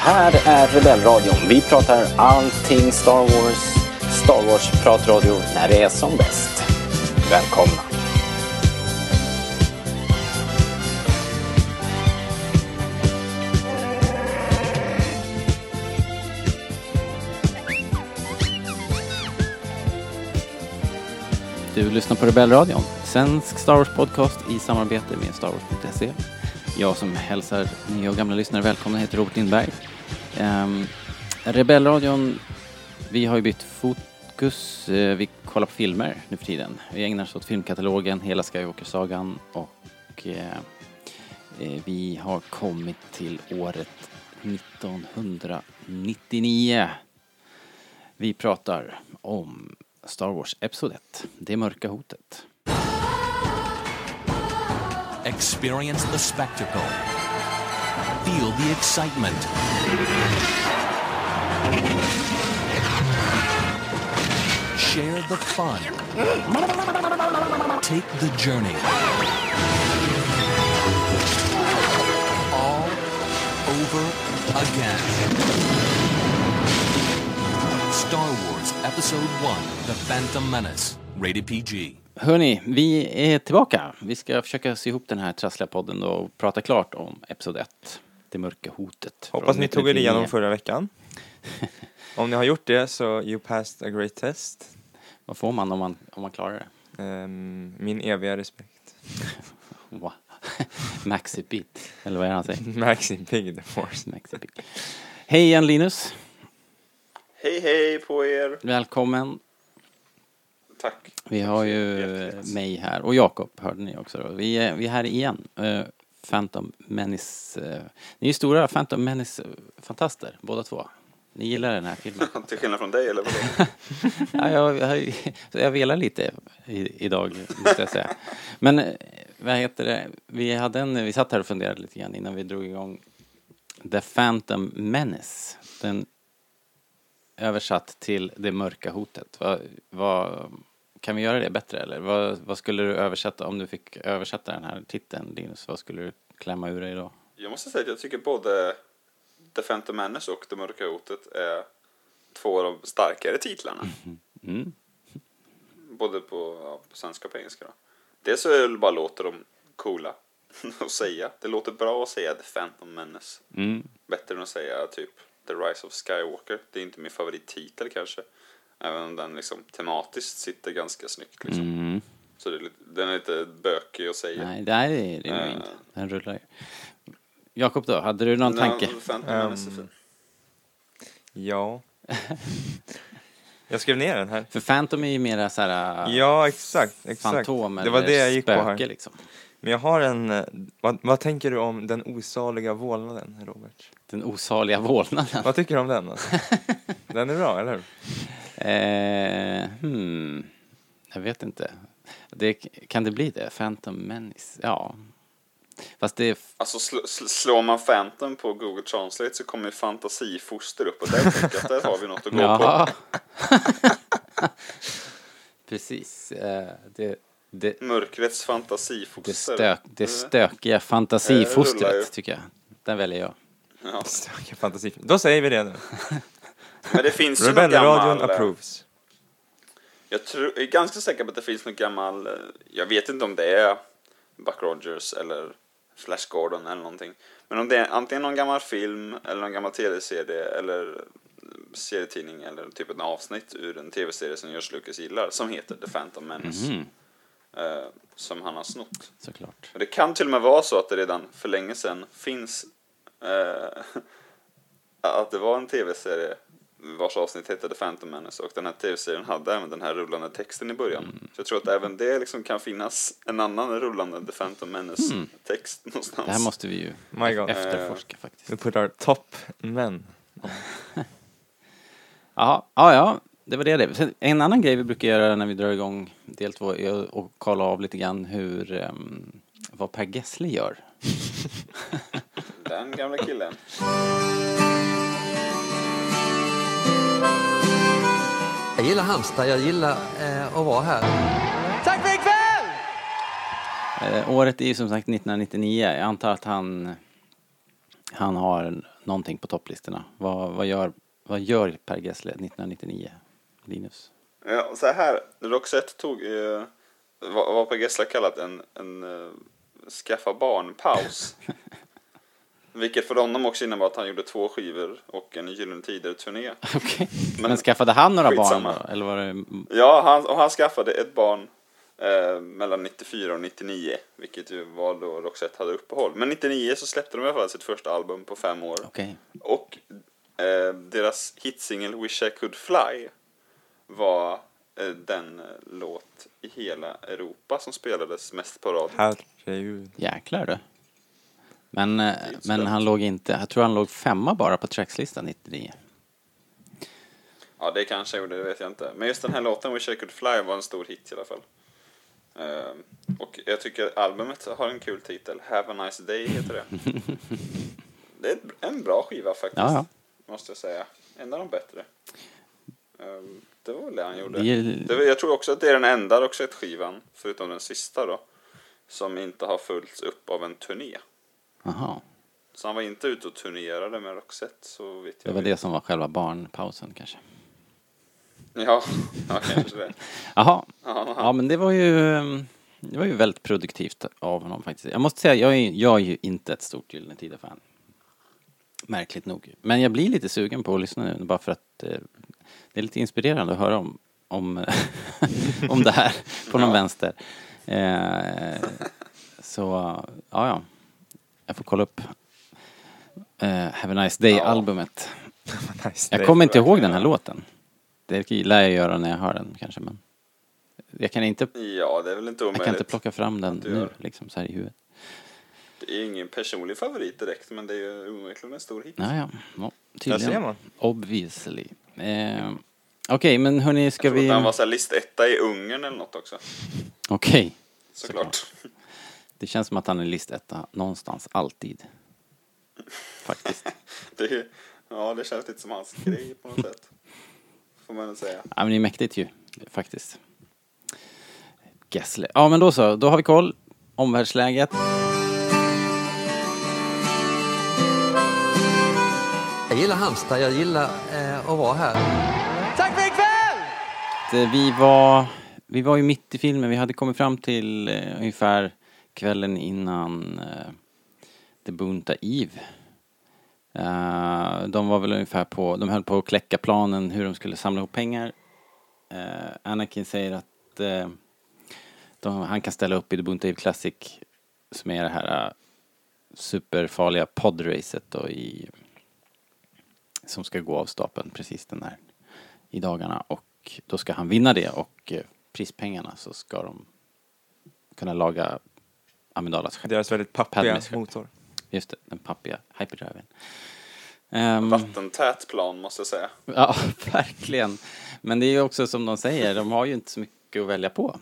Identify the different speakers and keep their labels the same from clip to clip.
Speaker 1: här är Rebellradion. Vi pratar allting Star Wars. Star Wars-pratradio när det är som bäst. Välkomna! Du lyssnar på Rebellradion, svensk Star Wars-podcast i samarbete med Star Wars.se. Jag som hälsar nya och gamla lyssnare välkomna heter Robert Lindberg. Um, Rebellradion, vi har ju bytt fokus. eh, vi kollar på filmer nu för tiden. Vi ägnar oss åt filmkatalogen, hela Skywalker-sagan och eh, eh, vi har kommit till året 1999. Vi pratar om Star Wars Episod 1, Det mörka hotet.
Speaker 2: Experience the spectacle. Feel the excitement. Share the fun. Take the journey. All over again. Star Wars Episode 1 The Phantom Menace. Rated PG.
Speaker 1: Hörni, vi är tillbaka. Vi ska försöka sy ihop den här trassliga podden då och prata klart om Episod 1, Det mörka hotet.
Speaker 3: Hoppas ni tog er
Speaker 1: 1999.
Speaker 3: igenom förra veckan. Om ni har gjort det så you passed a great test.
Speaker 1: Vad får man om man, om man klarar det?
Speaker 3: Ehm, min eviga respekt.
Speaker 1: Wow. Maxi Beat, eller vad är det han säger?
Speaker 3: Maxi Big the Force.
Speaker 1: Maxi Beat. Hej igen Linus,
Speaker 4: Hej hej på er!
Speaker 1: välkommen.
Speaker 4: Tack.
Speaker 1: Vi har ju
Speaker 4: Jättetrevligt.
Speaker 1: mig här och Jakob hörde ni också då. Vi är, vi är här igen. Eh, Phantom Menace. eh, ni är ju stora Phantom Menace-fantaster båda två. Ni gillar den här filmen.
Speaker 4: Till skillnad från dig eller vadå?
Speaker 1: Ja, jag, jag, jag velar lite i, idag, måste jag säga. Men eh, vad heter det? Vi, hade en, vi satt här och funderade lite grann innan vi drog igång The Phantom Menace. Den översatt till Det mörka hotet. Vad, vad, kan vi göra det bättre eller? Vad, vad skulle du översätta om du fick översätta den här titeln Linus? Vad skulle du klämma ur dig då?
Speaker 4: Jag måste säga att jag tycker både The Phantom Menace och Det Mörka Hotet är två av de starkare titlarna.
Speaker 1: Mm.
Speaker 4: Både på, ja, på svenska och på engelska då. Dels så är det bara låter de coola att säga. Det låter bra att säga The Phantom Menace.
Speaker 1: Mm.
Speaker 4: Bättre än att säga typ The Rise of Skywalker. Det är inte min favorittitel kanske. Även om den liksom tematiskt sitter ganska snyggt liksom.
Speaker 1: Mm.
Speaker 4: Så det är lite, den är lite bökig att säga.
Speaker 1: Nej, det här är det nog
Speaker 4: Eh.
Speaker 1: inte. Den rullar ju. Jakob då, hade du någon tanke?
Speaker 4: Nej, Phantom Menace är fin.
Speaker 3: Ja. Jag skrev ner den här.
Speaker 1: För Phantom är ju mera eh, såhär...
Speaker 3: Ja, exakt. exakt.
Speaker 1: Fantom
Speaker 3: Det var det jag gick på
Speaker 1: spöke,
Speaker 3: här.
Speaker 1: liksom.
Speaker 3: Men jag har en... eh, Vad, vad tänker du om den osaliga vålnaden, Robert?
Speaker 1: Den osaliga vålnaden.
Speaker 3: Vad tycker du om den? Alltså? Den är bra, eller hur?
Speaker 1: Eh, hmm. Jag vet inte. Det, kan det bli det? Phantom Menace? Ja. Fast det... är f-
Speaker 4: Alltså sl sl slår man Phantom på Google Translate så kommer ju fantasifoster upp och där tänker jag att där har vi något att gå
Speaker 1: Jaha. Precis. Eh, det, det,
Speaker 4: på. Mörkrets
Speaker 1: det,
Speaker 4: fantasifoster.
Speaker 1: stök, det
Speaker 3: Mm.
Speaker 1: stökiga
Speaker 4: Eh, det rullar ju.
Speaker 1: fantasifostret, tycker jag. Den väljer jag.
Speaker 4: Ja.
Speaker 3: Stökig fantasi. Då säger vi det nu.
Speaker 4: Men det finns ju någon gammal...
Speaker 3: Rebellradion
Speaker 4: eh,
Speaker 3: approves.
Speaker 4: Jag, tror, jag är ganska säker på att det finns någon gammal... eh, Jag vet inte om det är Buck Rogers eller Flash Gordon eller någonting. Men om det är antingen någon gammal film eller någon gammal tv-serie eller eh, serietidning eller typ ett avsnitt ur en tv-serie som George Lucas gillar som heter The Phantom Menace. Eh, som han har snott.
Speaker 1: Såklart.
Speaker 4: Och Det kan till och med vara så att det redan för länge sedan finns eh, att det var en tv-serie vars avsnitt hette The Phantom Menace och den här tv-serien hade även den här rullande texten i början.
Speaker 1: Mm.
Speaker 4: Så jag tror att även det liksom kan finnas en annan rullande The Phantom Menace-text någonstans.
Speaker 1: Mm. Det här måste vi ju
Speaker 3: My God.
Speaker 1: efterforska faktiskt.
Speaker 3: Vi put our top men.
Speaker 1: Ja, ja, ja, det var det det. Sen, en annan grej vi brukar göra när vi drar igång del två är att- att kolla av lite grann hur, ehm, vad Per Gessle gör.
Speaker 4: Den gamla killen.
Speaker 5: Jag gillar Halmstad, jag gillar eh, att vara här.
Speaker 1: Eh, året är ju som sagt 1999. Jag antar att han, han har någonting på topplistorna. Vad, vad, gör, vad gör Per Gessle 1999? Linus?
Speaker 4: Ja, och så här, Roxette tog eh, vad, vad Per Gessle kallat en, en eh, skaffa barn-paus. Vilket för honom också innebar att han gjorde två skivor och en Gyllene Tider-turné.
Speaker 1: Okej.
Speaker 4: Men-
Speaker 1: Men, skaffade han några
Speaker 4: Skitsamma.
Speaker 1: barn då? Eller var det...
Speaker 4: Ja, han, och han skaffade ett barn eh, mellan 94 och 99, vilket ju var då Roxette hade uppehåll. Men 99 så släppte de i alla fall sitt första album på fem år.
Speaker 1: Okej.
Speaker 4: Och eh, deras hitsingel Wish I Could Fly var eh, den eh, låt i hela Europa som spelades mest på rad.
Speaker 3: Herregud.
Speaker 1: Jäklar du. Men, eh,
Speaker 4: inte
Speaker 1: men
Speaker 4: dumt.
Speaker 1: han låg inte... Jag tror han låg femma bara på trackslistan 99.
Speaker 4: Ja, det kanske jag gjorde, det vet jag inte. Men just den här låten Wish I Could Fly var en stor hit i alla fall. Eh, och jag tycker albumet har en kul titel. Have a nice day heter det. det är en bra skiva faktiskt.
Speaker 1: Ja, ja.
Speaker 4: Måste jag säga. En av de bättre. Eh, det var väl det han gjorde.
Speaker 1: Det är-
Speaker 4: Det, var- jag tror också att det är den enda Roxette-skivan, förutom den sista då, som inte har följts upp av en turné.
Speaker 1: Jaha.
Speaker 4: Så han var inte ute och turnerade med Roxette, så vet jag
Speaker 1: Det var
Speaker 4: inte.
Speaker 1: det som var själva barnpausen kanske.
Speaker 4: Ja, ja kanske det.
Speaker 1: Jaha.
Speaker 4: Ja.
Speaker 1: Ja, men det var ju... ehm, Det var ju väldigt produktivt av honom faktiskt. Jag måste säga, jag är, jag är ju inte ett stort Gyllene Tider-fan. Märkligt nog. Men jag blir lite sugen på att lyssna nu, bara för att eh, det är lite inspirerande att höra om, om, om det här på någon vänster. Eh, så, ja, ja. Jag får kolla upp eh, Have a Nice Day-albumet.
Speaker 3: Nice
Speaker 1: Jag
Speaker 3: day.
Speaker 1: kommer inte ihåg den här låten. Det lär jag göra när jag hör den kanske, men jag kan inte
Speaker 4: Ja, det är väl inte
Speaker 1: jag
Speaker 4: omöjligt.
Speaker 1: kan inte plocka fram den
Speaker 4: du
Speaker 1: nu,
Speaker 4: gör.
Speaker 1: liksom så här i huvudet.
Speaker 4: Det är ju ingen personlig favorit direkt, men det är ju onekligen en stor hit.
Speaker 1: Ja, ja. Nå,
Speaker 3: Där
Speaker 1: tydligen.
Speaker 3: ser man.
Speaker 1: Obviously. Eh, Okej, men hörni, ska
Speaker 4: Jag tror
Speaker 1: vi...
Speaker 4: att han var så här listetta i Ungern eller något också.
Speaker 1: Okej.
Speaker 4: Såklart.
Speaker 1: Det känns som att han är listetta någonstans, alltid. Faktiskt.
Speaker 4: Det, är- ja, det känns lite som hans grej på något sätt. Får man väl säga.
Speaker 1: ja, men det är mäktigt ju, faktiskt. Gessle. Ja, men då så. Då har vi koll. Omvärldsläget.
Speaker 5: Jag gillar Halmstad, jag gillar eh, att vara här.
Speaker 1: Eh, Vi var, vi var ju mitt i filmen. Vi hade kommit fram till eh, ungefär kvällen innan eh, The Bunta Eve. Eh, de var väl ungefär på, de höll på att kläcka planen hur de skulle samla ihop pengar. Eh, Anakin säger att eh, de, han kan ställa upp i The Bunta Eve Classic som är det här eh, superfarliga podracet då i som ska gå av stapeln precis den här i dagarna och då ska han vinna det och eh, prispengarna så ska de kunna laga Amidalas skepp.
Speaker 3: Deras väldigt pappiga
Speaker 1: Padmes skepp.
Speaker 3: motor.
Speaker 1: Just det, den pappiga hyperdriven. Ehm,
Speaker 4: Vattentät plan måste jag säga.
Speaker 1: ja, verkligen. Men det är ju också som de säger, de har ju inte så mycket att välja på.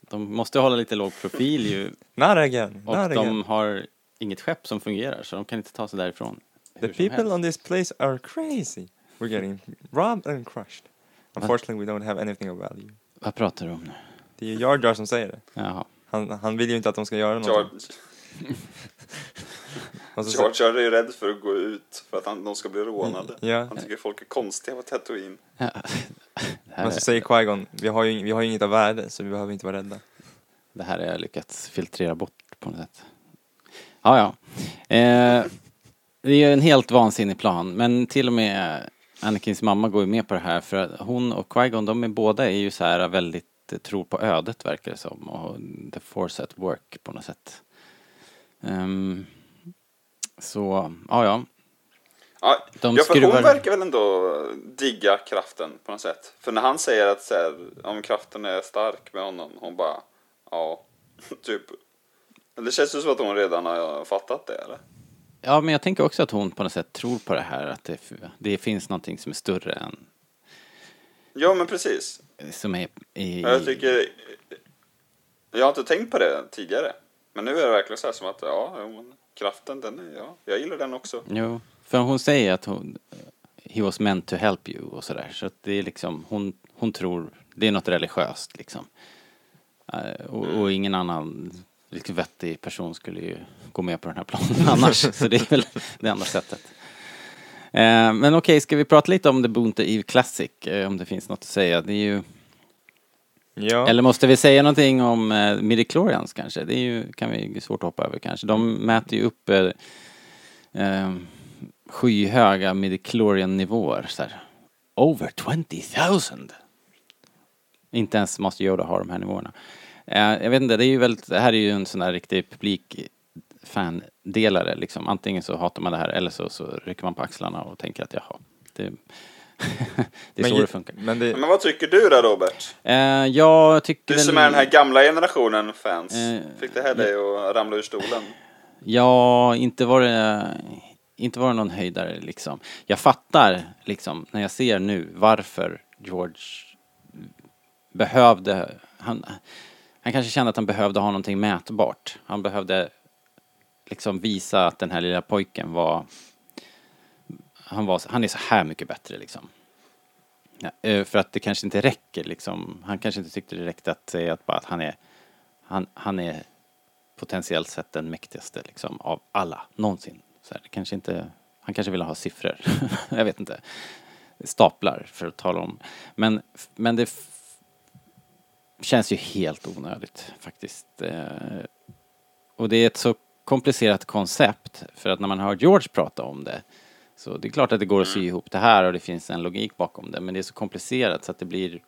Speaker 1: De måste hålla lite låg profil ju
Speaker 3: Not again,
Speaker 1: och
Speaker 3: not
Speaker 1: de
Speaker 3: again.
Speaker 1: har inget skepp som fungerar så de kan inte ta sig därifrån.
Speaker 3: The
Speaker 1: hur som
Speaker 3: people
Speaker 1: helst.
Speaker 3: on this place are crazy. We're getting robbed and crushed. Unfortunately we don't have anything of value.
Speaker 1: Vad pratar du om nu?
Speaker 3: Det är Jar Jar som säger det.
Speaker 1: Jaha.
Speaker 3: Han, han vill ju inte att de ska göra
Speaker 1: Mm.
Speaker 3: någonting.
Speaker 4: George,
Speaker 3: Och så sä-
Speaker 4: George är ju rädd för att gå ut för att han, de ska bli rånade.
Speaker 1: Mm.
Speaker 3: Ja.
Speaker 4: Han tycker folk är konstiga på Tatooine.
Speaker 1: Ja, det, här
Speaker 3: Men så
Speaker 1: är,
Speaker 3: säger Qui-Gon, vi har, ju, vi har ju inget av värde så vi behöver inte vara rädda.
Speaker 1: det här har jag lyckats filtrera bort på något sätt. Ja, ja. Eh, det är ju en helt vansinnig plan, men till och med Anakins mamma går ju med på det här för att hon och Qui-Gon, de är båda är ju så här väldigt eh, tror på ödet verkar det som och the force at work på något sätt. Ehm, så, ja, ja.
Speaker 4: Ja,
Speaker 1: De
Speaker 4: ja för
Speaker 1: skruvar-
Speaker 4: hon verkar väl ändå digga kraften på något sätt. För när han säger att så här, om kraften är stark med honom, hon bara ja, typ. Det känns ju som att hon redan har fattat det eller?
Speaker 1: Ja, men jag tänker också att hon på något sätt tror på det här, att det, det finns någonting som är större än,
Speaker 4: Ja men precis.
Speaker 1: som är i...
Speaker 4: Ja, Jag tycker, jag har inte tänkt på det tidigare. Men nu är det verkligen så här som att ja, jo, men kraften den är, ja, jag gillar den också.
Speaker 1: Jo, för hon säger att hon, he was meant to help you och sådär. Så att det är liksom, hon, hon tror, det är något religiöst liksom. Eh, Och, och ingen annan riktigt vettig person skulle ju gå med på den här planen annars. Så det är väl det enda sättet. Eh, men okej, ska vi prata lite om The Boonta Eve Classic? Eh, om det finns något att säga. Det är ju...
Speaker 3: Ja.
Speaker 1: Eller måste vi säga någonting om eh, midichlorians kanske? Det är ju, kan vi det är svårt att hoppa över kanske. De mäter ju upp eh, eh, skyhöga midichlorian-nivåer. Så här. Over 20,000! Inte ens Master Yoda har de här nivåerna. Eh, jag vet inte, det, är ju väldigt, det här är ju en sån här riktig publik fandelare liksom. Antingen så hatar man det här eller så, så rycker man på axlarna och tänker att jaha, det, det är så
Speaker 3: ju-
Speaker 1: det funkar.
Speaker 3: Men det,
Speaker 4: Men vad tycker du då Robert?
Speaker 1: Eh, jag tycker
Speaker 4: Du som
Speaker 1: väl-
Speaker 4: är den här gamla generationen fans.
Speaker 1: Eh,
Speaker 4: Fick det här dig att ramla ur stolen?
Speaker 1: Ja, inte var det, inte var det någon höjdare liksom. Jag fattar liksom när jag ser nu varför George behövde, han, han kanske kände att han behövde ha någonting mätbart. Han behövde liksom visa att den här lilla pojken var, han, var, han är så här mycket bättre liksom. Ja, eh, för att det kanske inte räcker liksom. Han kanske inte tyckte det räckte att säga att, bara att han är, han, han är potentiellt sett den mäktigaste liksom, av alla någonsin. Så här, det kanske inte, han kanske vill ha siffror, jag vet inte. Staplar för att tala om. Men, men det f- känns ju helt onödigt faktiskt. Eh, och det är ett så komplicerat koncept för att när man hör George prata om det så det är klart att det går att sy ihop det här och det finns en logik bakom det men det är så komplicerat så att det blir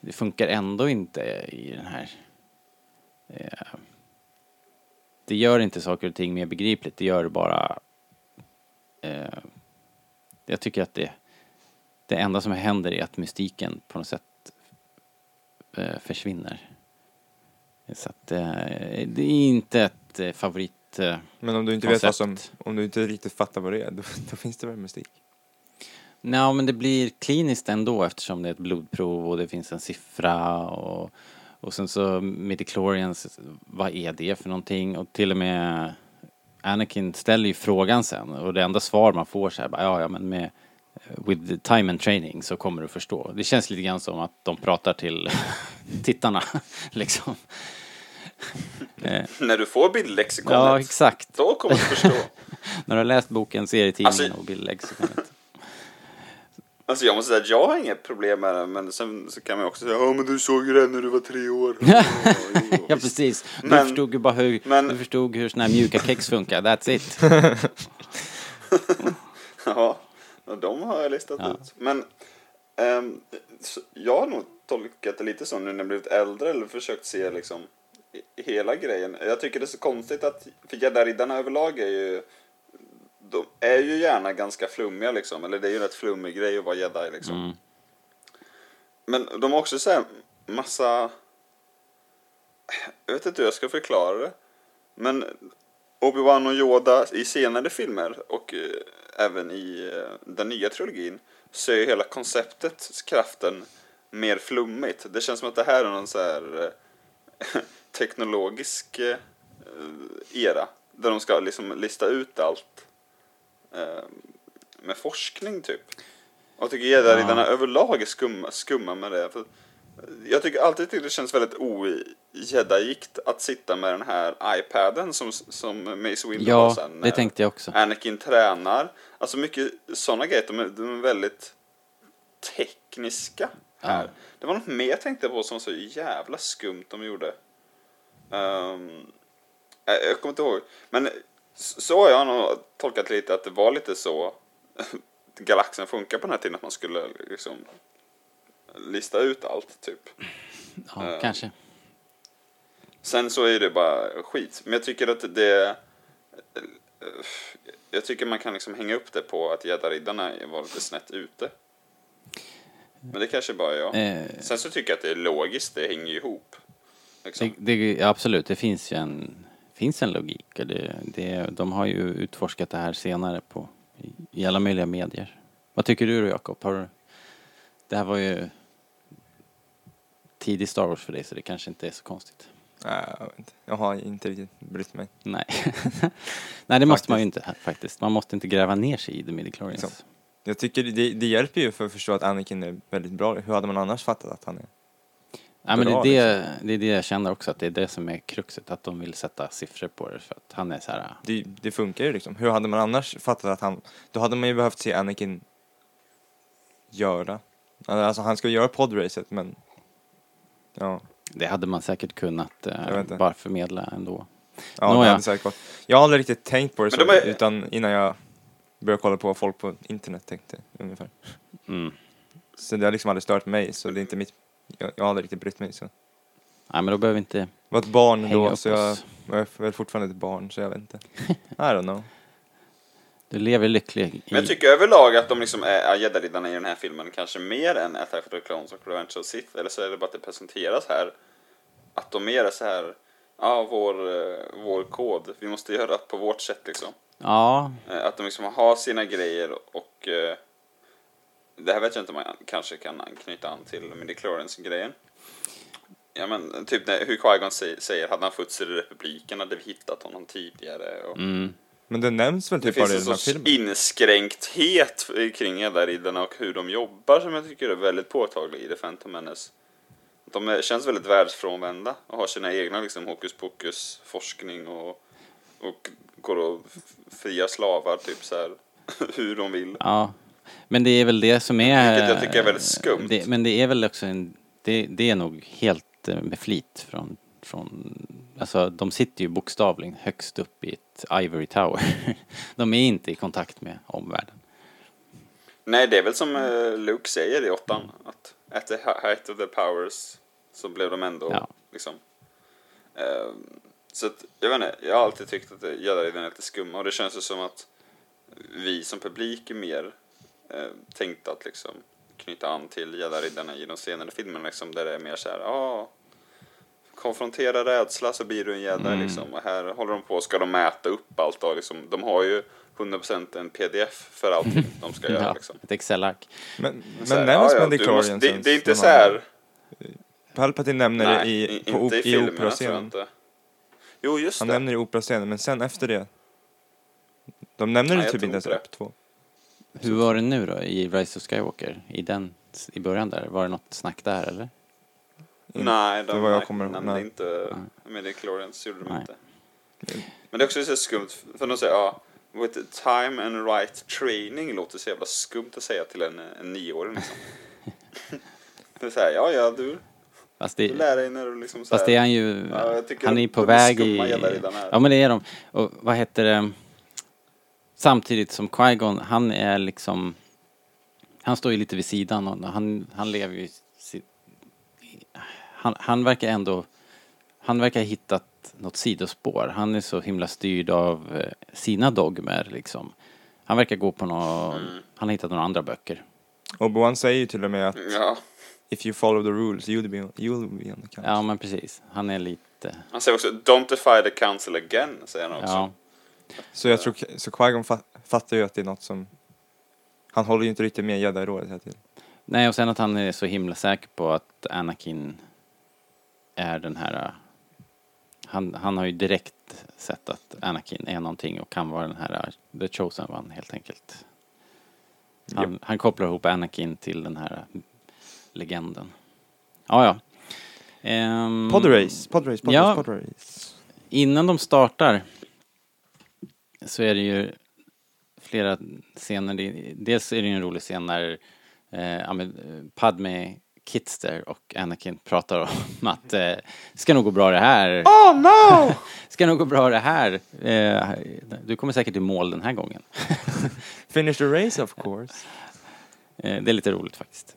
Speaker 1: det funkar ändå inte i den här eh, det gör inte saker och ting mer begripligt det gör det bara eh, jag tycker att det det enda som händer är att mystiken på något sätt eh, försvinner så att eh, det är inte ett eh, favorit eh,
Speaker 3: men om du inte vet vad som,
Speaker 1: koncept.
Speaker 3: om du inte riktigt fattar vad det är, då, då finns det väl mystik?
Speaker 1: Nej, men det blir kliniskt ändå eftersom det är ett blodprov och det finns en siffra och, och sen så midichlorians, vad är det för någonting? Och till och med Anakin ställer ju frågan sen och det enda svar man får så här, bara, ja, ja men med with the time and training så kommer du förstå. Det känns lite grann som att de pratar till tittarna liksom.
Speaker 4: När du får bildlexikonet,
Speaker 1: Ja, exakt.
Speaker 4: då kommer du förstå.
Speaker 1: När du har läst boken, serietidningen
Speaker 4: Alltså-
Speaker 1: och bildlexikonet.
Speaker 4: Alltså jag måste säga att jag har inget problem med det, men sen så kan man ju också säga ja men du såg ju det när du var tre år. Ja, jo, jo,
Speaker 1: ja,
Speaker 4: visst.
Speaker 1: precis. Du
Speaker 4: Men-
Speaker 1: förstod ju bara hur,
Speaker 4: men-
Speaker 1: du förstod hur såna här mjuka kex funkar, that's it.
Speaker 4: Ja, och de har jag listat ut. Men ehm, så jag har nog tolkat det lite så nu när jag blivit äldre eller försökt se liksom i- hela grejen. Jag tycker det är så konstigt att, för gäddariddarna överlag är ju de är ju gärna ganska flummiga liksom, eller det är ju en rätt flummig grej att vara jedi liksom. Men de har också så här massa, jag vet inte hur jag ska förklara det, men Obi-Wan och Yoda i senare filmer och eh, även i eh, den nya trilogin så är ju hela konceptet, kraften, mer flummigt. Det känns som att det här är någon så här eh, teknologisk eh, era där de ska liksom lista ut allt eh, med forskning typ. Och jag tycker gäddariddarna överlag är skumma, skumma med det. För jag tycker alltid tycker det känns väldigt ojeddaigt att sitta med den här iPaden som, som Mace Windu har
Speaker 1: Ja,
Speaker 4: sen.
Speaker 1: det
Speaker 4: när
Speaker 1: tänkte jag också.
Speaker 4: Anakin tränar. Alltså mycket sådana grejer, de är, de är väldigt tekniska här. Det var något mer jag tänkte på som var så jävla skumt de gjorde. Ehm, jag, jag kommer inte ihåg. Men så, så har jag nog tolkat lite att det var lite så galaxen funkar på den här tiden, att man skulle liksom lista ut allt typ.
Speaker 1: Ja, kanske.
Speaker 4: Sen så är det bara skit. Men jag tycker att det... eh, Jag tycker man kan liksom hänga upp det på att gäddariddarna var lite snett ute. Men det kanske bara är jag.
Speaker 1: Eh.
Speaker 4: Sen så tycker jag att det är logiskt, det hänger ju ihop. Liksom.
Speaker 1: Det, det, ja, absolut, det finns ju en, finns en logik. Och det, det, de har ju utforskat det här senare på, i, i alla möjliga medier. Vad tycker du då, Jakob? Har du- Det här var ju tidig Star Wars för dig så det kanske inte är så konstigt.
Speaker 3: Nej, jag vet inte. Jag har inte riktigt brytt mig.
Speaker 1: Nej, Nej det måste man ju inte faktiskt. Man måste inte gräva ner sig i The midichlorians.
Speaker 3: Liksom. Jag tycker det, det hjälper ju för att förstå att Anakin är väldigt bra. Hur hade man annars fattat att han är?
Speaker 1: Ja, men det,
Speaker 3: bra,
Speaker 1: är det,
Speaker 4: liksom.
Speaker 1: det är det jag känner också, att det är det som är kruxet, att de vill sätta siffror på det för att han är så här,
Speaker 3: Det, det funkar ju liksom. Hur hade man annars fattat att han... Då hade man ju behövt se Anakin göra. Alltså han ska göra podracet men... Ja.
Speaker 1: det hade man säkert kunnat eh,
Speaker 3: vet inte.
Speaker 1: bara förmedla ändå.
Speaker 3: Ja, det
Speaker 1: Nåja.
Speaker 3: hade säkert gått. Jag har aldrig riktigt tänkt på det så,
Speaker 4: Men de är-
Speaker 3: utan innan jag började kolla på folk på internet tänkte jag ungefär.
Speaker 1: Mm.
Speaker 3: Så det har liksom aldrig stört mig, så det är inte mitt... Jag, jag har aldrig riktigt brytt mig så. Jag
Speaker 1: Nej, men då behöver vi inte...
Speaker 3: var ett barn
Speaker 1: Hänga
Speaker 3: då,
Speaker 1: upp
Speaker 3: så jag,
Speaker 1: oss.
Speaker 3: jag är väl fortfarande ett barn, så jag vet inte. I don't know.
Speaker 1: Du lever lycklig
Speaker 4: Men jag
Speaker 1: i...
Speaker 4: tycker överlag att de liksom är jedi-riddarna i den här filmen kanske mer än Attack of the Clones och Revenge of the Sith. Eller så är det bara att det presenteras här att de mer är så här, ja vår, eh, vår kod, vi måste göra på vårt sätt liksom.
Speaker 1: Ja,
Speaker 4: Eh, Att de liksom har sina grejer och eh, det här vet jag inte om man kanske kan anknyta an till midichlorians-grejen. Ja men typ när, hur Qui-Gon sä- säger, hade han funnits i republiken hade vi hittat honom tidigare. Och,
Speaker 3: Men det nämns väl
Speaker 4: det
Speaker 3: typ bara i
Speaker 4: finns
Speaker 3: den här
Speaker 4: en sorts
Speaker 3: filmen?
Speaker 4: inskränkthet kring Jedi-riddarna och hur de jobbar som jag tycker är väldigt påtaglig i The Phantom Menace. De är, känns väldigt världsfrånvända och har sina egna liksom hokus pokus forskning och, och går och f- fria slavar typ så här hur de vill.
Speaker 1: ja. Men det är väl det som är...
Speaker 4: Vilket jag tycker är väldigt skumt.
Speaker 1: Det, men det är väl också en... Det, det är nog helt eh, med flit från... från alltså, de sitter ju bokstavligen högst upp i ett ivory tower. de är inte i kontakt med omvärlden.
Speaker 4: Nej, det är väl som eh, Luke säger i åttan att at the height of the powers så blev de ändå
Speaker 1: Ja.
Speaker 4: liksom. ehm, så att, jag vet inte, jag har alltid tyckt att det- jedi-riddarna är lite skumma och det känns ju som att vi som publik är mer eh, tänkta att liksom knyta an till jedi-riddarna i de senare filmerna liksom där det är mer så här, ja konfrontera rädsla så blir du en jädra
Speaker 3: Mm.
Speaker 4: liksom. Och här håller de på, ska de mäta upp allt då liksom. De har ju 100% en pdf för allting de ska göra
Speaker 1: Ja,
Speaker 4: liksom.
Speaker 1: ett Excel-ark.
Speaker 3: Mm. Men,
Speaker 4: Så här, "Ah,
Speaker 3: men nämns
Speaker 4: ja, ja,
Speaker 3: med
Speaker 4: du måste-
Speaker 3: Declarian
Speaker 4: det, det är inte så här,
Speaker 3: Palpatine nämner det
Speaker 4: nej,
Speaker 3: i,
Speaker 4: i,
Speaker 3: på op,
Speaker 4: inte i
Speaker 3: i
Speaker 4: alltså, filmerna tror jag
Speaker 3: operascenen.
Speaker 4: inte. Jo, just
Speaker 3: Han
Speaker 4: det.
Speaker 3: nämner det i operascenen, men sen efter det... De nämner
Speaker 4: Nej,
Speaker 3: det
Speaker 4: jag
Speaker 3: typ
Speaker 4: tror
Speaker 3: inte ens i
Speaker 4: inte det.
Speaker 3: upp två.
Speaker 1: Hur var det nu då i Rise of Skywalker? I den, i början där, var det något snack där eller?
Speaker 4: Nej, de
Speaker 3: Det var jag kommer-
Speaker 4: nämnde
Speaker 3: nej.
Speaker 4: inte Midichlorians, gjorde de
Speaker 1: Nej.
Speaker 4: inte. Men det är också så skumt, för de säger ja, with time and right training låter så jävla skumt att säga till en, en nioåring liksom. det är så här, ja ja du,
Speaker 1: Fast
Speaker 4: du
Speaker 1: det,
Speaker 4: lär dig när du liksom så
Speaker 1: Eh. fast
Speaker 4: här,
Speaker 1: det är han ju,
Speaker 4: Ja, jag tycker
Speaker 1: han är
Speaker 4: de-
Speaker 1: ju på
Speaker 4: de är
Speaker 1: väg i...
Speaker 4: skumma jävla redan här.
Speaker 1: Ja men det är de. Och vad heter det? Samtidigt som Qui-Gon, han är liksom, han står ju lite vid sidan och han, han lever ju sitt, han, han verkar ändå, han verkar ha hittat något sidospår. Han är så himla styrd av eh, sina dogmer liksom. Han verkar gå på någon,
Speaker 4: Mm.
Speaker 1: han har hittat några andra böcker.
Speaker 3: Obi-Wan säger ju till och med att
Speaker 4: Mm, Ja,
Speaker 3: if you follow the rules you'll be on, you'll be on the count.
Speaker 1: Ja men precis, han är lite,
Speaker 4: han säger också don't defy the council again, säger han också.
Speaker 1: ja.
Speaker 3: Så jag tror, så Qui-Gon fa- fattar ju att det är något som... Han håller ju inte riktigt med Jedi i rådet hela tiden.
Speaker 1: Nej, och sen att han är så himla säker på att Anakin är den här... äh, Han, han har ju direkt sett att Anakin är någonting och kan vara den här äh, the chosen one helt enkelt. Han, han kopplar ihop Anakin till den här äh, legenden. Ja, ja. Ehm,
Speaker 3: Podrace, podrace, podrace,
Speaker 1: Ja.
Speaker 3: podrace.
Speaker 1: Innan de startar så är det ju flera scener. Det- Dels är det ju en rolig scen när eh, ja, men, eh, Padme Kitster och Anakin pratar om att eh, ska nog gå bra det här. Oh no! ska nog gå bra det här. Eh, du kommer säkert i mål den här gången.
Speaker 3: Finish the race of course.
Speaker 1: eh, det är lite roligt faktiskt.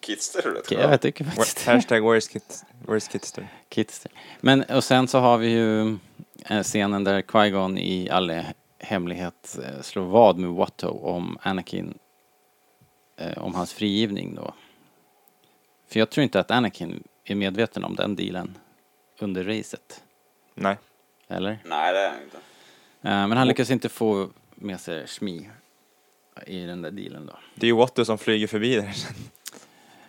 Speaker 4: Kids, det är rätt
Speaker 1: Jag tycker faktiskt
Speaker 3: Where, hashtag where's, kid, where's Kidster?
Speaker 1: Kids. Men och sen så har vi ju eh, scenen där Qui-Gon i all he- hemlighet eh, slår vad med Watto om Anakin, eh, om hans frigivning då. För jag tror inte att Anakin är medveten om den dealen under racet,
Speaker 3: Nej.
Speaker 1: eller?
Speaker 4: Nej, det är han inte.
Speaker 1: Eh, Men han lyckas inte få med sig Shmi i den där dealen då.
Speaker 3: Det är ju Watto som flyger förbi där sen.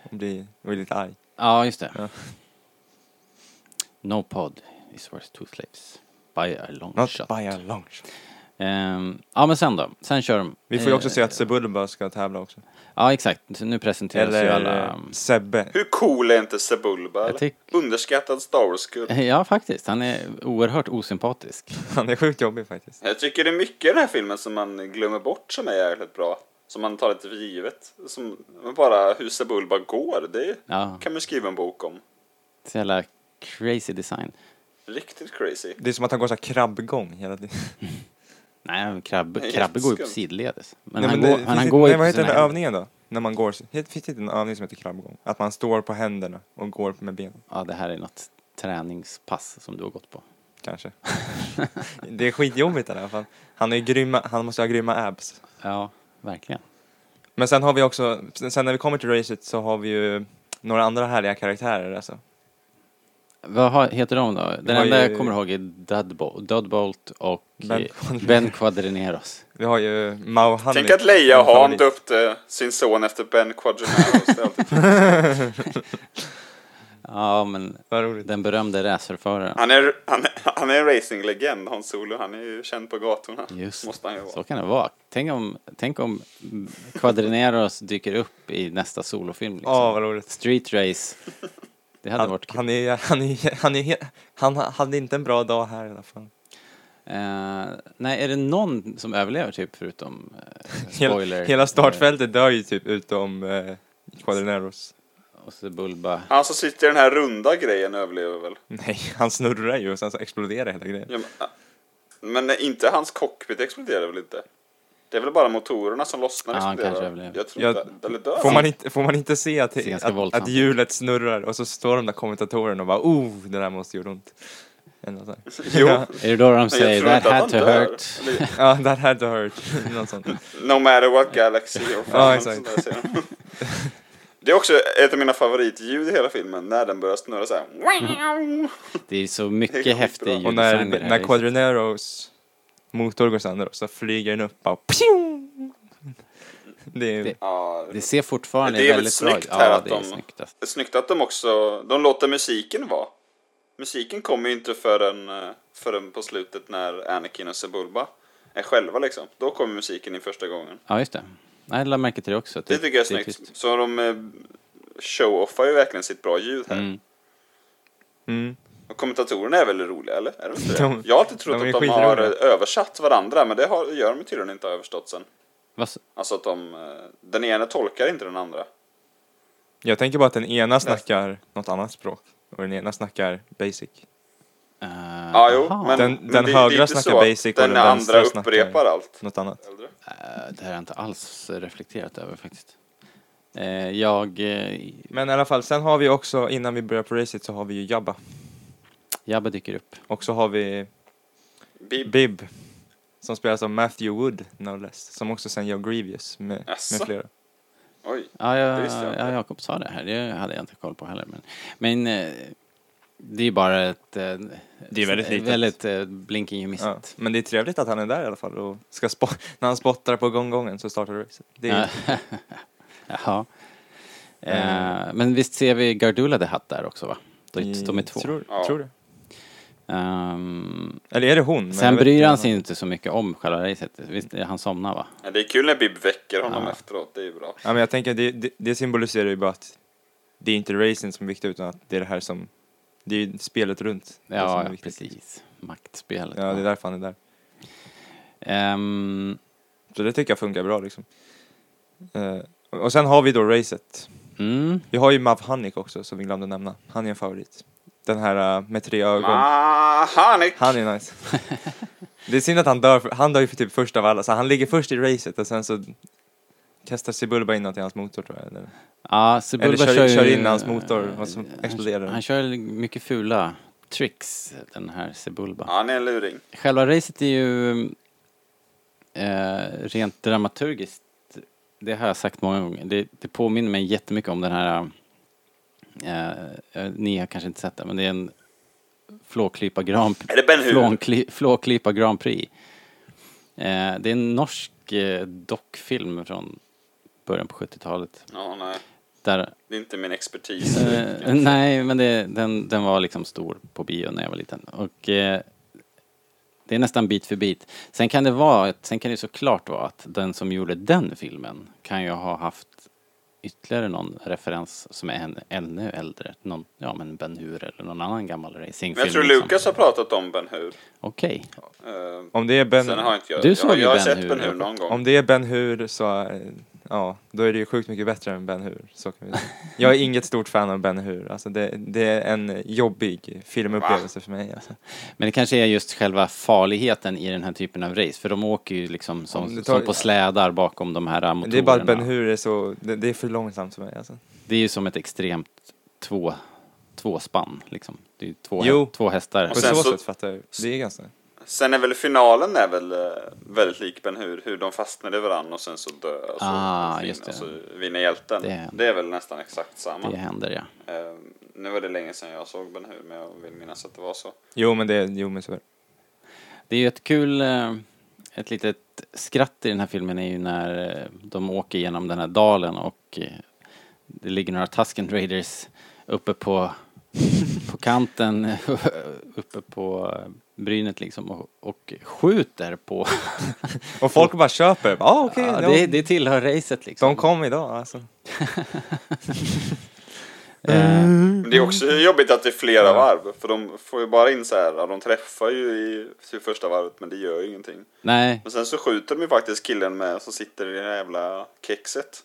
Speaker 3: Och blir, och blir lite arg.
Speaker 1: Ja, just det. No pod is worth two slaves. By a long
Speaker 3: Not
Speaker 1: shot.
Speaker 3: by a long shot.
Speaker 1: Eh, Ehm, ja, men sen då? Sen kör de.
Speaker 3: Vi får ju också
Speaker 1: Eh,
Speaker 3: se att Sebulba ska tävla också.
Speaker 1: Ja, exakt. Nu presenteras ju
Speaker 3: Eller
Speaker 1: alla...
Speaker 3: eh, Sebbe.
Speaker 4: Hur cool är inte Sebulba? eller?
Speaker 1: tyck-
Speaker 4: Underskattad Star Wars-skull.
Speaker 3: eh,
Speaker 1: Ja, faktiskt. Han är oerhört osympatisk.
Speaker 3: Han är sjukt jobbig faktiskt.
Speaker 4: Jag tycker det är mycket i den här filmen som man glömmer bort som är jävligt bra. Som man tar lite för givet. Som men bara hur Sebulba går, det
Speaker 1: Ja.
Speaker 4: kan man skriva en bok om.
Speaker 1: Så jävla crazy design.
Speaker 4: Riktigt crazy.
Speaker 3: Det är som att han går så här krabbgång hela tiden.
Speaker 1: Nej, men krabb,
Speaker 4: Nej,
Speaker 1: krabbe går ju på
Speaker 4: skumt.
Speaker 1: sidledes. Men
Speaker 3: Nej,
Speaker 1: han,
Speaker 3: men det-
Speaker 1: går,
Speaker 3: finns
Speaker 1: han, han
Speaker 3: inte-
Speaker 1: går ju
Speaker 3: Nej,
Speaker 1: på
Speaker 3: vad heter
Speaker 1: sina
Speaker 3: den där
Speaker 1: händer.
Speaker 3: övningen då? När man går, det finns inte en övning som heter krabbgång? Att man står på händerna och går med benen,
Speaker 1: Ja, det här är något träningspass som du har gått på.
Speaker 3: kanske. det är skitjobbigt i alla fall. Han, är ju grymma, han måste ha grymma abs.
Speaker 1: Ja, verkligen.
Speaker 3: Men sen har vi också, sen när vi kommer till racet så har vi ju några andra härliga karaktärer alltså.
Speaker 1: Vad har- heter de då? Den
Speaker 3: har
Speaker 1: enda
Speaker 3: ju-
Speaker 1: jag kommer ihåg är Dudbo- Dudbolt och
Speaker 3: Ben
Speaker 1: eh,
Speaker 3: Quadreneros.
Speaker 1: Ben Quadreneros.
Speaker 3: Vi har ju Mao Halik.
Speaker 4: Tänk att Leia
Speaker 3: min
Speaker 4: har
Speaker 3: favorit.
Speaker 4: han döpte sin son efter Ben Quadrenaros. Det är alltid-
Speaker 1: Ja, men
Speaker 3: Vad roligt.
Speaker 1: den berömde racerföraren.
Speaker 4: Han är, han, är- han är en racinglegend, Han Solo. Han är ju känd på gatorna.
Speaker 1: Just
Speaker 4: Måste han ju
Speaker 1: så
Speaker 4: vara.
Speaker 1: kan det vara. Tänk om, tänk om Quadreneros dyker upp i nästa solofilm. Liksom.
Speaker 3: Ja, vad roligt.
Speaker 1: Street Race. Det hade
Speaker 3: Han,
Speaker 1: varit kul.
Speaker 3: han är, han är, han är, he- han hade inte en bra dag här i alla fall.
Speaker 1: Eh, nej, är det någon som överlever typ förutom eh,
Speaker 3: Hela,
Speaker 1: spoiler?
Speaker 3: hela startfältet dör ju typ utom eh, Quadrineros.
Speaker 1: eh, Och så Bulba.
Speaker 4: Han som sitter i den här runda grejen överlever väl?
Speaker 3: Nej, han snurrar ju och sen så exploderar hela grejen.
Speaker 4: Ja, men, men nej, inte hans cockpit exploderar väl inte? Det är väl bara motorerna som lossnar och
Speaker 1: Ja, han
Speaker 4: exploderar?
Speaker 1: kanske överlever.
Speaker 4: Jag tror
Speaker 3: Ja,
Speaker 4: inte, eller dör
Speaker 3: Får
Speaker 4: han?
Speaker 3: man inte, får man inte se att,
Speaker 1: Det är ganska
Speaker 3: att,
Speaker 1: våldsamt.
Speaker 3: att hjulet snurrar och så står de där kommentatorerna och bara oh, det där måste gjort ont. Eller något sånt.
Speaker 4: Jo,
Speaker 1: Är det då de
Speaker 4: men jag
Speaker 1: säger
Speaker 4: tror
Speaker 1: that
Speaker 4: inte
Speaker 1: had
Speaker 4: att han
Speaker 1: to
Speaker 4: dör.
Speaker 1: hurt?
Speaker 4: Eller,
Speaker 3: Ja, that had to hurt. Något sånt.
Speaker 4: No matter what galaxy or
Speaker 3: Ja,
Speaker 4: fan,
Speaker 3: exakt.
Speaker 4: sånt där säger de. Det är också ett av mina favoritljud i hela filmen, när den börjar snurra så här.
Speaker 1: Mm-hmm. Det är så
Speaker 4: Det
Speaker 1: mycket
Speaker 4: är
Speaker 1: häftig
Speaker 4: skitbra.
Speaker 3: Och
Speaker 1: ljuddesign i
Speaker 3: när,
Speaker 1: det här
Speaker 3: när
Speaker 1: racet.
Speaker 3: Quadrineros motor går sönder så flyger den upp och pjong! Det är ju
Speaker 1: Det-
Speaker 4: Ja,
Speaker 1: Det ser fortfarande
Speaker 4: Det är väl
Speaker 1: väldigt bra ut.
Speaker 4: snyggt här
Speaker 1: Ja,
Speaker 4: att
Speaker 1: det är
Speaker 4: de-
Speaker 1: snyggt. alltså.
Speaker 4: det är snyggt att de också, de låter musiken vara. Musiken kommer ju inte förrän, eh, förrän på slutet när Anakin och Sebulba är själva liksom. Då kommer musiken in första gången.
Speaker 1: Ja, just det. Nej, jag lade märke till det också.
Speaker 4: Det tycker jag är snyggt.
Speaker 1: tyst.
Speaker 4: så de eh, show-offar ju verkligen sitt bra ljud här.
Speaker 1: Mm.
Speaker 3: Mm.
Speaker 4: Och kommentatorerna är väl roliga, eller? Är de inte det?
Speaker 3: De-
Speaker 4: jag har alltid trott
Speaker 3: de är
Speaker 4: att de har
Speaker 3: skitroliga.
Speaker 4: eh, översatt varandra, men det har, gör de tydligen inte, har jag förstått sen.
Speaker 1: Vad s-
Speaker 4: Alltså att de, eh, den ena tolkar inte den
Speaker 1: Ah.
Speaker 4: andra.
Speaker 3: Jag tänker bara att den ena snackar något annat språk och den ena snackar basic.
Speaker 1: eh,
Speaker 4: Ja, ah, jo,
Speaker 1: aha.
Speaker 4: men,
Speaker 3: Den-
Speaker 4: men
Speaker 3: den
Speaker 4: det-
Speaker 3: högra
Speaker 4: det är inte
Speaker 3: snackar
Speaker 4: så att
Speaker 3: basic och
Speaker 4: den,
Speaker 3: den vänstra
Speaker 4: andra
Speaker 3: snackar-
Speaker 4: upprepar allt.
Speaker 3: Något annat.
Speaker 4: Äldre.
Speaker 1: Eh, Det här har jag inte alls reflekterat över faktiskt. Eh, Jag... eh,
Speaker 3: Men i alla fall, sen har vi också, innan vi börjar på racet så har vi ju Jabba.
Speaker 1: Jabba dyker upp.
Speaker 3: Och så har vi
Speaker 4: Bib.
Speaker 3: Bib. Som spelas av Matthew Wood, no less. Som också sen gör Grievous med, med
Speaker 4: Jaså?
Speaker 3: flera.
Speaker 4: Oj.
Speaker 1: Ja,
Speaker 4: Det
Speaker 1: jag,
Speaker 4: visste jag inte.
Speaker 1: ja, Jakob sa det här. Det hade jag inte koll på heller. Men, men eh, det är bara ett... eh,
Speaker 3: Det är väldigt litet.
Speaker 1: Väldigt eh, blinking you miss
Speaker 3: Ja.
Speaker 1: it.
Speaker 3: Men det är trevligt att han är där i alla fall och ska spo- när han spottar på gonggongen så startar racet. Det är,
Speaker 1: Jaha. Eh, Men visst ser vi Gardula the Hutt där också va? De, de är två.
Speaker 3: Tror,
Speaker 4: Ja.
Speaker 3: tror du?
Speaker 1: Ehm,
Speaker 3: Eller är det hon? Men jag
Speaker 1: sen
Speaker 3: vet
Speaker 1: bryr
Speaker 3: inte.
Speaker 1: han sig inte så mycket om själva racet. Visst, han somnar va?
Speaker 4: Ja, det är kul när Bib väcker honom efteråt, det är ju bra.
Speaker 3: Ja, men jag tänker, Ah. det, det, det symboliserar ju bara att det är inte racing som är viktigt utan att det är det här som, det är ju spelet runt. det som är
Speaker 1: Ja, ja
Speaker 3: viktigt.
Speaker 1: precis. Maktspelet.
Speaker 3: Ja, det är därför han är där.
Speaker 1: Ehm,
Speaker 3: Så det tycker jag funkar bra liksom. Eh, och sen har vi då racet.
Speaker 1: mm,
Speaker 3: Vi har ju Mavhanik också som vi glömde nämna. Han är en favorit. Den här eh, med tre ögon.
Speaker 4: Ah. Mahanik!
Speaker 3: Han är nice. Det är synd att han dör, för, han dör ju för typ först av alla, så han ligger först i racet och sen så kastar Sebulba in något i hans motor tror jag. Eller,
Speaker 1: ja, Sebulba
Speaker 3: eller kör,
Speaker 1: kör,
Speaker 3: kör in
Speaker 1: ju-
Speaker 3: hans motor och så exploderar den.
Speaker 1: Han kör mycket fula tricks, den här Sebulba.
Speaker 4: Han är en luring.
Speaker 1: Själva racet är ju eh, rent dramaturgiskt, det har jag sagt många gånger, det, det påminner mig jättemycket om den här, eh, eh, ni har kanske inte sett det, men det är en flåklypa Grand
Speaker 4: Är det Ben Hur?
Speaker 1: flånkli, flåklypa Grand Prix. Eh, det är en norsk eh, dockfilm från början på 70-talet.
Speaker 4: Ja, nej.
Speaker 1: Där
Speaker 4: Det är inte min expertis.
Speaker 1: Eh, nej, men det, den, den var liksom stor på bio när jag var liten. Och eh, Det är nästan bit för bit. Sen kan det vara, ett- sen kan det såklart vara att den som gjorde den filmen kan ju ha haft ytterligare någon referens som är än, ännu äldre. Någon, ja men Ben Hur eller någon annan gammal racingfilm.
Speaker 4: Men jag tror
Speaker 1: liksom.
Speaker 4: Lukas har pratat om Ben Hur.
Speaker 1: Okej.
Speaker 4: Eh,
Speaker 3: Om det är Ben,
Speaker 4: sen har inte jag...
Speaker 1: Du
Speaker 4: jag,
Speaker 1: såg
Speaker 4: jag,
Speaker 1: ju
Speaker 4: har
Speaker 1: Ben
Speaker 4: sett
Speaker 1: Hur,
Speaker 4: Ben Hur
Speaker 1: Jakob.
Speaker 4: någon gång.
Speaker 3: om det är Ben Hur så, eh, ja, då är det ju sjukt mycket bättre än Ben Hur. Så kan vi säga. Jag är inget stort fan av Ben Hur. Alltså det, det är en jobbig filmupplevelse för mig. Alltså.
Speaker 1: Men det kanske är just själva farligheten i den här typen av race. För de åker ju liksom
Speaker 3: Om
Speaker 1: som,
Speaker 3: du tar-
Speaker 1: som på slädar bakom de här motorerna.
Speaker 3: Det är bara att Ben Hur är så, det, det är för långsamt för mig. Alltså.
Speaker 1: Det är ju som ett extremt två, tvåspann liksom. Det är ju två,
Speaker 3: Jo.
Speaker 1: två hästar.
Speaker 3: På
Speaker 4: Och sen
Speaker 3: så,
Speaker 4: så-
Speaker 3: sätt fattar jag. Det är ganska...
Speaker 4: Sen är väl finalen är väl eh, väldigt lik Ben Hur, hur de fastnar i varandra och sen så dör och så,
Speaker 1: Ah,
Speaker 4: vinner,
Speaker 1: just det.
Speaker 4: och så vinner hjälten.
Speaker 1: Det-
Speaker 4: Det. är väl nästan exakt samma.
Speaker 1: Det händer ja.
Speaker 4: Eh, nu var det länge sedan jag såg Ben Hur men jag vill minnas att det var så.
Speaker 3: Jo men det är, jo men så är det.
Speaker 1: Det är ju ett kul, eh, ett litet skratt i den här filmen är ju när eh, de åker genom den här dalen och eh, det ligger några Tusken Raiders uppe på, på kanten, uppe på eh, brynet liksom och, och skjuter på.
Speaker 3: Och folk bara köper. Ah, okej,
Speaker 1: ja,
Speaker 3: de,
Speaker 1: det, det tillhör racet liksom.
Speaker 3: de kom idag alltså.
Speaker 1: Eh,
Speaker 4: Men det är också jobbigt att det är flera varv för de får ju bara in så här, ja, de träffar ju i till första varvet men det gör ju ingenting.
Speaker 1: nej,
Speaker 4: Men sen så skjuter de ju faktiskt killen med som sitter i det här jävla kexet.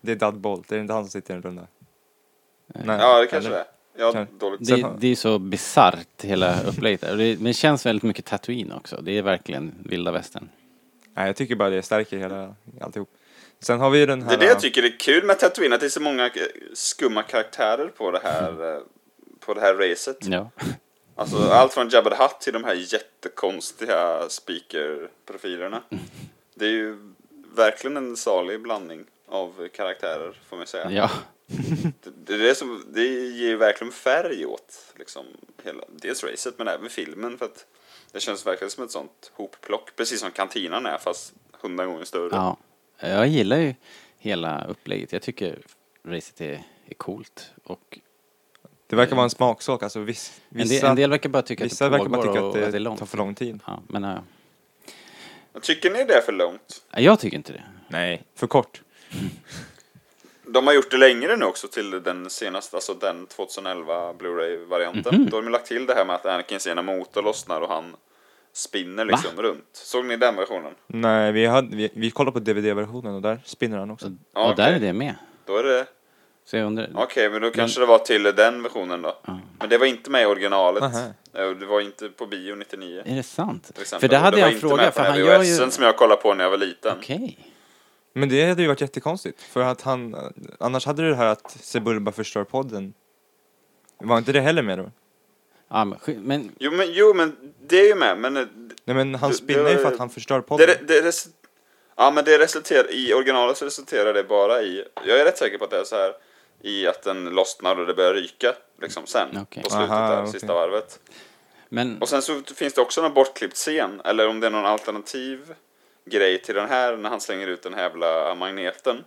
Speaker 3: Det är Dud Bolt, det är inte han som sitter i en runda. Nej,
Speaker 4: Ja det kanske det
Speaker 3: eller?
Speaker 4: är. Jag har
Speaker 3: Kanske.
Speaker 4: dåligt
Speaker 1: Det,
Speaker 4: sett.
Speaker 1: det är så bisarrt hela upplägget där. Och det, men det känns väldigt mycket Tatooine också. Det är verkligen vilda västern.
Speaker 3: Nej, jag tycker bara det stärker hela alltihop. Sen har vi ju den här...
Speaker 4: Det är det jag tycker är kul med Tatooine, att det är så många eh, skumma karaktärer på det här, eh, på det här racet.
Speaker 1: Ja.
Speaker 4: Alltså allt från Jabba the Hutt till de här jättekonstiga speaker-profilerna. Det är ju verkligen en salig blandning av karaktärer, får man säga.
Speaker 1: ja.
Speaker 4: Det, det, är det, som, det ger ju verkligen färg åt liksom, hela, dels racet men även filmen för att det känns verkligen som ett sånt hopplock, precis som kantinan är fast hundra gånger större.
Speaker 1: ja. Jag gillar ju hela upplägget. Jag tycker racet är, är coolt. Och
Speaker 3: Det verkar vara en smaksak, alltså viss,
Speaker 1: en,
Speaker 3: vissa,
Speaker 1: del, en del verkar bara tycka att
Speaker 3: vissa
Speaker 1: det
Speaker 3: verkar
Speaker 1: pågår
Speaker 3: bara tycka
Speaker 1: och
Speaker 3: att det,
Speaker 1: är långt.
Speaker 3: tar för lång tid.
Speaker 1: Ja, men ja.
Speaker 4: Tycker ni det är för långt?
Speaker 1: jag tycker inte det.
Speaker 3: Nej. För kort.
Speaker 4: De har gjort det längre nu också till den senaste, alltså den 2011 Blu-ray-varianten.
Speaker 1: Mhm.
Speaker 4: Då har de lagt till det här med att Anakins ena motor lossnar och han spinner liksom runt. Såg ni den versionen?
Speaker 3: Nej, vi, hade, vi, vi kollade på DVD-versionen och där spinner han
Speaker 1: Mm.
Speaker 3: också.
Speaker 4: Ja,
Speaker 1: och där
Speaker 4: okej.
Speaker 1: är det med.
Speaker 4: Då är det...
Speaker 1: Så jag undrar.
Speaker 4: Okej, men då kanske det var till den versionen då. Men det var inte med i originalet.
Speaker 3: Aha.
Speaker 4: Eh, och Det var inte på bio 99.
Speaker 1: Är det sant?
Speaker 4: Till
Speaker 1: För
Speaker 4: exempel.
Speaker 1: det hade
Speaker 4: var
Speaker 1: jag en
Speaker 4: inte med
Speaker 1: fråga.
Speaker 4: på
Speaker 1: För
Speaker 4: den
Speaker 1: han
Speaker 4: här
Speaker 1: gör
Speaker 4: VHSen
Speaker 1: ju...
Speaker 4: som jag kollade på när jag var liten.
Speaker 1: Okej.
Speaker 3: Men det hade ju varit jättekonstigt, för att han, annars hade du det här att Sebulba förstör podden. Var inte det heller med då?
Speaker 1: Ja, men, sk- men
Speaker 4: Jo, men, jo, men det är ju med. Men eh,
Speaker 3: Nej men han
Speaker 4: Du-
Speaker 3: spinner ju
Speaker 4: du-
Speaker 3: för att han förstör podden.
Speaker 4: det, det, det, res- ja, men det resulterar, i originalet så resulterar det bara i, jag är rätt säker på att det är så här, i att den lossnar och det börjar ryka liksom sen.
Speaker 1: Okej.
Speaker 4: På slutet
Speaker 3: Aha,
Speaker 4: där,
Speaker 3: okej.
Speaker 4: sista varvet.
Speaker 1: men,
Speaker 4: Och sen så finns det också någon bortklippt scen, eller om det är någon alternativ grej till den här när han slänger ut den här jävla magneten.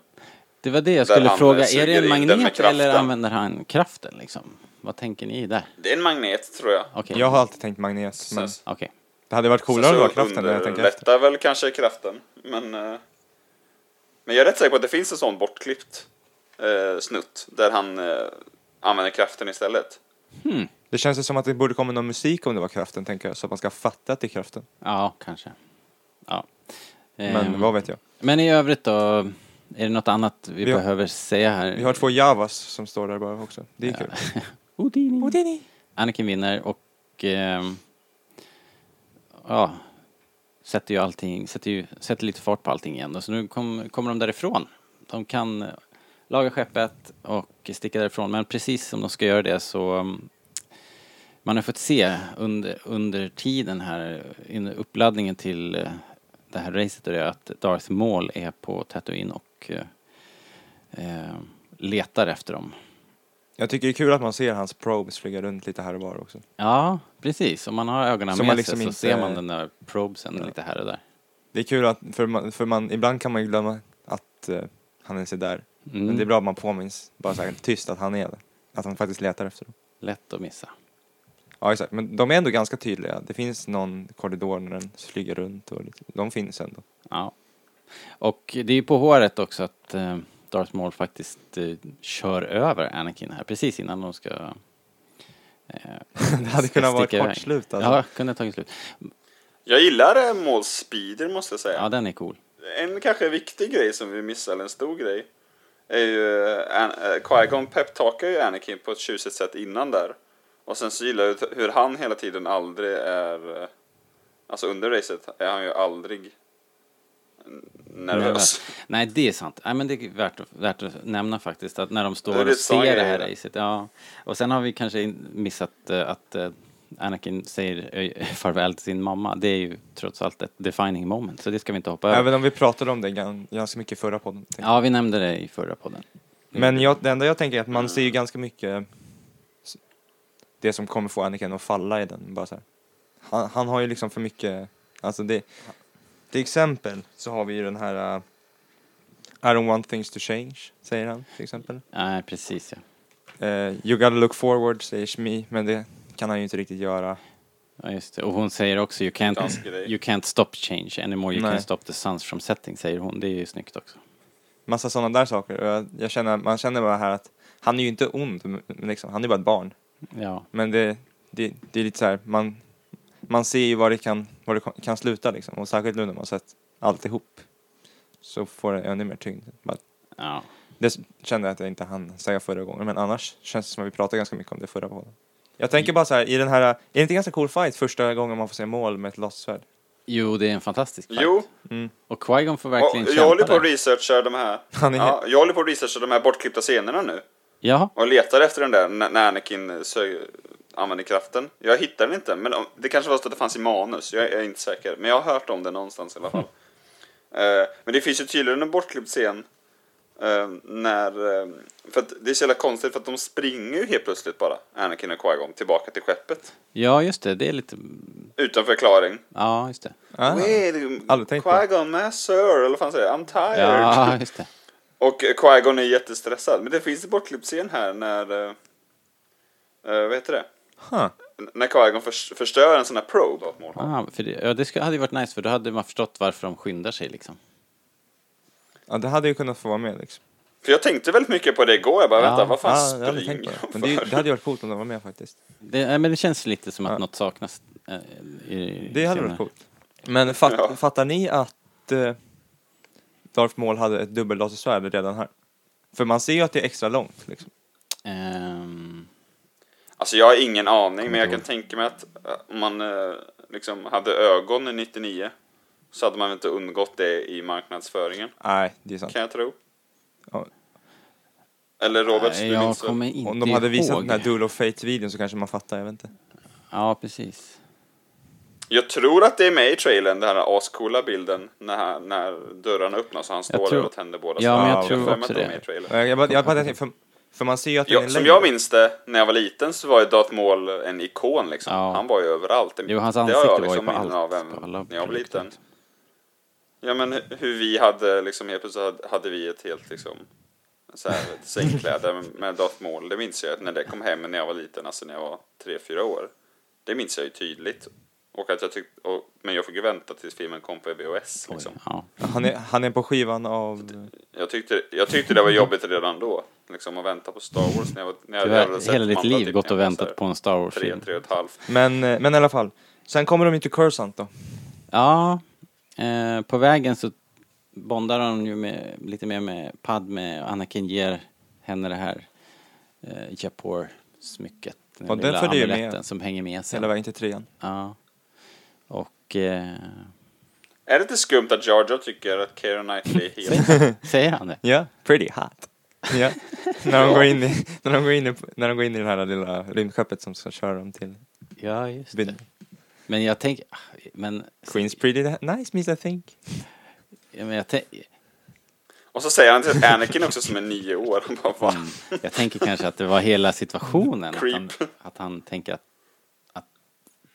Speaker 1: det var det jag
Speaker 4: där
Speaker 1: skulle
Speaker 4: han eh,
Speaker 1: fråga. Är
Speaker 4: suger
Speaker 1: det en
Speaker 4: in den med
Speaker 1: magnet eller
Speaker 4: kraften.
Speaker 1: använder han kraften liksom? Vad tänker ni där?
Speaker 4: Det är en magnet tror jag.
Speaker 1: Okej.
Speaker 3: Jag har alltid tänkt magnet, men
Speaker 4: Sen-
Speaker 1: Okej.
Speaker 3: det hade varit coolare om det var kraften. när Jag tänker efter.
Speaker 4: underlättar väl kanske kraften. Men, eh, men jag är rätt säker på att det finns en sån bortklippt eh, snutt där han eh, använder kraften istället.
Speaker 3: Det känns ju som att det borde komma någon musik om det var kraften, tänker jag, så att man ska fatta att det är kraften.
Speaker 1: Ja, kanske. Ja.
Speaker 3: Men
Speaker 1: Ehm,
Speaker 3: vad vet jag.
Speaker 1: men i övrigt då? Är det något annat vi,
Speaker 3: Vi har-
Speaker 1: behöver säga här?
Speaker 3: Vi har två javas som står där bara också. Det är kul.
Speaker 1: Houdini. Anakin vinner och... ehm, ja. Sätter ju allting, sätter, ju, sätter lite fart på allting igen. Och så nu kom, kommer de därifrån. De kan eh, laga skeppet och sticka därifrån. Men precis som de ska göra det så... mm, Man har fått se under, under tiden här, under uppladdningen till eh, det här racet, och det, att Darth Maul är på Tatooine och eh, eh, letar efter dem.
Speaker 3: Jag tycker det är kul att man ser hans probes flyga runt lite här och var också.
Speaker 1: Ja, precis. Om man har ögonen
Speaker 3: Så
Speaker 1: med
Speaker 3: man
Speaker 1: sig
Speaker 3: liksom
Speaker 1: så
Speaker 3: inte-
Speaker 1: ser man den där probesen lite här och där.
Speaker 3: Det är kul att, för, man, för man, ibland kan man ju glömma att eh, han är där. Men det är bra att man påminns, bara så här tyst, att han är det. Att han faktiskt letar efter dem.
Speaker 1: Lätt att missa.
Speaker 3: Ja, exakt. Men de är ändå ganska tydliga. Det finns någon korridor när den flyger runt och lite, de finns ändå.
Speaker 1: Ja. Och det är ju på håret också att eh, Darth Maul faktiskt eh, kör över Anakin här precis innan de ska... Eh,
Speaker 3: Det hade kunnat vara ett
Speaker 1: sticka
Speaker 3: kort
Speaker 1: iväg.
Speaker 3: slut alltså.
Speaker 1: Ja, kunde ha tagit slut.
Speaker 4: Jag gillar eh, Maul Speeder måste jag säga.
Speaker 1: Ja, den är cool.
Speaker 4: En kanske viktig grej som vi missar, eller en stor grej, är ju eh, An- eh, Qui-Gon peptalkar ju Anakin på ett tjusigt sätt innan där. Och sen så gillar jag ut- hur han hela tiden aldrig är, eh, alltså under racet är han ju aldrig n- nervös.
Speaker 1: Nej, det är sant. Nej, men det är värt, att- värt att nämna faktiskt att när de
Speaker 4: Det är
Speaker 1: står och
Speaker 4: lite sån
Speaker 1: ser det här
Speaker 4: grej.
Speaker 1: racet. Ja. Och sen har vi kanske in- missat eh, att eh, Anakin säger eh, farväl till sin mamma. Det är ju trots allt ett defining moment, så det ska vi inte hoppa över.
Speaker 3: Även om vi pratade om det gan- ganska mycket i förra podden. tänker jag.
Speaker 1: Ja, vi nämnde det i förra podden.
Speaker 3: Men jag, det enda jag tänker är att man ser ju ganska mycket s- det som kommer få Anakin att falla i den. Bara så här. Han, han har ju liksom för mycket, alltså det, till exempel så har vi ju den här uh, I don't want things to change, säger han till exempel.
Speaker 1: Nej, precis ja.
Speaker 3: Eh, you gotta look forward, säger Shmi, men det kan han ju inte riktigt göra.
Speaker 1: Ja, just det. Och hon säger också you
Speaker 4: Dansk
Speaker 1: can't,
Speaker 4: grej.
Speaker 1: you can't stop change anymore, you
Speaker 3: Nej.
Speaker 1: can't stop the suns from setting, säger hon. Det är ju snyggt också.
Speaker 3: Massa sådana där saker. Och jag, jag känner, man känner bara här att han är ju inte ond, men liksom, han är bara ett barn.
Speaker 1: Ja,
Speaker 3: Men det, det, det är lite så här, man, man ser ju var det kan, var det kan sluta liksom. Och särskilt nu när man sett alltihop. Så får det ännu mer tyngd. Men
Speaker 1: ja.
Speaker 3: det kände jag att jag inte hann säga förra gången. Men annars känns det som att vi pratade ganska mycket om det förra podden. Jag tänker bara så här, i den här, är det inte ganska cool fight första gången man får se mål med ett lotssvärd?
Speaker 1: Jo, det är en fantastisk fight.
Speaker 4: Jo,
Speaker 1: Och Qui-Gon får
Speaker 4: och
Speaker 1: verkligen
Speaker 4: jag
Speaker 1: kämpa
Speaker 4: håller på
Speaker 1: där.
Speaker 4: att researcha de här,
Speaker 3: Han är-
Speaker 4: ja, jag håller på att researcha de här bortklippta scenerna nu.
Speaker 1: Jaha.
Speaker 4: Och letar efter den där när när Anakin sög, använder kraften. Jag hittar den inte, men om- det kanske var så att det fanns i manus. Jag är inte säker, men jag har hört om det någonstans i alla fall.
Speaker 3: Mm.
Speaker 4: Eh, men det finns ju tydligen en bortklippt scen eh, när... eh, för att det är så jävla konstigt för att de springer ju helt plötsligt bara, Anakin och Qui-Gon, tillbaka till skeppet.
Speaker 1: Ja, just det. Det är lite...
Speaker 4: Utan förklaring.
Speaker 1: Ja, just det.
Speaker 3: Ah.
Speaker 4: Wait,
Speaker 3: aldrig tänkt på.
Speaker 4: Qui-Gon master, eller vad fan säger jag? I'm tired.
Speaker 1: Ja, just det.
Speaker 4: Och eh, Qui-Gon är jättestressad. Men det finns en bortklippt scen här när... Uh, vad heter det?
Speaker 3: Huh.
Speaker 4: N- När Qui-Gon förs- förstör en sån här probe av mål.
Speaker 1: Ah, för det, ja, det skulle, hade ju varit nice för då hade man förstått varför de skyndar sig liksom.
Speaker 3: Ja, det hade ju kunnat få vara med liksom.
Speaker 4: För jag tänkte väldigt mycket på det igår. Jag bara,
Speaker 1: Ja,
Speaker 4: vänta, vad fan
Speaker 3: Ja, jag hade
Speaker 4: springer
Speaker 3: tänkt på det.
Speaker 4: de
Speaker 3: Men det,
Speaker 4: för?
Speaker 3: det hade ju varit coolt om de var med faktiskt.
Speaker 1: Det, nej, men det känns lite som att
Speaker 3: Ja.
Speaker 1: något saknas. eh, i,
Speaker 3: Det hade
Speaker 1: senare.
Speaker 3: varit coolt. Men fat,
Speaker 4: Ja.
Speaker 3: fattar ni att eh, Darth Maul hade ett dubbellasersvärd redan här? För man ser ju att det är extra långt. Liksom.
Speaker 1: Ehm,
Speaker 4: Alltså jag har ingen aning, men jag kan tänka mig att eh, om man eh, liksom hade ögon i 99 så hade man inte undgått det i marknadsföringen,
Speaker 3: Nej, det är sant.
Speaker 4: kan jag tro.
Speaker 3: Ja.
Speaker 4: Eller Robert,
Speaker 1: nej,
Speaker 4: du
Speaker 1: jag
Speaker 4: minns väl?
Speaker 1: kommer inte
Speaker 3: Om de hade visat
Speaker 1: ihåg.
Speaker 3: den här Duel of Fate-videon så kanske man fattar, jag vet inte.
Speaker 1: Ja, precis.
Speaker 4: Jag tror att det är med i trailern, den här ascoola bilden när, han- när dörrarna öppnas och han står
Speaker 1: tror-
Speaker 4: där och tänder båda.
Speaker 1: Ja, men
Speaker 3: jag
Speaker 4: har
Speaker 3: tror
Speaker 4: för mig
Speaker 1: också
Speaker 4: att de är
Speaker 1: det.
Speaker 4: med i trailern.
Speaker 3: Eh, Jag bara, jag bara, för, för man ser ju att den är
Speaker 4: Jag, som
Speaker 3: längre.
Speaker 4: jag minns det, när jag var liten så var ju Darth Maul en ikon liksom.
Speaker 1: Ja.
Speaker 4: Han var ju överallt.
Speaker 1: Jo, hans
Speaker 4: Det har jag liksom
Speaker 1: ansikte var ju på
Speaker 4: minnen
Speaker 1: allt,
Speaker 4: Av även
Speaker 1: på alla
Speaker 4: när jag var
Speaker 1: produkter,
Speaker 4: liten.
Speaker 1: liksom.
Speaker 4: Ja, men hu- hur vi hade liksom, helt plötsligt hade- hade vi ett helt liksom så här, ett sängkläder med Darth Maul. Det minns jag att när det kom hem när jag var liten, alltså när jag var tre fyra år. Det minns jag ju tydligt. Och att jag tyckte, och, men jag fick ju vänta tills filmen kom på VHS liksom.
Speaker 1: Ja.
Speaker 3: Han är, han är på skivan av...
Speaker 4: Jag tyckte, jag tyckte det var jobbigt redan då. Liksom att vänta på Star Wars när jag var... När jag
Speaker 1: Du har
Speaker 4: hade sett
Speaker 1: hela
Speaker 4: de
Speaker 1: ditt
Speaker 4: andra
Speaker 1: liv
Speaker 4: typ
Speaker 1: gått
Speaker 4: när
Speaker 1: och
Speaker 4: jag var så här
Speaker 1: väntat på en Star
Speaker 4: Tre,
Speaker 1: Wars-film.
Speaker 4: tre och ett halvt.
Speaker 3: Men, eh, men i alla fall. Sen kommer de ju till Cursant då.
Speaker 1: Ja, eh, på vägen så bondar han ju med, lite mer med Padme. Anakin ger henne det här eh, Japor-smycket. Den
Speaker 3: Och den
Speaker 1: lilla
Speaker 3: följer ju med
Speaker 1: amuletten som hänger med sen.
Speaker 3: Hela vägen till trean.
Speaker 1: Ja. Och... Eh,
Speaker 4: Är det inte skumt att Jar Jar tycker att Keira Knightley är helt...
Speaker 1: säger han det?
Speaker 3: Ja, pretty hot. Ja, när de går in i, när de går in i, när de går in i det här lilla rymdskeppet som ska köra dem till
Speaker 1: Ja, just det.
Speaker 3: Vid-
Speaker 1: Men jag tänker... ah, Men,
Speaker 3: Queens pretty nice miss I think.
Speaker 1: ja, men jag, tän-
Speaker 4: Och så säger han till Anakin också som är nio år. Han bara, va?
Speaker 1: Mm. jag tänker kanske att det var hela situationen. Att han,
Speaker 4: Creep.
Speaker 1: att han tänker att, att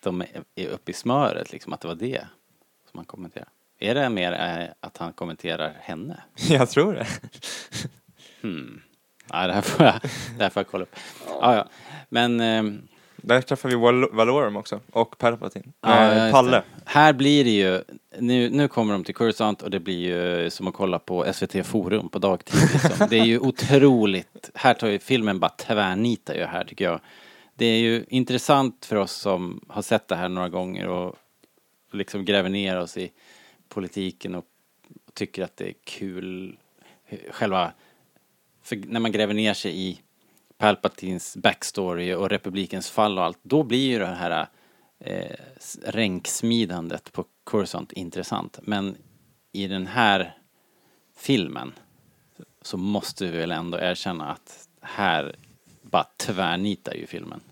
Speaker 1: de är- är uppe i smöret, liksom. Att det var det som han kommenterade. Är det mer eh, att han kommenterar henne?
Speaker 3: Jag tror det.
Speaker 1: Nej, det här får jag, det här får jag kolla upp. Ja, ja. Men... ehm,
Speaker 3: Där träffar vi Val- Valorum också, och Palpatine.
Speaker 1: Ja,
Speaker 3: Nej,
Speaker 1: just det.
Speaker 3: Eh, Palle.
Speaker 1: Här blir det ju, nu, nu kommer de till Coruscant och det blir ju som att kolla på SVT Forum på dagtid. Liksom. Det är ju otroligt, här tar ju filmen bara tvärnitar ju här tycker jag. Det är ju intressant för oss som har sett det här några gånger och liksom gräver ner oss i politiken och tycker att det är kul. Själva, för när man gräver ner sig i Palpatins backstory och republikens fall och allt, då blir ju det här eh, s- ränksmidandet på Coruscant intressant. Men i den här filmen så måste vi väl ändå erkänna att här bara tvärnitar ju filmen.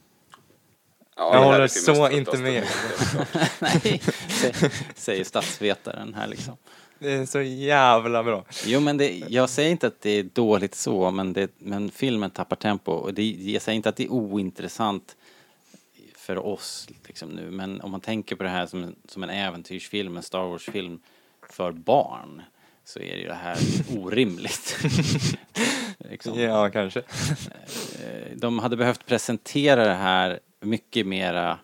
Speaker 4: Ja,
Speaker 3: Jag
Speaker 4: det här
Speaker 3: håller
Speaker 4: är filmens
Speaker 3: så inte
Speaker 4: tröttaste
Speaker 3: med.
Speaker 4: bit.
Speaker 1: Nej, sä- säger statsvetaren här liksom.
Speaker 3: Det är så jävla bra.
Speaker 1: Jo men det, jag säger inte att det är dåligt så, men, det, men filmen tappar tempo. Och det, jag säger inte att det är ointressant för oss liksom nu, men om man tänker på det här som, en- som en äventyrsfilm, en Star Wars-film för barn, så är ju det här orimligt. liksom.
Speaker 3: Ja, kanske.
Speaker 1: Eh, De hade behövt presentera det här mycket mera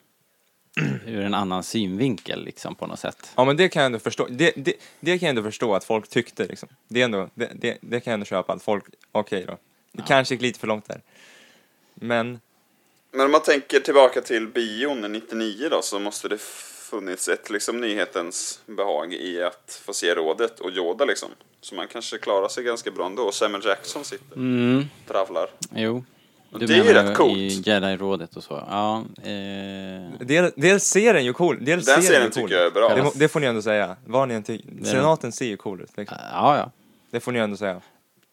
Speaker 1: ur en annan synvinkel liksom på något sätt.
Speaker 3: Ja, men det kan jag ändå förstå. Det, det, det kan jag ändå förstå att folk tyckte liksom. Det, är ändå, det, det, det kan jag ändå köpa att folk, okej då. Det kanske gick lite för långt där. Men,
Speaker 4: Men om man tänker tillbaka till bion 99 då så måste det funnits ett liksom nyhetens behag i att få se rådet och Yoda liksom. Så man kanske klarar sig ganska bra ändå och Samuel Jackson sitter och
Speaker 1: Mm.
Speaker 4: travlar.
Speaker 1: Jo.
Speaker 4: Och det är ju
Speaker 1: menar
Speaker 4: rätt
Speaker 1: I
Speaker 4: coolt.
Speaker 1: Jedi-rådet och så. Ja, eh,
Speaker 3: del- dels ser den ju cool Dels
Speaker 4: Den
Speaker 3: ser den ju
Speaker 4: serien
Speaker 3: cool
Speaker 4: tycker jag är bra.
Speaker 3: Det, må- det får ni ändå säga. Vad ni än tycker. Senaten ser ju cool ut. Liksom.
Speaker 1: ja, ja.
Speaker 3: Det får ni ändå säga.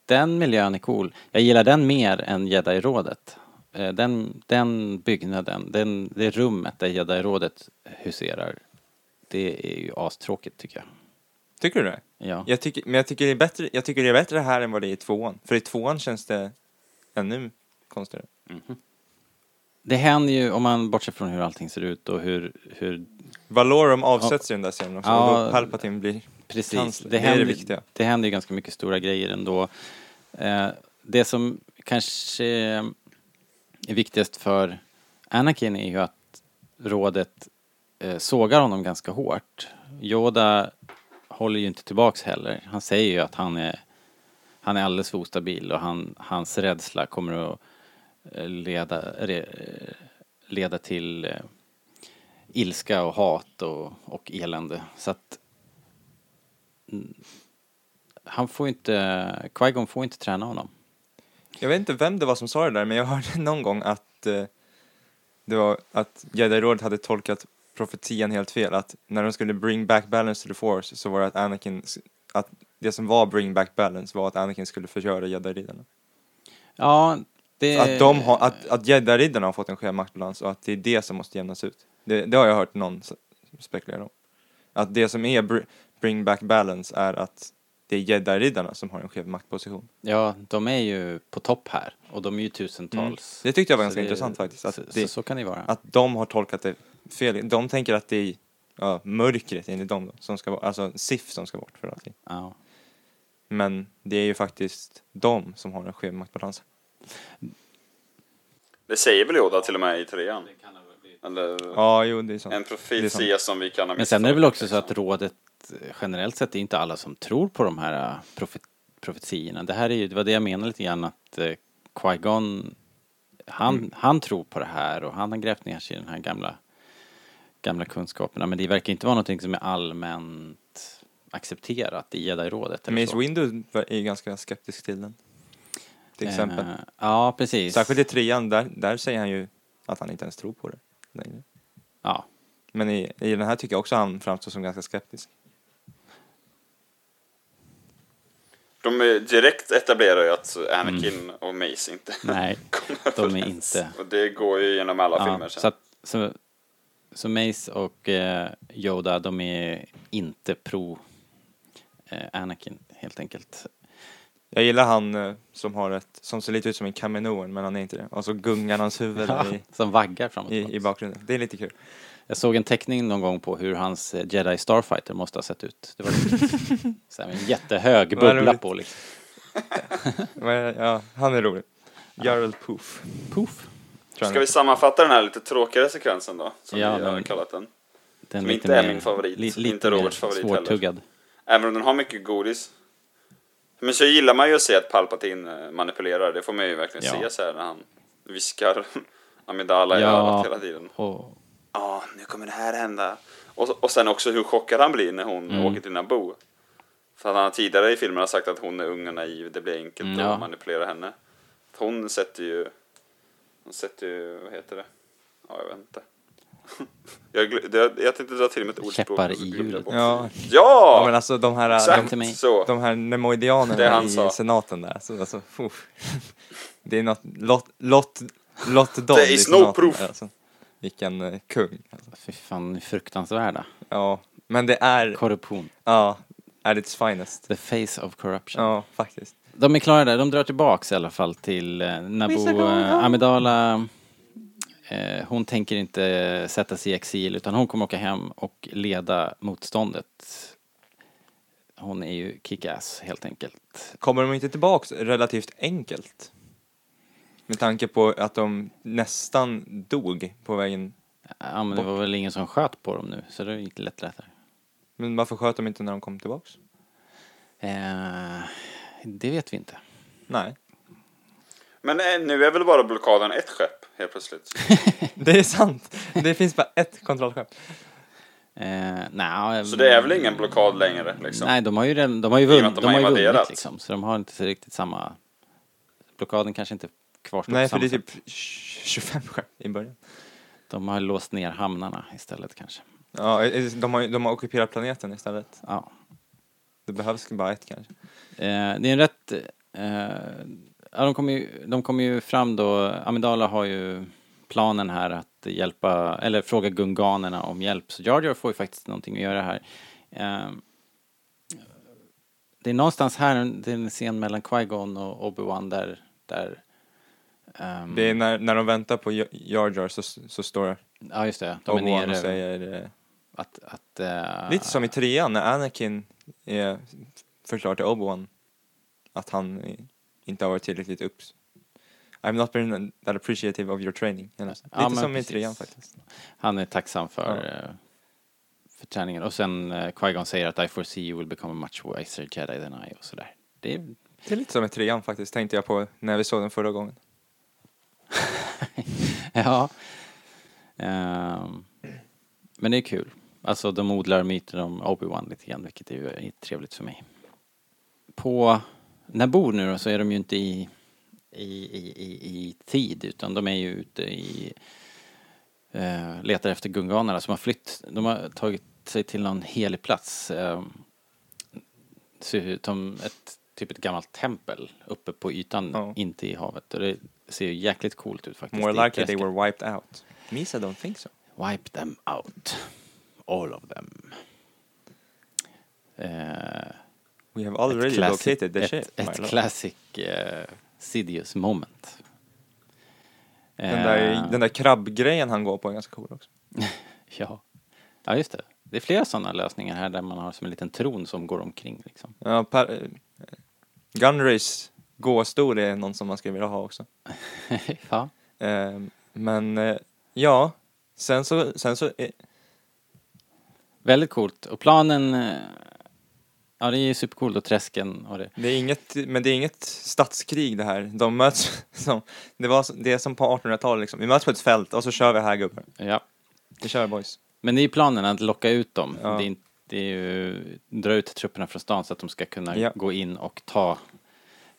Speaker 1: Den miljön är cool. Jag gillar den mer än Jedi-rådet. Eh, Den, den byggnaden, den, det rummet där Jedi-rådet huserar, det är ju astråkigt tycker jag.
Speaker 3: Tycker du det?
Speaker 1: Ja.
Speaker 3: Jag tycker, men jag tycker, det är bättre, jag tycker det är bättre här än vad det är i tvåan. För i tvåan känns det ännu konstigare.
Speaker 1: Det händer ju, om man bortser från hur allting ser ut och hur, hur
Speaker 3: Valorum avsätts i den där scenen också.
Speaker 1: Ja.
Speaker 3: och då Palpatine blir
Speaker 1: Precis,
Speaker 3: kansler.
Speaker 1: det
Speaker 3: Det, är det
Speaker 1: händer,
Speaker 3: viktiga.
Speaker 1: det händer ju ganska mycket stora grejer ändå. Eh, det som kanske är viktigast för Anakin är ju att rådet eh, sågar honom ganska hårt. Yoda håller ju inte tillbaks heller. Han säger ju att han är, han är alldeles för ostabil och han, hans rädsla kommer att eh, leda, re, eh, leda till eh, ilska och hat och, och elände. Så att han får inte, Qui-Gon får inte träna honom.
Speaker 3: Jag vet inte vem det var som sa det där, men jag hörde någon gång att eh, det var att Jedi-rådet hade tolkat profetian helt fel. Att när de skulle bring back balance to the force så var det att Anakin, s- att det som var bring back balance var att Anakin skulle förgöra jedi-riddarna.
Speaker 1: Ja, det...
Speaker 3: Att, de har, att, att jedi-riddarna har fått en skev maktbalans och att det är det som måste jämnas ut. Det, det har jag hört någon s- spekulera om. Att det som är br- bring back balance är att det är jedi-riddarna som har en skev maktposition.
Speaker 1: Ja, de är ju på topp här. Och de är ju tusentals.
Speaker 3: Mm. Det tyckte jag var
Speaker 1: Så
Speaker 3: ganska
Speaker 1: det-
Speaker 3: intressant faktiskt. Att
Speaker 1: så,
Speaker 3: det,
Speaker 1: så, så kan det ju vara.
Speaker 3: att de har tolkat det fel. De tänker att det är ja, mörkret enligt dem då, som ska vara, alltså SIF som ska bort för allting.
Speaker 1: Ja.
Speaker 3: Men det är ju faktiskt de som har en skev maktbalans.
Speaker 4: Det säger väl Yoda till och med i trean? Eller
Speaker 3: Ja, jo, det är sant.
Speaker 4: en
Speaker 3: Det är
Speaker 4: profil
Speaker 3: sant.
Speaker 4: ses som vi kan ha
Speaker 1: Men sen är det väl
Speaker 4: misstagit,
Speaker 1: också så
Speaker 4: liksom.
Speaker 1: att rådet eh, generellt sett, det är inte alla som tror på de här eh, profe profetiorna. Det här är ju, det var det jag menade lite grann att eh, Qui-Gon, han,
Speaker 3: Mm.
Speaker 1: han tror på det här och han har grävt ner sig i den här gamla, gamla kunskaperna. Men det verkar inte vara någonting som är allmänt accepterat i jedi-rådet. eller
Speaker 3: Mace
Speaker 1: så.
Speaker 3: Windu var- är ju ganska skeptisk till den. Till exempel.
Speaker 1: Eh, ja, precis.
Speaker 3: Särskilt i trean, där, där säger han ju att han inte ens tror på det längre.
Speaker 1: Ja.
Speaker 3: Men i, i den här tycker jag också han framstår som ganska skeptisk.
Speaker 4: De är direkt etablerar ju att Anakin och Mace inte
Speaker 1: Mm. Nej,
Speaker 4: kommer
Speaker 1: de är
Speaker 4: överens.
Speaker 1: inte...
Speaker 4: Och det går ju genom alla
Speaker 1: Ja,
Speaker 4: filmer sen.
Speaker 1: så, att, så, så Mace och eh, Yoda, de är inte pro eh, Anakin helt enkelt.
Speaker 3: Jag gillar han eh, som har ett, som ser lite ut som en kameleon men han är inte det. Och så gungar hans huvud där i,
Speaker 1: Som vaggar framåt.
Speaker 3: i, i bakgrunden. Det är lite kul.
Speaker 1: Jag såg en teckning någon gång på hur hans eh, Jedi Starfighter måste ha sett ut. Det var liksom så här, en jättehög
Speaker 3: Vad
Speaker 1: bubbla
Speaker 3: roligt.
Speaker 1: på liksom.
Speaker 3: Men, ja, han är rolig. Jarl Poof.
Speaker 1: Poof.
Speaker 3: Tror
Speaker 4: Ska
Speaker 3: jag
Speaker 4: vi sammanfatta den här lite tråkigare sekvensen då? Som
Speaker 1: Ja,
Speaker 4: vi har
Speaker 1: men-
Speaker 4: kallat den.
Speaker 1: Den
Speaker 4: Som
Speaker 1: lite
Speaker 4: inte är
Speaker 1: mer-
Speaker 4: min favorit,
Speaker 1: li-
Speaker 4: inte Roberts
Speaker 1: mer
Speaker 4: favorit
Speaker 1: svårtuggad.
Speaker 4: Även om den har mycket godis. Men så gillar man ju att se att Palpatine eh, manipulerar. Det får man ju verkligen
Speaker 1: Ja.
Speaker 4: se så här när han viskar Amidala i örat hela tiden.
Speaker 1: och
Speaker 4: Ja, nu kommer det här hända. Och, så- och sen också hur chockad han blir när hon
Speaker 1: Mm.
Speaker 4: åker till Naboo. För att han har tidigare i filmen har sagt att hon är ung och naiv, det blir enkelt
Speaker 1: Mm,
Speaker 4: att
Speaker 1: ja.
Speaker 4: manipulera henne. Hon sätter ju, hon sätter ju, vad heter det? Ja, jag vet inte. jag, glö- jag, jag tänkte dra till med ett ordspråk.
Speaker 1: Käppar
Speaker 4: och så
Speaker 1: i
Speaker 4: glömde jag
Speaker 1: hjulet.
Speaker 4: bort det.
Speaker 3: Ja.
Speaker 4: Ja!
Speaker 3: ja, men alltså de här,
Speaker 4: Exakt
Speaker 1: till mig.
Speaker 4: så.
Speaker 3: De här nemoidianerna
Speaker 4: Det han
Speaker 3: i
Speaker 4: sa.
Speaker 3: senaten där. Så, alltså, fuh. det är något, lot, lot, lot Dodd
Speaker 4: There
Speaker 3: i
Speaker 4: is no
Speaker 3: senaten,
Speaker 4: proof.
Speaker 3: Alltså. Vilken eh, kung. Alltså.
Speaker 1: fy fan fruktansvärda.
Speaker 3: Ja, men det är,
Speaker 1: Korruption.
Speaker 3: ja, at its finest.
Speaker 1: The face of corruption.
Speaker 3: Ja, faktiskt.
Speaker 1: De är klara där. De drar tillbaks i alla fall till eh, Naboo. Eh, Amidala, eh, hon tänker inte eh, sätta sig i exil utan hon kommer åka hem och leda motståndet. Hon är ju kick-ass helt enkelt.
Speaker 3: Kommer de inte tillbaks relativt enkelt? Med tanke på att de nästan dog på vägen.
Speaker 1: Ja, men det var väl ingen som sköt på dem nu så det gick lätt lättare.
Speaker 3: Men varför sköt de inte när de kom tillbaks?
Speaker 1: Eh, det vet vi inte.
Speaker 3: Nej,
Speaker 4: Men eh, nu är väl bara blockaden ett skepp helt plötsligt.
Speaker 3: det är sant. Det finns bara ett kontrollskepp.
Speaker 1: Eh, nej,
Speaker 4: Så det är väl ingen blockad längre liksom.
Speaker 1: Nej, de har ju, redan, de har ju
Speaker 4: och med
Speaker 1: vunnit,
Speaker 4: att de
Speaker 1: de har
Speaker 4: har
Speaker 1: ju vunnit
Speaker 4: invaderat.
Speaker 1: liksom, så de har inte så riktigt samma... Blockaden kanske inte kvarstår på
Speaker 3: Nej, för
Speaker 1: samma
Speaker 3: det är
Speaker 1: sätt.
Speaker 3: typ 25 skepp i början.
Speaker 1: De har låst ner hamnarna istället kanske.
Speaker 3: Ja, eh, de har, ju- de har ockuperat planeten istället.
Speaker 1: Ja.
Speaker 3: Det behövs bara ett kanske.
Speaker 1: Eh, det är en rätt... Eh, ja, de, kommer ju, de kommer ju fram då, Amidala har ju planen här att hjälpa, eller fråga gunganerna om hjälp, så Jar Jar får ju faktiskt någonting att göra här. Eh, det är någonstans här, det är en scen mellan Qui-Gon och Obi-Wan där, där ehm,
Speaker 3: Det är när, när de väntar på Jar- Jar Jar så, så står
Speaker 1: Ja, just det. De är
Speaker 3: Obi-Wan och
Speaker 1: nere.
Speaker 3: säger... eh,
Speaker 1: Att, att, eh,
Speaker 3: Lite som i trean när Anakin eh, förklarar till Obi-Wan att han eh, inte har varit tillräckligt upp. I'm not been that appreciative of your training. Eller så.
Speaker 1: Ja,
Speaker 3: Lite
Speaker 1: men
Speaker 3: som
Speaker 1: precis.
Speaker 3: i trean faktiskt.
Speaker 1: Han är tacksam för, eh, för träningen. Och sen eh, Qui-Gon säger att I foresee you will become a much wiser jedi than I och sådär. Det är,
Speaker 3: Det är lite som i trean faktiskt, tänkte jag på när vi såg den förra gången.
Speaker 1: ja. Ehm, men det är kul. Alltså de odlar myten om Obi-Wan lite grann, vilket är ju är trevligt för mig. På Naboo nu då, så är de ju inte i, i, i, i, i tid, utan de är ju ute i eh, letar efter gunganerna som har flytt. De har tagit sig till någon helig plats. Eh, ser ut som ett, typ ett gammalt tempel uppe på ytan,
Speaker 3: Ja.
Speaker 1: inte i havet. Och det ser ju jäkligt coolt ut faktiskt. Det
Speaker 3: More
Speaker 1: är
Speaker 3: likely they
Speaker 1: träsket.
Speaker 3: were wiped out. Misa don't think so.
Speaker 1: Wipe them out. All of them. Eh,
Speaker 3: We have
Speaker 1: ett
Speaker 3: already
Speaker 1: classic-
Speaker 3: located the
Speaker 1: ett,
Speaker 3: ship. my
Speaker 1: Ett
Speaker 3: lord.
Speaker 1: classic eh, Sidious moment.
Speaker 3: den, där,
Speaker 1: Eh,
Speaker 3: den där krabbgrejen han går på är ganska cool också.
Speaker 1: Ja. ja, just det. Det är flera sådana lösningar här där man har som en liten tron som går omkring. Liksom.
Speaker 3: Ja, per, eh, Gunrays gåstol är någon som man skulle vilja ha också.
Speaker 1: ja.
Speaker 3: Eh, men eh, ja, sen så, sen så eh,
Speaker 1: Väldigt coolt. Och planen... eh, Ja, det är ju supercoolt och träsken och det.
Speaker 3: det är inget, men det är inget stadskrig det här. De möts som, det var så- det är som på 1800-talet liksom. Vi möts på ett fält och så kör vi här gubbar.
Speaker 1: Ja.
Speaker 3: Vi kör boys.
Speaker 1: Men det är ju planen att locka ut dem.
Speaker 3: Ja.
Speaker 1: Det, är, inte- det är ju dra ut trupperna från stan så att de ska kunna
Speaker 3: Ja.
Speaker 1: gå in och ta,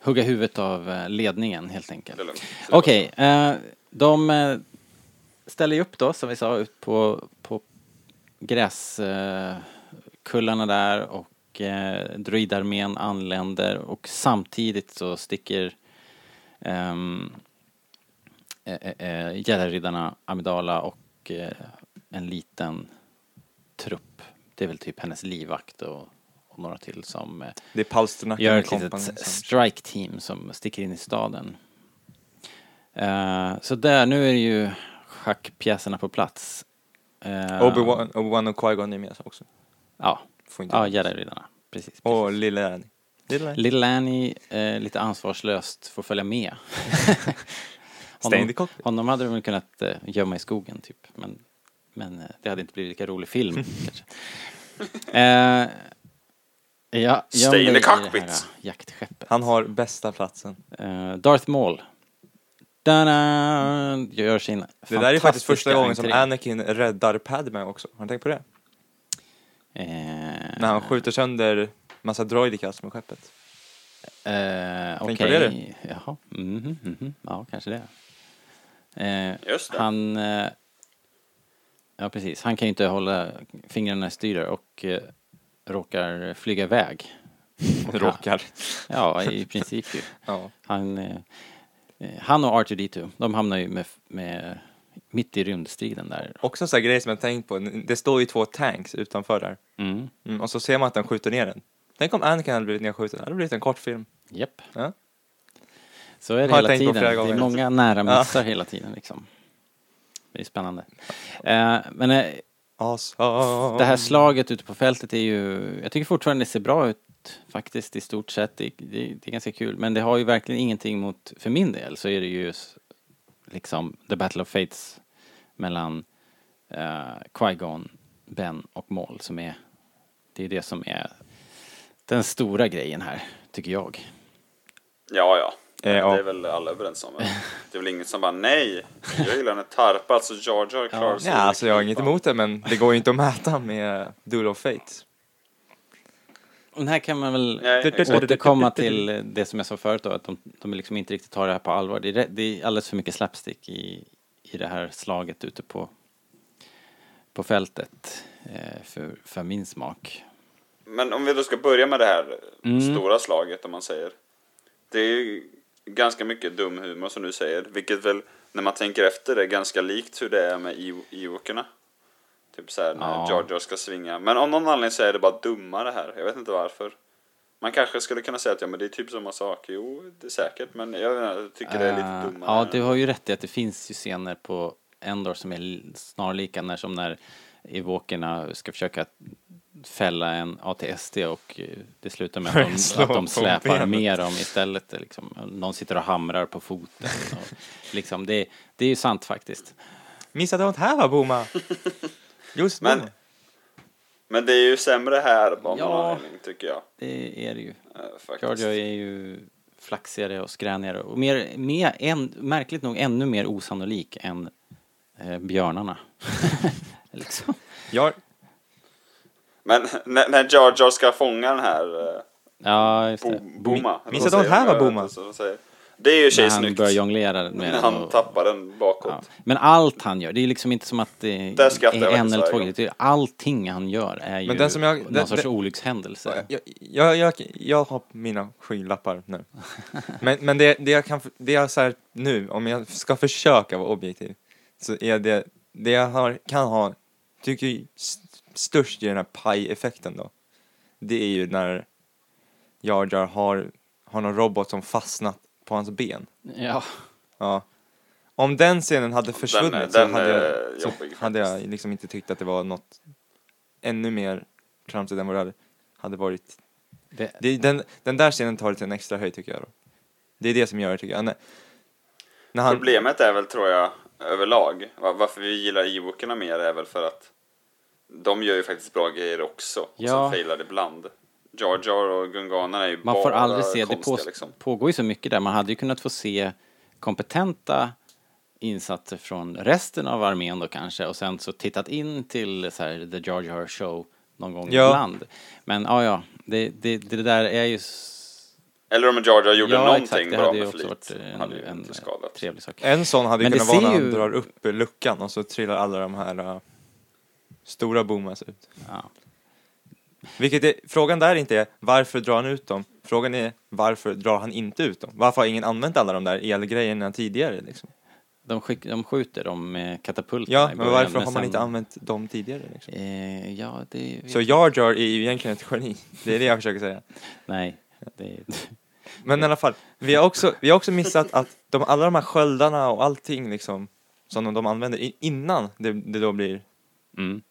Speaker 1: hugga huvudet av eh, ledningen helt enkelt.
Speaker 4: Det är lugnt. Så det är
Speaker 1: Okej, eh, de eh, ställer ju upp då som vi sa ut på, på gräskullarna eh, kullarna där och eh, druidarmén anländer och samtidigt så sticker ehm, eh, eh, eh, Gällriddarna, Amidala och eh, en liten trupp. Det är väl typ hennes livvakt och, och några till som eh,
Speaker 3: Det är Palsternacken
Speaker 1: gör
Speaker 3: med
Speaker 1: ett litet
Speaker 3: kompani liksom.
Speaker 1: s-
Speaker 3: som-
Speaker 1: strike team som sticker in i staden. Eh, så där, nu är det ju schackpjäserna på plats. Eh,
Speaker 3: Obi-Wan Obi-Wan och Qui-Gon är med också.
Speaker 1: Ja,
Speaker 3: Får inte
Speaker 1: ja Jedi-riddarna. Precis.
Speaker 3: och Lille Annie. Lille Annie.
Speaker 1: Lilla Annie, eh, lite ansvarslöst, får följa med. Honom,
Speaker 3: Steincock.
Speaker 1: honom hade de väl kunnat eh, gömma i skogen typ. Men, men eh, det hade inte blivit lika rolig film kanske. Eh, ja,
Speaker 4: Stay
Speaker 1: göm dig i
Speaker 4: in the
Speaker 1: det här,
Speaker 4: cockpit.
Speaker 1: eh, Jaktskeppet.
Speaker 3: Han har bästa platsen.
Speaker 1: Eh, Darth Maul. Da-da! Gör sin
Speaker 3: Det där är faktiskt första
Speaker 1: fantastiska
Speaker 3: gången som
Speaker 1: entré.
Speaker 3: Anakin räddar Padme också. Har ni tänkt på det?
Speaker 1: Eh,
Speaker 3: När han skjuter sönder massa droidicas med skeppet.
Speaker 1: Eh,
Speaker 3: Tänk på
Speaker 1: okej.
Speaker 3: det, du.
Speaker 1: Jaha. Mhm, mhm. Ja, kanske det. Eh,
Speaker 4: Just det.
Speaker 1: Han... Eh, ja, precis. Han kan ju inte hålla fingrarna i styr där och eh, råkar flyga iväg. Och
Speaker 3: Råkar.
Speaker 1: Han, ja, i princip ju.
Speaker 3: Ja.
Speaker 1: Han, eh, eh, han och R2D2, de hamnar ju med, med, mitt i rymdstriden där.
Speaker 3: Också en sån här grej som jag tänkt på. Det står ju två tanks utanför där.
Speaker 1: Mm.
Speaker 3: Mm, och så ser man att den skjuter ner den. Tänk om Anakin hade blivit nedskjuten. Det hade blivit en kortfilm.
Speaker 1: Japp.
Speaker 3: Ja.
Speaker 1: Så är det
Speaker 3: Har jag
Speaker 1: hela
Speaker 3: tänkt på
Speaker 1: tiden.
Speaker 3: flera
Speaker 1: Det är
Speaker 3: gånger.
Speaker 1: många nära missar hela tiden liksom. Det är spännande. Eh, men eh,
Speaker 3: Awesome.
Speaker 1: Det här slaget ute på fältet är ju, jag tycker fortfarande det ser bra ut faktiskt i stort sett. Det, det, det är ganska kul, men det har ju verkligen ingenting mot, för min del så är det ju s- liksom the battle of fates mellan uh, Qui-Gon, Ben och Maul som är, det är det som är den stora grejen här, tycker jag.
Speaker 4: Ja, ja.
Speaker 3: Eh, ja.
Speaker 4: Det är väl alla överens om. Det är väl ingen som bara nej. Jag gillar när tarpa, alltså Jar Jar klarar sig.
Speaker 3: Ja, alltså jag har inget emot det, men det går ju inte att mäta med eh, Duel of Fate.
Speaker 1: Och Den här kan man väl
Speaker 4: Nej, exakt.
Speaker 1: återkomma till det som jag sa förut då, att de, de liksom inte riktigt tar det här på allvar. Det är, rä- det är alldeles för mycket slapstick i, i det här slaget ute på, på fältet eh, för, för min smak.
Speaker 4: Men om vi då ska börja med det här
Speaker 1: Mm.
Speaker 4: stora slaget om man säger. Det är ju ganska mycket dum humor som du säger. Vilket väl när man tänker efter är ganska likt hur det är med Ew- Ewokerna. Typ såhär när
Speaker 1: Ja.
Speaker 4: Jar Jar ska svinga. Men om någon anledning så är det bara dummare här. Jag vet inte varför. Man kanske skulle kunna säga att ja men det är typ samma sak. Jo det är säkert men jag, vet inte, jag tycker det är
Speaker 1: Eh,
Speaker 4: lite dummare.
Speaker 1: ja, du har ju rätt i att det finns ju scener på Endor som är l- snarlika, när, som när evokerna ska försöka fälla en ATSD och eh, det slutar med att de,
Speaker 3: Slå
Speaker 1: att de
Speaker 3: på
Speaker 1: släpar
Speaker 3: benet.
Speaker 1: med dem istället. Liksom. Någon sitter och hamrar på foten. Och, liksom, det, det är ju sant faktiskt.
Speaker 3: Miss I don't have a Boma! Just
Speaker 4: Men-
Speaker 3: Boma.
Speaker 4: Men det är ju sämre här bara
Speaker 1: Ja.
Speaker 4: ja. någon anledning tycker jag.
Speaker 1: Det är det ju.
Speaker 4: eh,
Speaker 1: Jar
Speaker 4: Faktiskt.
Speaker 1: Jar är ju flaxigare och skränigare och mer, mer en, märkligt nog ännu mer osannolik än eh, björnarna. liksom.
Speaker 3: Jag,
Speaker 4: Men när, när Jar Jar ska fånga den här eh,
Speaker 1: Ja, just det.
Speaker 4: Bo- Boma.
Speaker 3: Minns
Speaker 4: Vad
Speaker 3: att de
Speaker 4: säger
Speaker 3: här var
Speaker 4: jag vet
Speaker 3: Boma.
Speaker 4: inte vad de säger. Det är ju i och för sig
Speaker 1: När han
Speaker 4: snyggt.
Speaker 1: börjar jonglera
Speaker 4: när
Speaker 1: med den.
Speaker 4: han
Speaker 1: och-
Speaker 4: tappar den bakåt.
Speaker 1: ja. Men allt han gör, det är liksom inte som att det
Speaker 4: Där skrattar jag
Speaker 1: är en
Speaker 4: faktiskt
Speaker 1: eller två
Speaker 4: varje
Speaker 1: grejer. Det är- Allting han gör är ju
Speaker 3: Men den som jag-
Speaker 1: någon
Speaker 3: den-
Speaker 1: sorts
Speaker 3: den-
Speaker 1: olyckshändelse.
Speaker 3: jag, jag, jag, jag har mina skylappar nu. Men, men det, det jag kan, det jag så här nu, om jag ska försöka vara objektiv, så är det, det jag har, kan ha, tycker jag är st- störst i den här paj-effekten då, det är ju när Jar Jar har, har någon robot som fastnat på hans ben.
Speaker 1: Ja.
Speaker 3: Ja. Om den scenen hade försvunnit
Speaker 4: den
Speaker 3: så, hade
Speaker 4: är
Speaker 3: jag,
Speaker 4: jobbig
Speaker 3: så hade jag liksom inte tyckt att det var något ännu mer tramsigt än vad det hade- hade varit.
Speaker 1: Det,
Speaker 3: Det, är- den, den där scenen tar det till en extra höjd tycker jag då. Det är det som gör det tycker jag. När, när han,
Speaker 4: Problemet är väl tror jag överlag. var- Varför vi gillar Ewokerna mer är väl för att de gör ju faktiskt bra grejer också. Och
Speaker 1: Ja.
Speaker 4: sen failar det ibland. Jar Jar och Gunganerna är ju
Speaker 1: Man
Speaker 4: bara
Speaker 1: får aldrig se, det
Speaker 4: konstiga
Speaker 1: på,
Speaker 4: liksom.
Speaker 1: pågår ju så mycket där. Man hade ju kunnat få se kompetenta insatser från resten av armén då kanske och sen så tittat in till så här, The Jar Jar Show någon gång
Speaker 3: Ja.
Speaker 1: ibland. Men ja, ja, det, det, det där är ju... s-
Speaker 4: Eller om Jar Jar gjorde
Speaker 1: ja,
Speaker 4: någonting
Speaker 1: exakt, det
Speaker 4: bra
Speaker 1: hade ju
Speaker 4: med
Speaker 1: också
Speaker 4: flit.
Speaker 1: varit en,
Speaker 4: hade ju
Speaker 1: en,
Speaker 4: inte skadat.
Speaker 1: trevlig sak.
Speaker 3: En sån hade ju
Speaker 1: Men det
Speaker 3: kunnat
Speaker 1: ser
Speaker 3: vara när han
Speaker 1: ju-
Speaker 3: drar upp luckan och så trillar alla de här äh, stora boomas ut.
Speaker 1: Ja.
Speaker 3: Vilket är, frågan där inte är varför drar han ut dem? Frågan är varför drar han inte ut dem? Varför har ingen använt alla de där elgrejerna tidigare liksom?
Speaker 1: De, skick, de skjuter dem med katapulterna
Speaker 3: Ja,
Speaker 1: i
Speaker 3: men
Speaker 1: början,
Speaker 3: varför har man
Speaker 1: sen-
Speaker 3: inte använt dem tidigare? Liksom?
Speaker 1: Eh, ja, det...
Speaker 3: Så Jar Jar är ju egentligen ett geni, det är det jag försöker säga.
Speaker 1: Nej, det...
Speaker 3: Men i alla fall, vi har också, vi har också missat att de, alla de här sköldarna och allting liksom, som de, de använder i- innan det, det då blir
Speaker 1: Mm.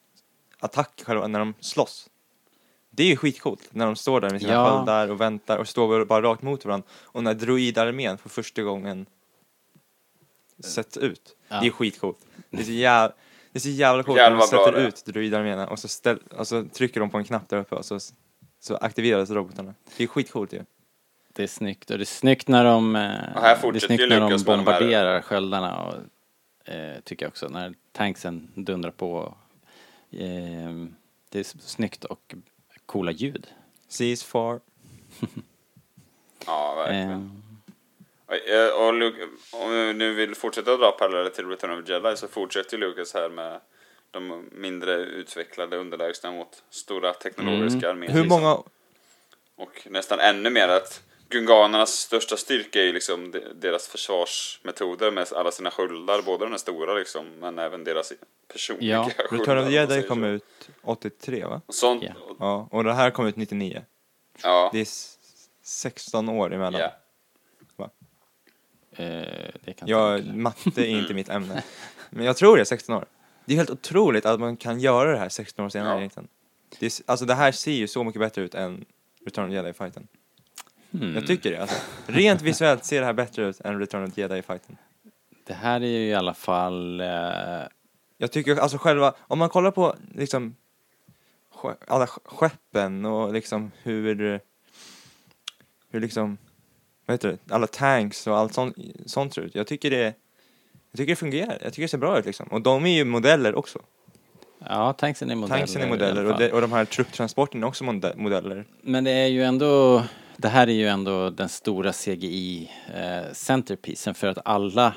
Speaker 3: attack själva, när de slåss. Det är ju skitcoolt när de står där med sina
Speaker 1: Ja.
Speaker 3: sköldar och väntar och står bara rakt mot varandra. Och när droidarmén för första gången sett ut.
Speaker 1: Ja.
Speaker 3: Det är skitcoolt. Det är så jävla, det är så jävla coolt
Speaker 4: Jävlar
Speaker 3: när de
Speaker 4: vad bra
Speaker 3: sätter
Speaker 4: det är.
Speaker 3: ut druidarméerna och, så ställ- och så trycker de på en knapp där uppe och så, så aktiveras robotarna. Det är skitcoolt ju.
Speaker 1: Det är snyggt och det är snyggt när de, eh,
Speaker 4: här
Speaker 1: det är
Speaker 4: fortsätter ju
Speaker 1: snyggt när de
Speaker 4: Lucas med de här-
Speaker 1: bombarderar sköldarna och eh, tycker jag också när tanksen dundrar på. Eh, det är s- snyggt och coola ljud.
Speaker 3: Seas far.
Speaker 4: Ja, verkligen.
Speaker 1: Eh,
Speaker 4: Eh, Och Luke, om vi nu vill fortsätta dra paralleller till Return of the Jedi så fortsätter ju Lucas här med de mindre utvecklade underlägsna mot stora teknologiska arméer.
Speaker 3: Mm. Hur
Speaker 4: liksom.
Speaker 3: många,
Speaker 4: Och nästan ännu mer att Gunganernas största styrka är ju liksom de- deras försvarsmetoder med alla sina sköldar, både den stora liksom, men även deras personliga
Speaker 1: Ja,
Speaker 4: sköldar.
Speaker 3: Return of
Speaker 4: om
Speaker 3: the
Speaker 4: man
Speaker 3: Jedi
Speaker 4: säger
Speaker 3: kom
Speaker 4: så.
Speaker 3: ut 83 va?
Speaker 4: Och Sånt,
Speaker 1: Ja.
Speaker 4: och-
Speaker 3: Ja, och det här kom ut 99.
Speaker 4: ja,
Speaker 3: Det är s- 16 år emellan.
Speaker 4: ja.
Speaker 1: eh, det kan
Speaker 3: Jag, matte är inte mitt ämne. Men jag tror det, 16 år. Det är helt otroligt att man kan göra det här 16 år senare
Speaker 4: Ja.
Speaker 3: egentligen. Det är, s- alltså det här ser ju så mycket bättre ut än Return of the Jedi-fighten.
Speaker 4: Hmm.
Speaker 3: Jag tycker det. Alltså. Rent visuellt ser det här bättre ut än Return of the Jedi-fighten.
Speaker 1: Det här är ju i alla fall eh,
Speaker 3: Jag tycker alltså själva, om man kollar på liksom ske- alla sk- skeppen och liksom hur, hur liksom, vad heter det, alla tanks och allt sånt, sånt ser ut. Jag tycker det, jag tycker det fungerar, jag tycker det ser bra ut liksom. Och de är ju modeller också.
Speaker 1: Ja, tanksen är modeller.
Speaker 3: Tanksen är
Speaker 1: i
Speaker 3: modeller
Speaker 1: alla
Speaker 3: och
Speaker 1: fall.
Speaker 3: de, och de här trupptransporterna är också mode- modeller.
Speaker 1: Men det är ju ändå, det här är ju ändå den stora CGI eh, centerpiecen för att alla,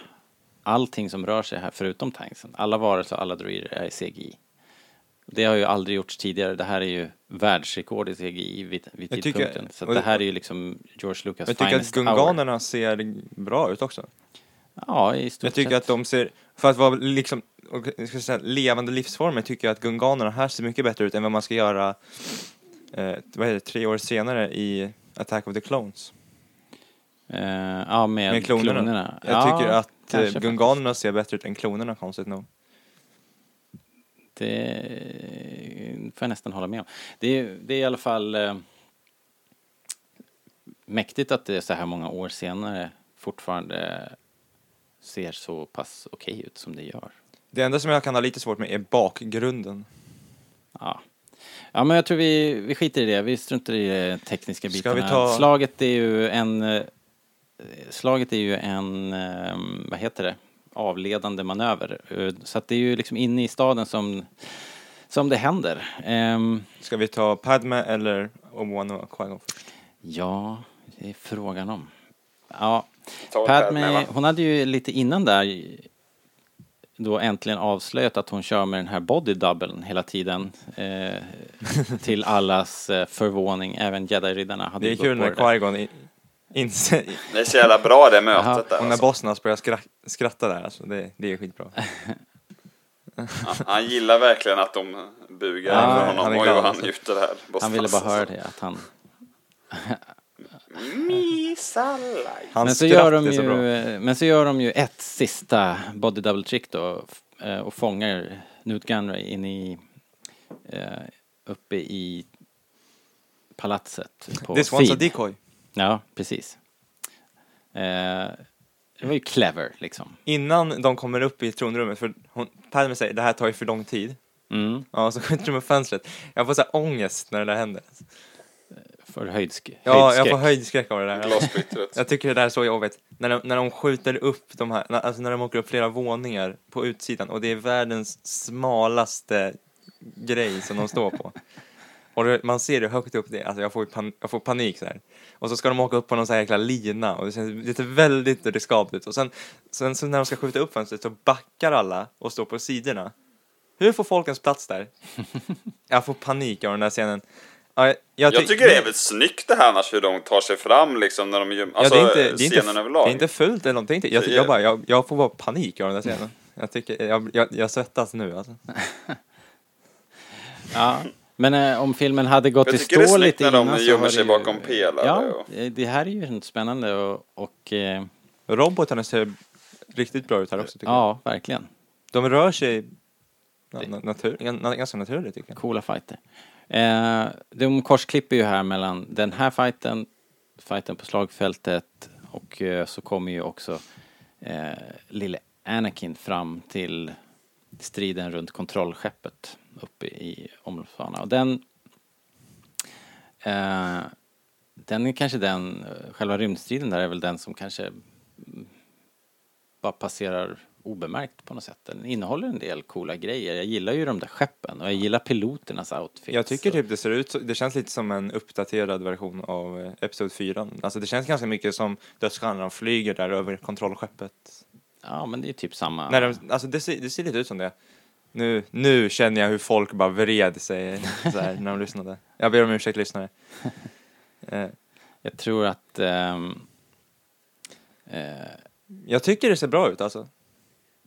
Speaker 1: allting som rör sig här förutom tanksen, alla varelser och alla droider är CGI. Det har ju aldrig gjorts tidigare, det här är ju världsrekord i CGI vid, vid
Speaker 3: Jag tycker-
Speaker 1: tidpunkten. Så att
Speaker 3: och-
Speaker 1: det här är ju liksom George Lucas
Speaker 3: Jag tycker att
Speaker 1: finest hour.
Speaker 3: gunganerna ser bra ut också.
Speaker 1: Ja, i stort
Speaker 3: Jag tycker
Speaker 1: sett.
Speaker 3: att de ser, för att vara liksom, och jag ska säga, levande livsformer tycker jag att gunganerna här ser mycket bättre ut än vad man ska göra eh, vad heter det, tre år senare i Attack of the Clones.
Speaker 1: Eh, ja, med,
Speaker 3: Med klonerna.
Speaker 1: klonerna.
Speaker 3: Jag
Speaker 1: ja,
Speaker 3: tycker att eh,
Speaker 1: kanske
Speaker 3: gunganerna ser bättre ut än klonerna konstigt nog.
Speaker 1: Det får jag nästan hålla med om. Det är, det är i alla fall eh, mäktigt att det är så här många år senare fortfarande ser så pass okej ut som det gör.
Speaker 3: Det enda som jag kan ha lite svårt med är bakgrunden.
Speaker 1: Ja. Ja, men jag tror vi, vi skiter i det. Vi struntar i de tekniska
Speaker 3: Ska
Speaker 1: bitarna.
Speaker 3: vi ta-
Speaker 1: Slaget är ju en... eh, Slaget är ju en, eh, vad heter det, avledande manöver. Eh, Så att det är ju liksom inne i staden som, som det händer. Ehm,
Speaker 3: Ska vi ta Padme eller Obi-Wan och Qui-Gon först?
Speaker 1: Ja, det är frågan om. Ja,
Speaker 4: Ta Padme, va?
Speaker 1: Padme, hon hade ju lite innan där då äntligen avslöjat att hon kör med den här body doublen hela tiden. Eh, till allas eh, förvåning, även jedi-riddarna hade
Speaker 3: Det är
Speaker 1: ju
Speaker 3: kul
Speaker 1: gått
Speaker 3: när
Speaker 1: på det där.
Speaker 3: Qui-Gon i- inser,
Speaker 4: Det är så jävla bra det mötet
Speaker 1: Jaha,
Speaker 4: där.
Speaker 3: och när
Speaker 4: Alltså.
Speaker 3: Bosnas börjar skra- skratta där alltså, det, det är skitbra.
Speaker 4: Han, han gillar verkligen att de bugar
Speaker 1: Ja,
Speaker 4: för
Speaker 3: han
Speaker 4: honom.
Speaker 3: är
Speaker 4: Oj,
Speaker 3: glad,
Speaker 4: vad han
Speaker 3: alltså.
Speaker 4: njuter här. Boss
Speaker 1: Han ville bara
Speaker 4: Fass,
Speaker 1: höra
Speaker 4: alltså.
Speaker 1: det, att han...
Speaker 4: Misalaj.
Speaker 3: Hans
Speaker 1: Men så,
Speaker 3: skratt
Speaker 1: gör de
Speaker 3: är så bra.
Speaker 1: ju, eh, men så gör de ju ett sista body double trick då f- eh, och fångar Newt Gunray in i, eh, uppe i palatset på
Speaker 3: This one's a
Speaker 1: Feed.
Speaker 3: decoy.
Speaker 1: Ja, precis. Eh, det var ju clever liksom.
Speaker 3: Innan de kommer upp i tronrummet, för hon, Padme säger det här tar ju för lång tid.
Speaker 1: Mm.
Speaker 3: Ja, så skjuter de upp fönstret. Jag får så här ångest när det där händer.
Speaker 1: För höjdsk-
Speaker 3: Ja, jag får
Speaker 1: höjdskräck.
Speaker 3: höjdskräck av det där. Alltså.
Speaker 4: Glassplittret.
Speaker 3: Jag tycker det där är så jobbigt. När de, när de skjuter upp de här, när, alltså när de åker upp flera våningar på utsidan och det är världens smalaste grej som de står på. Och det, man ser hur högt upp det är, alltså jag får, ju pan, jag får panik så här. Och så ska de åka upp på någon så här jäkla lina och det känns det ser väldigt riskabelt ut. Och sen, sen så när de ska skjuta upp fönstret så backar alla och står på sidorna. Hur får folk ens plats där? Jag får panik av den där scenen. Ja, jag, jag,
Speaker 4: Jag
Speaker 3: ty-
Speaker 4: tycker det är väl snyggt det här annars hur de tar sig fram liksom när de gör, alltså
Speaker 3: ja, det är inte, det är
Speaker 4: scenen
Speaker 3: inte, f-
Speaker 4: överlag.
Speaker 3: Det är inte fult eller någonting. Jag,
Speaker 4: Så,
Speaker 3: jag,
Speaker 4: ja.
Speaker 3: bara, jag, jag får bara panik av den där scenen. Jag, tycker, jag, jag, jag svettas nu alltså.
Speaker 1: Ja. Men eh, om filmen hade gått
Speaker 4: Jag
Speaker 1: i
Speaker 4: tycker det är
Speaker 1: stå
Speaker 4: snyggt
Speaker 1: lite
Speaker 4: när de
Speaker 1: innan så
Speaker 4: gömmer
Speaker 1: var det
Speaker 4: sig
Speaker 1: ju-
Speaker 4: bakom pelare
Speaker 1: Ja,
Speaker 4: och-
Speaker 1: eh, det här är ju spännande och, och eh,
Speaker 3: Robotarna ser riktigt bra ut här också tycker jag.
Speaker 1: ja, verkligen.
Speaker 3: De rör sig na, na, natur, na, ganska naturligt tycker jag.
Speaker 1: Coola fighter. Eh, de korsklipper ju här mellan den här fighten, fighten på slagfältet och eh, så kommer ju också eh, lille Anakin fram till striden runt kontrollskeppet uppe i omloppsbanan. Och den... Eh, den är kanske den, eh, själva rymdstriden där är väl den som kanske mm, bara passerar obemärkt på något sätt. Den innehåller en del coola grejer. Jag gillar ju de där skeppen och jag gillar piloternas outfits.
Speaker 3: Jag tycker
Speaker 1: och-
Speaker 3: typ det ser ut, så- det känns lite som en uppdaterad version av eh, Episod 4. Alltså det känns ganska mycket som dödsstjärnan flyger där över kontrollskeppet.
Speaker 1: Ja, men det är typ samma.
Speaker 3: När de, alltså det ser, det ser lite ut som det. Nu, nu känner jag hur folk bara vred sig så här, när de lyssnade. Jag ber om ursäkt lyssnare. Eh,
Speaker 1: Jag tror att... ehm, eh,
Speaker 3: jag tycker det ser bra ut alltså.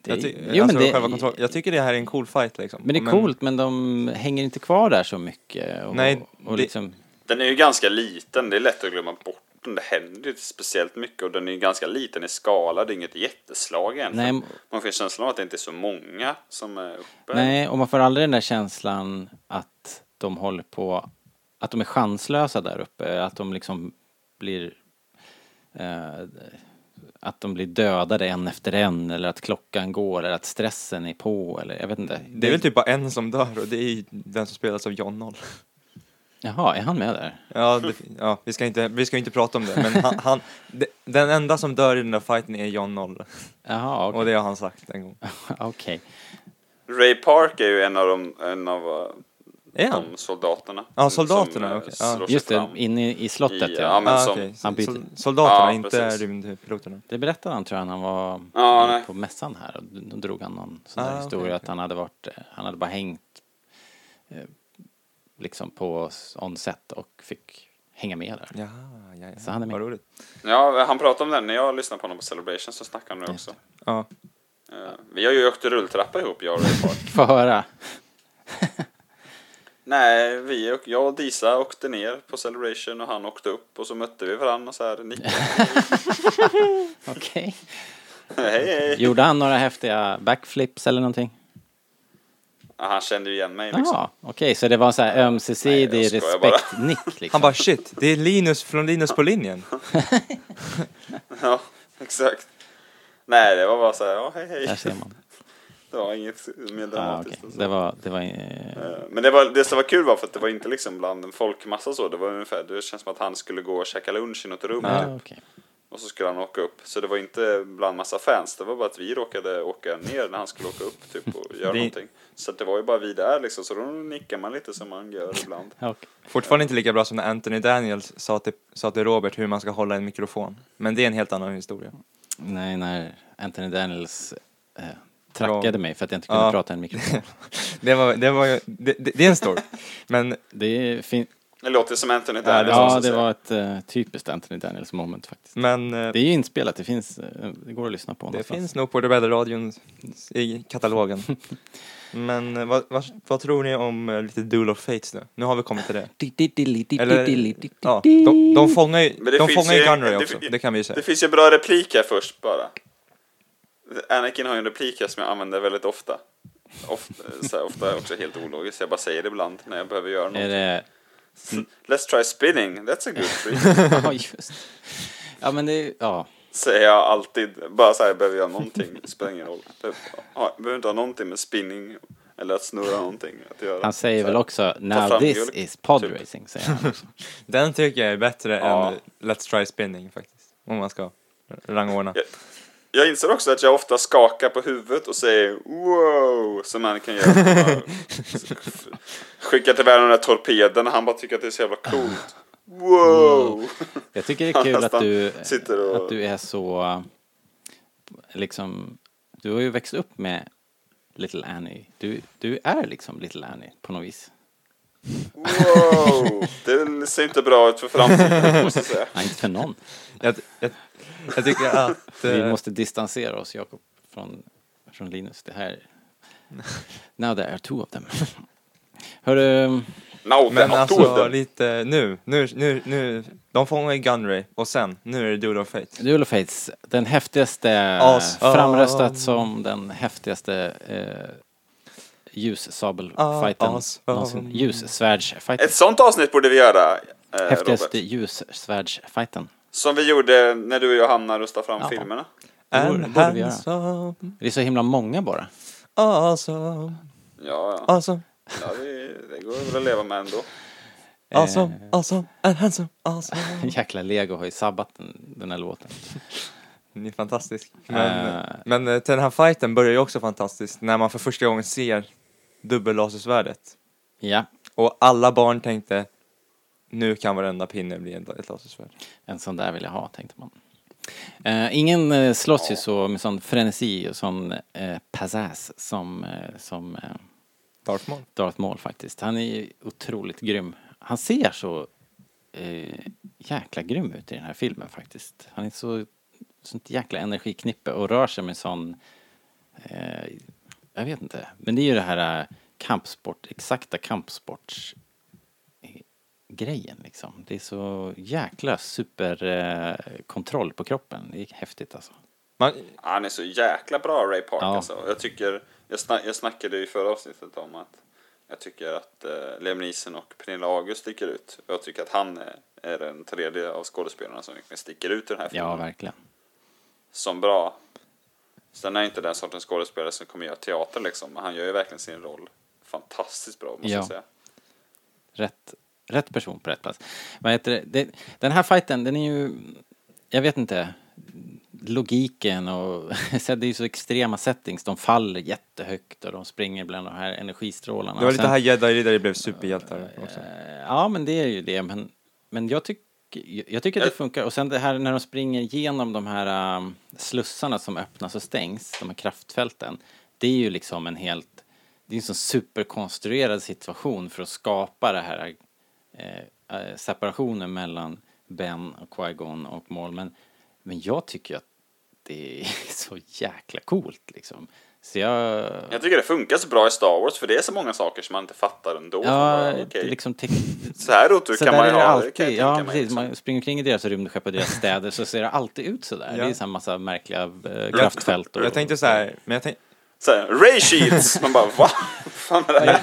Speaker 1: Det-
Speaker 3: jag, ty-
Speaker 1: jo, men
Speaker 3: alltså
Speaker 1: det-
Speaker 3: själva kontroll- jag tycker det här är en cool fight liksom.
Speaker 1: Men det är coolt, men de hänger inte kvar där så mycket. Och,
Speaker 3: Nej,
Speaker 1: och
Speaker 3: det-
Speaker 1: liksom,
Speaker 4: Den är ju ganska liten, det är lätt att glömma bort den. Det händer ju inte speciellt mycket och den är ju ganska liten i skala, det är inget jätteslag egentligen.
Speaker 1: Nej.
Speaker 4: Man får ju känslan av att det inte är så många som är uppe.
Speaker 1: nej, och man får aldrig den där känslan att de håller på, att de är chanslösa där uppe, att de liksom blir eh, att de blir dödade en efter en eller att klockan går eller att stressen är på eller jag vet inte.
Speaker 3: Det är väl typ bara en som dör och det är ju den som spelas av John Noll.
Speaker 1: Jaha, är han med där?
Speaker 3: Ja, det, ja vi, ska inte, vi ska inte prata om det, men han, han, de, den enda som dör i den där fighten är John Noll.
Speaker 1: Jaha, okej.
Speaker 3: Och det har han sagt en gång.
Speaker 1: Okej.
Speaker 4: Ray Park är ju en av de, en av eh,
Speaker 3: Är han?
Speaker 4: de soldaterna.
Speaker 3: Ja, soldaterna,
Speaker 4: som, eh,
Speaker 3: okej. Ja.
Speaker 4: slår sig
Speaker 1: Just det,
Speaker 4: fram.
Speaker 1: inne i slottet
Speaker 4: I-
Speaker 1: ja.
Speaker 4: ja, men-
Speaker 3: Ah,
Speaker 4: som-
Speaker 3: okej.
Speaker 1: Han byter.
Speaker 3: Sol- Soldaterna,
Speaker 4: Ja,
Speaker 3: inte
Speaker 4: precis.
Speaker 3: rymdpiloterna.
Speaker 1: Det berättade han tror jag när han var
Speaker 4: Ja, nej.
Speaker 1: på mässan här. Och Då drog han någon sån
Speaker 3: Ah,
Speaker 1: där
Speaker 3: okej,
Speaker 1: historia
Speaker 3: okej.
Speaker 1: att han hade varit, eh, han hade bara hängt eh, liksom på s- on set och fick hänga med där.
Speaker 3: Ja, ja, ja.
Speaker 1: Så han är med.
Speaker 3: Vad roligt.
Speaker 4: Ja, han pratade om den när jag lyssnade på honom på Celebration så snackade han nu
Speaker 1: Just
Speaker 4: också.
Speaker 3: Ja.
Speaker 4: Eh, Vi har ju åkt rulltrappa ihop, jag och Ray Park.
Speaker 1: Få höra.
Speaker 4: Nej, vi och, jag och Disa åkte ner på Celebration och han åkte upp och så mötte vi varandra och så här nickade.
Speaker 1: Okej.
Speaker 4: hej, hej.
Speaker 1: Gjorde han några häftiga backflips eller någonting?
Speaker 4: Ja, han kände ju igen mig liksom.
Speaker 1: Jaha, okej, så det var så här
Speaker 4: Nej,
Speaker 1: ömsesidig
Speaker 4: jag skojar bara.
Speaker 1: respektnick liksom.
Speaker 3: Han bara shit, det är Linus från Linus på linjen.
Speaker 4: Ja, exakt. Nej, det var bara så här, ja, hej,
Speaker 1: Där
Speaker 4: hej.
Speaker 1: ser man.
Speaker 4: Det var inget mer
Speaker 1: Ah,
Speaker 4: dramatiskt.
Speaker 1: okej.
Speaker 4: än så.
Speaker 1: Det var, det var, eh,
Speaker 4: Eh, Men det, var, det som var kul var för att det var inte liksom bland en folkmassa så, det var ungefär, det känns som att han skulle gå och käka lunch i något rum
Speaker 1: ah,
Speaker 4: typ.
Speaker 1: okej.
Speaker 4: och så skulle han åka upp. Så det var inte bland massa fans, det var bara att vi råkade åka ner när han skulle åka upp typ och göra
Speaker 3: Det-
Speaker 4: någonting. Så att det var ju bara vi där liksom, så då nickar man lite som man gör ibland.
Speaker 1: Ja, okej.
Speaker 3: Fortfarande inte lika bra som när Anthony Daniels sa till, sa till Robert hur man ska hålla en mikrofon. Men det är en helt annan historia.
Speaker 1: Nej, när Anthony Daniels eh, trackade mig för att jag inte kunde
Speaker 3: Ja.
Speaker 1: prata i en mikrofon.
Speaker 3: Det var, det var ju, det, det, det är en story. Men
Speaker 1: Det fin-
Speaker 4: Det låter som Anthony
Speaker 3: Ja,
Speaker 4: Daniels.
Speaker 3: det
Speaker 1: Ja,
Speaker 4: måste jag
Speaker 1: det
Speaker 4: säga.
Speaker 1: var ett eh, typiskt Anthony Daniels moment faktiskt.
Speaker 3: Men eh,
Speaker 1: Det är ju inspelat, det finns, eh, det går att lyssna på
Speaker 3: det
Speaker 1: någonstans.
Speaker 3: finns nog på Rebellradion i katalogen. Men eh, vad, vad, vad tror ni om eh, lite Duel of Fates nu? Nu har vi kommit till det. Eller, ja, de, de fångar ju,
Speaker 4: Men det
Speaker 3: de
Speaker 4: finns
Speaker 3: fångar ju
Speaker 4: ju-
Speaker 3: Gunray
Speaker 4: det-
Speaker 3: också, det kan vi ju säga.
Speaker 4: Det finns ju bra replik här först bara. Anakin har ju en replik här som jag använder väldigt ofta. Ofta, så här, ofta också helt ologiskt, jag bara säger det ibland när jag behöver göra
Speaker 1: Är
Speaker 4: något.
Speaker 1: det...
Speaker 4: Let's try spinning, that's a good trick.
Speaker 1: Ja, just. Ja, men det är... Ja.
Speaker 4: Säger jag alltid, bara så här, behöver jag någonting, spelar ingen roll. Typ, ja, behöver inte ha någonting med spinning eller att snurra någonting att göra.
Speaker 1: Han säger
Speaker 4: Så
Speaker 1: väl
Speaker 4: här,
Speaker 1: också
Speaker 4: ta
Speaker 1: “Now
Speaker 4: fram
Speaker 1: this
Speaker 4: mjölk",
Speaker 1: is pod
Speaker 4: typ.
Speaker 1: racing” säger han.
Speaker 3: Den tycker jag är bättre
Speaker 4: Ja.
Speaker 3: än Let's Try Spinning faktiskt. Om man ska rangordna.
Speaker 4: Jag, jag inser också att jag ofta skakar på huvudet och säger wow, som man kan göra. Bara Skickar till världen den där torpeden och han bara tycker att det är så jävla coolt. Wow!
Speaker 1: Jag tycker det är
Speaker 4: Han
Speaker 1: kul att
Speaker 4: nästan
Speaker 1: du,
Speaker 4: sitter och-
Speaker 1: att du är så... Liksom, du har ju växt upp med Little Annie. Du, du är liksom Little Annie på något vis.
Speaker 4: Wow! Det ser inte bra ut för framtiden måste jag säga.
Speaker 1: Nej, inte för någon.
Speaker 3: Jag, jag, jag tycker att...
Speaker 1: Vi
Speaker 3: eh,
Speaker 1: måste distansera oss, Jakob, från, från Linus. Det här... Now there are two of them. Hörru,
Speaker 4: No,
Speaker 3: Men
Speaker 4: men
Speaker 3: alltså
Speaker 4: alltså,
Speaker 3: lite nu, nu, nu, nu. De fångar ju Gunray och sen, nu är det Duel of Fate.
Speaker 1: Duel of Fates, den häftigaste,
Speaker 3: Awesome.
Speaker 1: framröstat som den häftigaste eh, ljussabelfajten
Speaker 3: Awesome.
Speaker 1: någonsin. Ljussvärdsfajten.
Speaker 4: ett sånt avsnitt borde vi göra. Eh, Robert.
Speaker 1: Häftigaste ljussvärdsfajten.
Speaker 4: Som vi gjorde när du och jag hamnade och röstade fram
Speaker 1: Jaha.
Speaker 4: filmerna.
Speaker 1: borde-
Speaker 3: And
Speaker 1: det borde vi göra.
Speaker 3: handsome,
Speaker 1: Det är så himla många bara.
Speaker 3: awesome,
Speaker 4: Ja, ja.
Speaker 3: awesome,
Speaker 4: ja det, det går väl att leva med ändå.
Speaker 1: Eh.
Speaker 3: awesome, awesome, and handsome, awesome.
Speaker 1: Jäkla Lego har ju sabbat den, den här låten.
Speaker 3: Den är fantastisk. Men,
Speaker 1: Eh.
Speaker 3: men eh, den här fighten börjar ju också fantastiskt när man för första gången ser dubbellasersvärdet.
Speaker 1: Ja,
Speaker 3: Och alla barn tänkte, nu kan varenda pinne bli ett ett lasersvärd.
Speaker 1: en sån där vill jag ha, tänkte man. Eh, ingen eh, slåss ju så med sån frenesi och sån eh, pizzazz som, eh, som eh,
Speaker 3: Darth Maul.
Speaker 1: Darth Maul faktiskt. Han är ju otroligt grym. Han ser så eh, jäkla grym ut i den här filmen faktiskt. Han är så sånt jäkla energiknippe och rör sig med sån eh, jag vet inte. Men det är ju det här eh, kampsport, exakta kampsports eh, grejen liksom. Det är så jäkla superkontroll eh, kontroll på kroppen. Det är häftigt alltså.
Speaker 3: Man,
Speaker 4: Han är så jäkla bra Ray Park
Speaker 1: Ja.
Speaker 4: alltså. Jag tycker, jag, sna- jag snackade ju i förra avsnittet om att jag tycker att eh, Liam Neeson och Pernilla August sticker ut. Jag tycker att han är, är den tredje av skådespelarna som verkligen sticker ut i den här filmen.
Speaker 1: Ja, verkligen.
Speaker 4: som bra. Sen är inte den sortens skådespelare som kommer göra teater liksom. Men han gör ju verkligen sin roll fantastiskt bra måste
Speaker 1: Ja.
Speaker 4: jag säga.
Speaker 1: rätt, rätt person på rätt plats. Vad heter det? Det, den här fighten, den är ju, jag vet inte, logiken och så det är ju så extrema settings. De faller jättehögt och de springer bland de här energistrålarna.
Speaker 3: det var
Speaker 1: Och
Speaker 3: lite
Speaker 1: sen-
Speaker 3: här jedi-riddare blev superhjältar också.
Speaker 1: Eh, Ja, men det är ju det. Men, men jag, tyck, jag- jag tycker att
Speaker 4: Eh.
Speaker 1: det funkar. Och sen det här när de springer genom de här um, slussarna som öppnas och stängs, de här kraftfälten. Det är ju liksom en helt, det är en sån superkonstruerad situation för att skapa det här eh, eh, separationen mellan Ben och Qui-Gon och Maul. Men, men jag tycker att det är så jäkla coolt liksom. Så jag...
Speaker 4: Jag tycker det funkar så bra i Star Wars för det är så många saker som man inte fattar ändå. Så
Speaker 1: Ja,
Speaker 4: man bara, okej.
Speaker 1: liksom tek-
Speaker 4: Så här otur
Speaker 1: så
Speaker 4: kan
Speaker 1: där
Speaker 4: man
Speaker 1: är
Speaker 4: ju
Speaker 1: det
Speaker 4: ha. Det kan
Speaker 1: alltid.
Speaker 4: jag
Speaker 1: ja,
Speaker 4: tänka mig,
Speaker 1: precis.
Speaker 4: liksom.
Speaker 1: Man springer kring i deras rymdskepp och deras städer så ser det alltid ut så där.
Speaker 3: Ja.
Speaker 1: Det är en massa märkliga eh, kraftfält. Och,
Speaker 3: Jag tänkte så här, men jag, tänk,
Speaker 4: Så här, Ray Shields! Man bara, va? Vad fan är det här?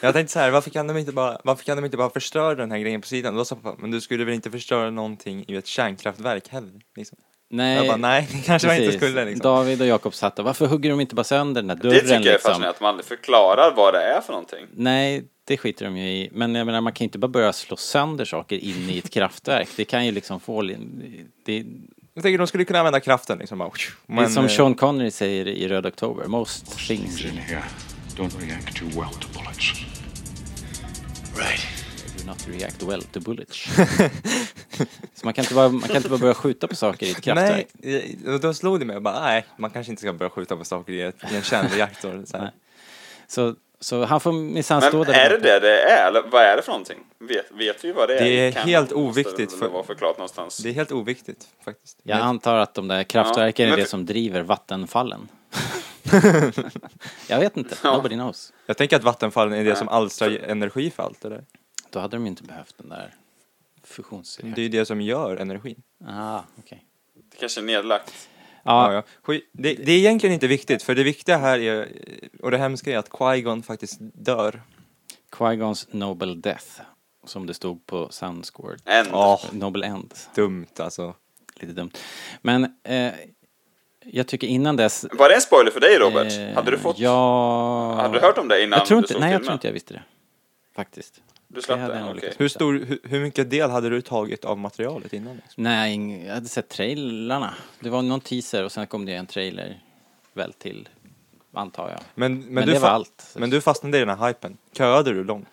Speaker 3: jag tänkte så här, varför kan, de inte bara, varför kan de inte bara förstöra den här grejen på sidan? Och Då sa pappa, men du skulle väl inte förstöra någonting i ett kärnkraftverk heller? Liksom.
Speaker 1: Nej,
Speaker 3: Jag bara, nej, det kanske man inte
Speaker 1: precis.
Speaker 3: skulle liksom.
Speaker 1: David och Jakob satt och varför hugger de inte bara sönder den där dörren?
Speaker 4: Det tycker jag är
Speaker 1: liksom?
Speaker 4: fascinerande, att man aldrig förklarar vad det är för någonting.
Speaker 1: Nej, det skiter de ju i. Men jag menar, man kan ju inte bara börja slå sönder saker inne i ett kraftverk. Det kan ju liksom få... li- Det,
Speaker 3: Jag tänker de skulle kunna använda kraften liksom. Bara,
Speaker 1: det är
Speaker 3: men,
Speaker 1: som
Speaker 3: eh,
Speaker 1: Sean Connery säger i Röd Oktober, most things.
Speaker 6: in here don't react too well to bullets.
Speaker 7: Right.
Speaker 1: do not react well to bullets. så man kan, inte bara, man kan inte bara börja skjuta på saker i ett kraftverk.
Speaker 3: Nej, eh, och då slog det mig. Jag bara, nej, man kanske inte ska börja skjuta på saker i, ett, i en kärnreaktor. Så här.
Speaker 1: Så, så han får minsann
Speaker 4: Men
Speaker 1: stå där.
Speaker 4: är det det det är? Eller vad är det för någonting? Vet, vet vi vad det är?
Speaker 3: Det är
Speaker 4: Kan-
Speaker 3: helt
Speaker 4: måste
Speaker 3: oviktigt
Speaker 4: Det
Speaker 3: för-
Speaker 4: väl vara förklarat någonstans.
Speaker 3: Det är helt oviktigt faktiskt.
Speaker 1: Jag
Speaker 3: Men-
Speaker 1: antar att de där kraftverken
Speaker 4: Ja,
Speaker 1: är
Speaker 4: men
Speaker 1: det
Speaker 4: för-
Speaker 1: som driver vattenfallen. jag vet inte, nobody knows.
Speaker 3: Jag tänker att vattenfallen är det som alstrar energi för allt det där.
Speaker 1: Då hade de ju inte behövt den där
Speaker 3: Det är
Speaker 1: fusionsreaktorn.
Speaker 3: ju det som gör energin.
Speaker 1: Ah, okej.
Speaker 4: Det kanske är nedlagt.
Speaker 1: Ja,
Speaker 3: Ja, ja. Skit- Det, det är egentligen inte viktigt, för det viktiga här är, och det hemska är att Qui-Gon faktiskt dör.
Speaker 1: Qui-Gons Noble Death, som det stod på Soundsquirt.
Speaker 4: Än.
Speaker 3: Ja,
Speaker 1: Noble End,
Speaker 3: dumt alltså.
Speaker 1: lite dumt. Men eh, jag tycker innan dess...
Speaker 4: Var det en spoiler för dig Robert?
Speaker 1: eh,
Speaker 4: hade du fått...
Speaker 1: Ja...
Speaker 4: Hade du hört om det innan
Speaker 1: jag tror
Speaker 4: du
Speaker 1: inte,
Speaker 4: såg
Speaker 1: Nej, jag
Speaker 4: filmen?
Speaker 1: tror inte jag visste det. Faktiskt.
Speaker 4: Du slapp
Speaker 1: hade
Speaker 4: det?
Speaker 1: jag nog
Speaker 4: Okej.
Speaker 1: lyckats
Speaker 3: Hur,
Speaker 1: missa.
Speaker 3: stor, hur, hur mycket del hade du tagit av materialet innan? Liksom?
Speaker 1: Nej, ing- jag hade sett trailerna. Det var någon teaser och sen kom det en trailer väl till, antar jag.
Speaker 3: Men, men,
Speaker 1: Men
Speaker 3: du
Speaker 1: det var
Speaker 3: fa-
Speaker 1: allt.
Speaker 3: Men du fastnade i den här hypen. Köade du långt?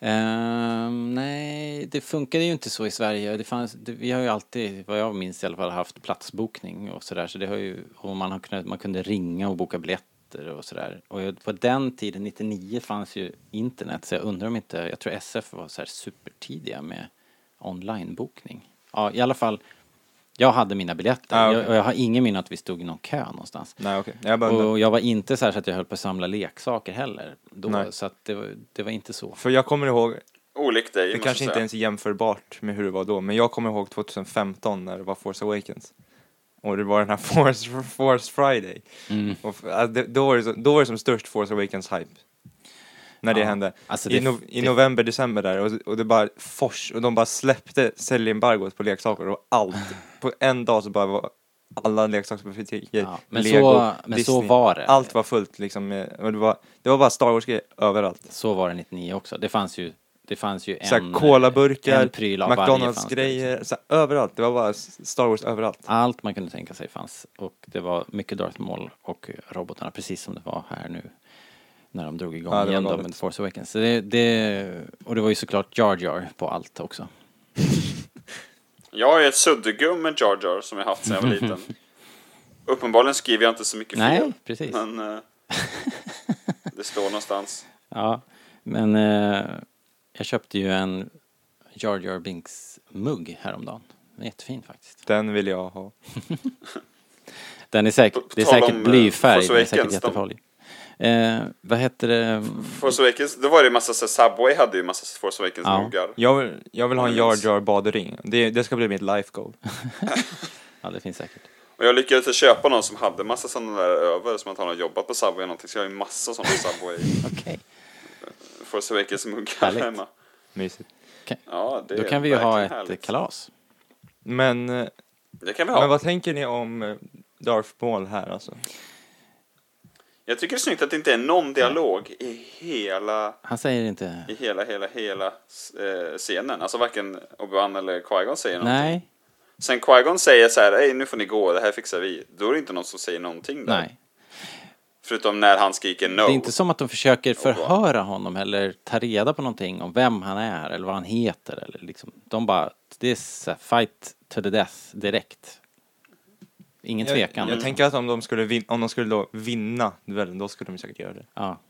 Speaker 1: Ehm, nej, det funkade ju inte så i Sverige. Det fanns, det, vi har ju alltid, vad jag minns i alla fall, haft platsbokning och sådär. Så det har ju, och man, har kunnat, man kunde ringa och boka biljetter och sådär. Och jag, på den tiden, 99, fanns ju internet. Så jag undrar om inte, jag tror SF var så här supertidiga med onlinebokning. Ja, i alla fall, jag hade mina biljetter.
Speaker 3: Ah, okej.
Speaker 1: jag, och jag har ingen minne att vi stod i någon kö någonstans.
Speaker 3: Nej, okej. Jag bara undrar.
Speaker 1: Och jag var inte så här så att jag höll på att samla leksaker heller. Då,
Speaker 3: Nej.
Speaker 1: så att det, var- det var inte så.
Speaker 3: För jag kommer ihåg,
Speaker 4: Olikt dig,
Speaker 3: det
Speaker 4: måste
Speaker 3: kanske
Speaker 4: jag
Speaker 3: inte
Speaker 4: säga.
Speaker 3: ens är jämförbart med hur det var då, men jag kommer ihåg 2015 när det var Force Awakens. Och det var den här Force, Force Friday.
Speaker 1: Mm.
Speaker 3: Och, f- alltså, det, då, var det, så- då var det som störst Force Awakens-hype. När det
Speaker 1: Ja,
Speaker 3: hände.
Speaker 1: alltså
Speaker 3: I,
Speaker 1: det-
Speaker 3: no, I
Speaker 1: det-
Speaker 3: november, december där. Och, och det bara fors. Och de bara släppte säljembargot på leksaker och allt. på en dag så bara var alla leksaksbutiker.
Speaker 1: Ja, men
Speaker 3: Lego,
Speaker 1: så- men så
Speaker 3: Disney.
Speaker 1: var det.
Speaker 3: Allt var fullt liksom. med- Och det, var, det var bara Star Wars-grejer överallt.
Speaker 1: Så var det 99 också. Det fanns ju, det fanns ju
Speaker 3: Såhär
Speaker 1: en... en
Speaker 3: colaburkar,
Speaker 1: pryl av varje liksom. fanns det,
Speaker 3: McDonalds-grejer, såhär överallt. Det var bara s- Star Wars överallt.
Speaker 1: Allt man kunde tänka sig fanns. Och det var mycket Darth Maul och robotarna, precis som det var här nu. När de drog igång
Speaker 3: Ja, det var
Speaker 1: igen då
Speaker 3: galet.
Speaker 1: med The Force Awakens. Så det, det, och det var ju såklart Jar Jar på allt också.
Speaker 4: Jag har ju ett suddgum med Jar Jar som jag haft sedan jag var liten. Uppenbarligen skriver jag inte så mycket
Speaker 1: Nej,
Speaker 4: fel.
Speaker 1: precis.
Speaker 4: Men eh, det står någonstans.
Speaker 1: Ja, men eh, jag köpte ju en Jar Jar Binks-mugg häromdagen. Den är Jättefin faktiskt.
Speaker 3: Den vill jag ha.
Speaker 1: Den är säkert,
Speaker 4: På- på
Speaker 1: det är
Speaker 4: tal
Speaker 1: säkert
Speaker 4: om, eh,
Speaker 1: blyfärg,
Speaker 4: Force
Speaker 1: den är säkert
Speaker 4: Awakens, de-
Speaker 1: jättefarlig. Eh, vad heter det?
Speaker 4: Force Awakens, då var det ju massa så här, Subway hade ju massa Force
Speaker 1: Ja.
Speaker 4: Awakens-muggar.
Speaker 3: Jag vill, jag vill ha en
Speaker 4: Ja, det
Speaker 3: Jar
Speaker 4: minns.
Speaker 3: Jar badring. Det, det ska bli mitt life goal.
Speaker 1: Ja, det finns säkert.
Speaker 4: Och jag lyckades köpa någon som hade massa sådana där över som antagligen har jobbat på Subway eller någonting. Så jag har ju massa sådana Subway
Speaker 1: Okej.
Speaker 4: Force Awakens-muggar
Speaker 1: Härligt.
Speaker 4: hemma.
Speaker 3: Mysigt.
Speaker 4: Ja, det
Speaker 1: Då
Speaker 4: är
Speaker 1: kan vi ju ha ett
Speaker 4: verkligen härligt.
Speaker 1: kalas.
Speaker 3: Men, eh,
Speaker 4: Det kan vi
Speaker 3: men
Speaker 4: ha.
Speaker 3: vad tänker ni om eh, Darth Maul här alltså?
Speaker 4: Jag tycker det är snyggt att det inte är någon dialog i hela
Speaker 1: Han säger inte...
Speaker 4: i hela, hela, hela eh, scenen. Alltså varken Obi-Wan eller Qui-Gon säger någonting.
Speaker 1: Nej,
Speaker 4: Sen Qui-Gon säger så här, "Ey, nu får ni gå, det här fixar vi. Då är det inte någon som säger någonting där.
Speaker 1: nej.
Speaker 4: Förutom när han skriker no.
Speaker 1: Det är inte som att de försöker förhöra honom eller ta reda på någonting om vem han är eller vad han heter. Eller liksom. De bara, det är så här, fight to the death direkt. Ingen
Speaker 3: Jag,
Speaker 1: tvekan.
Speaker 3: jag
Speaker 1: liksom.
Speaker 3: tänker att om de skulle, vin- om de skulle då vinna duellen, då skulle de säkert göra det.
Speaker 1: Ja.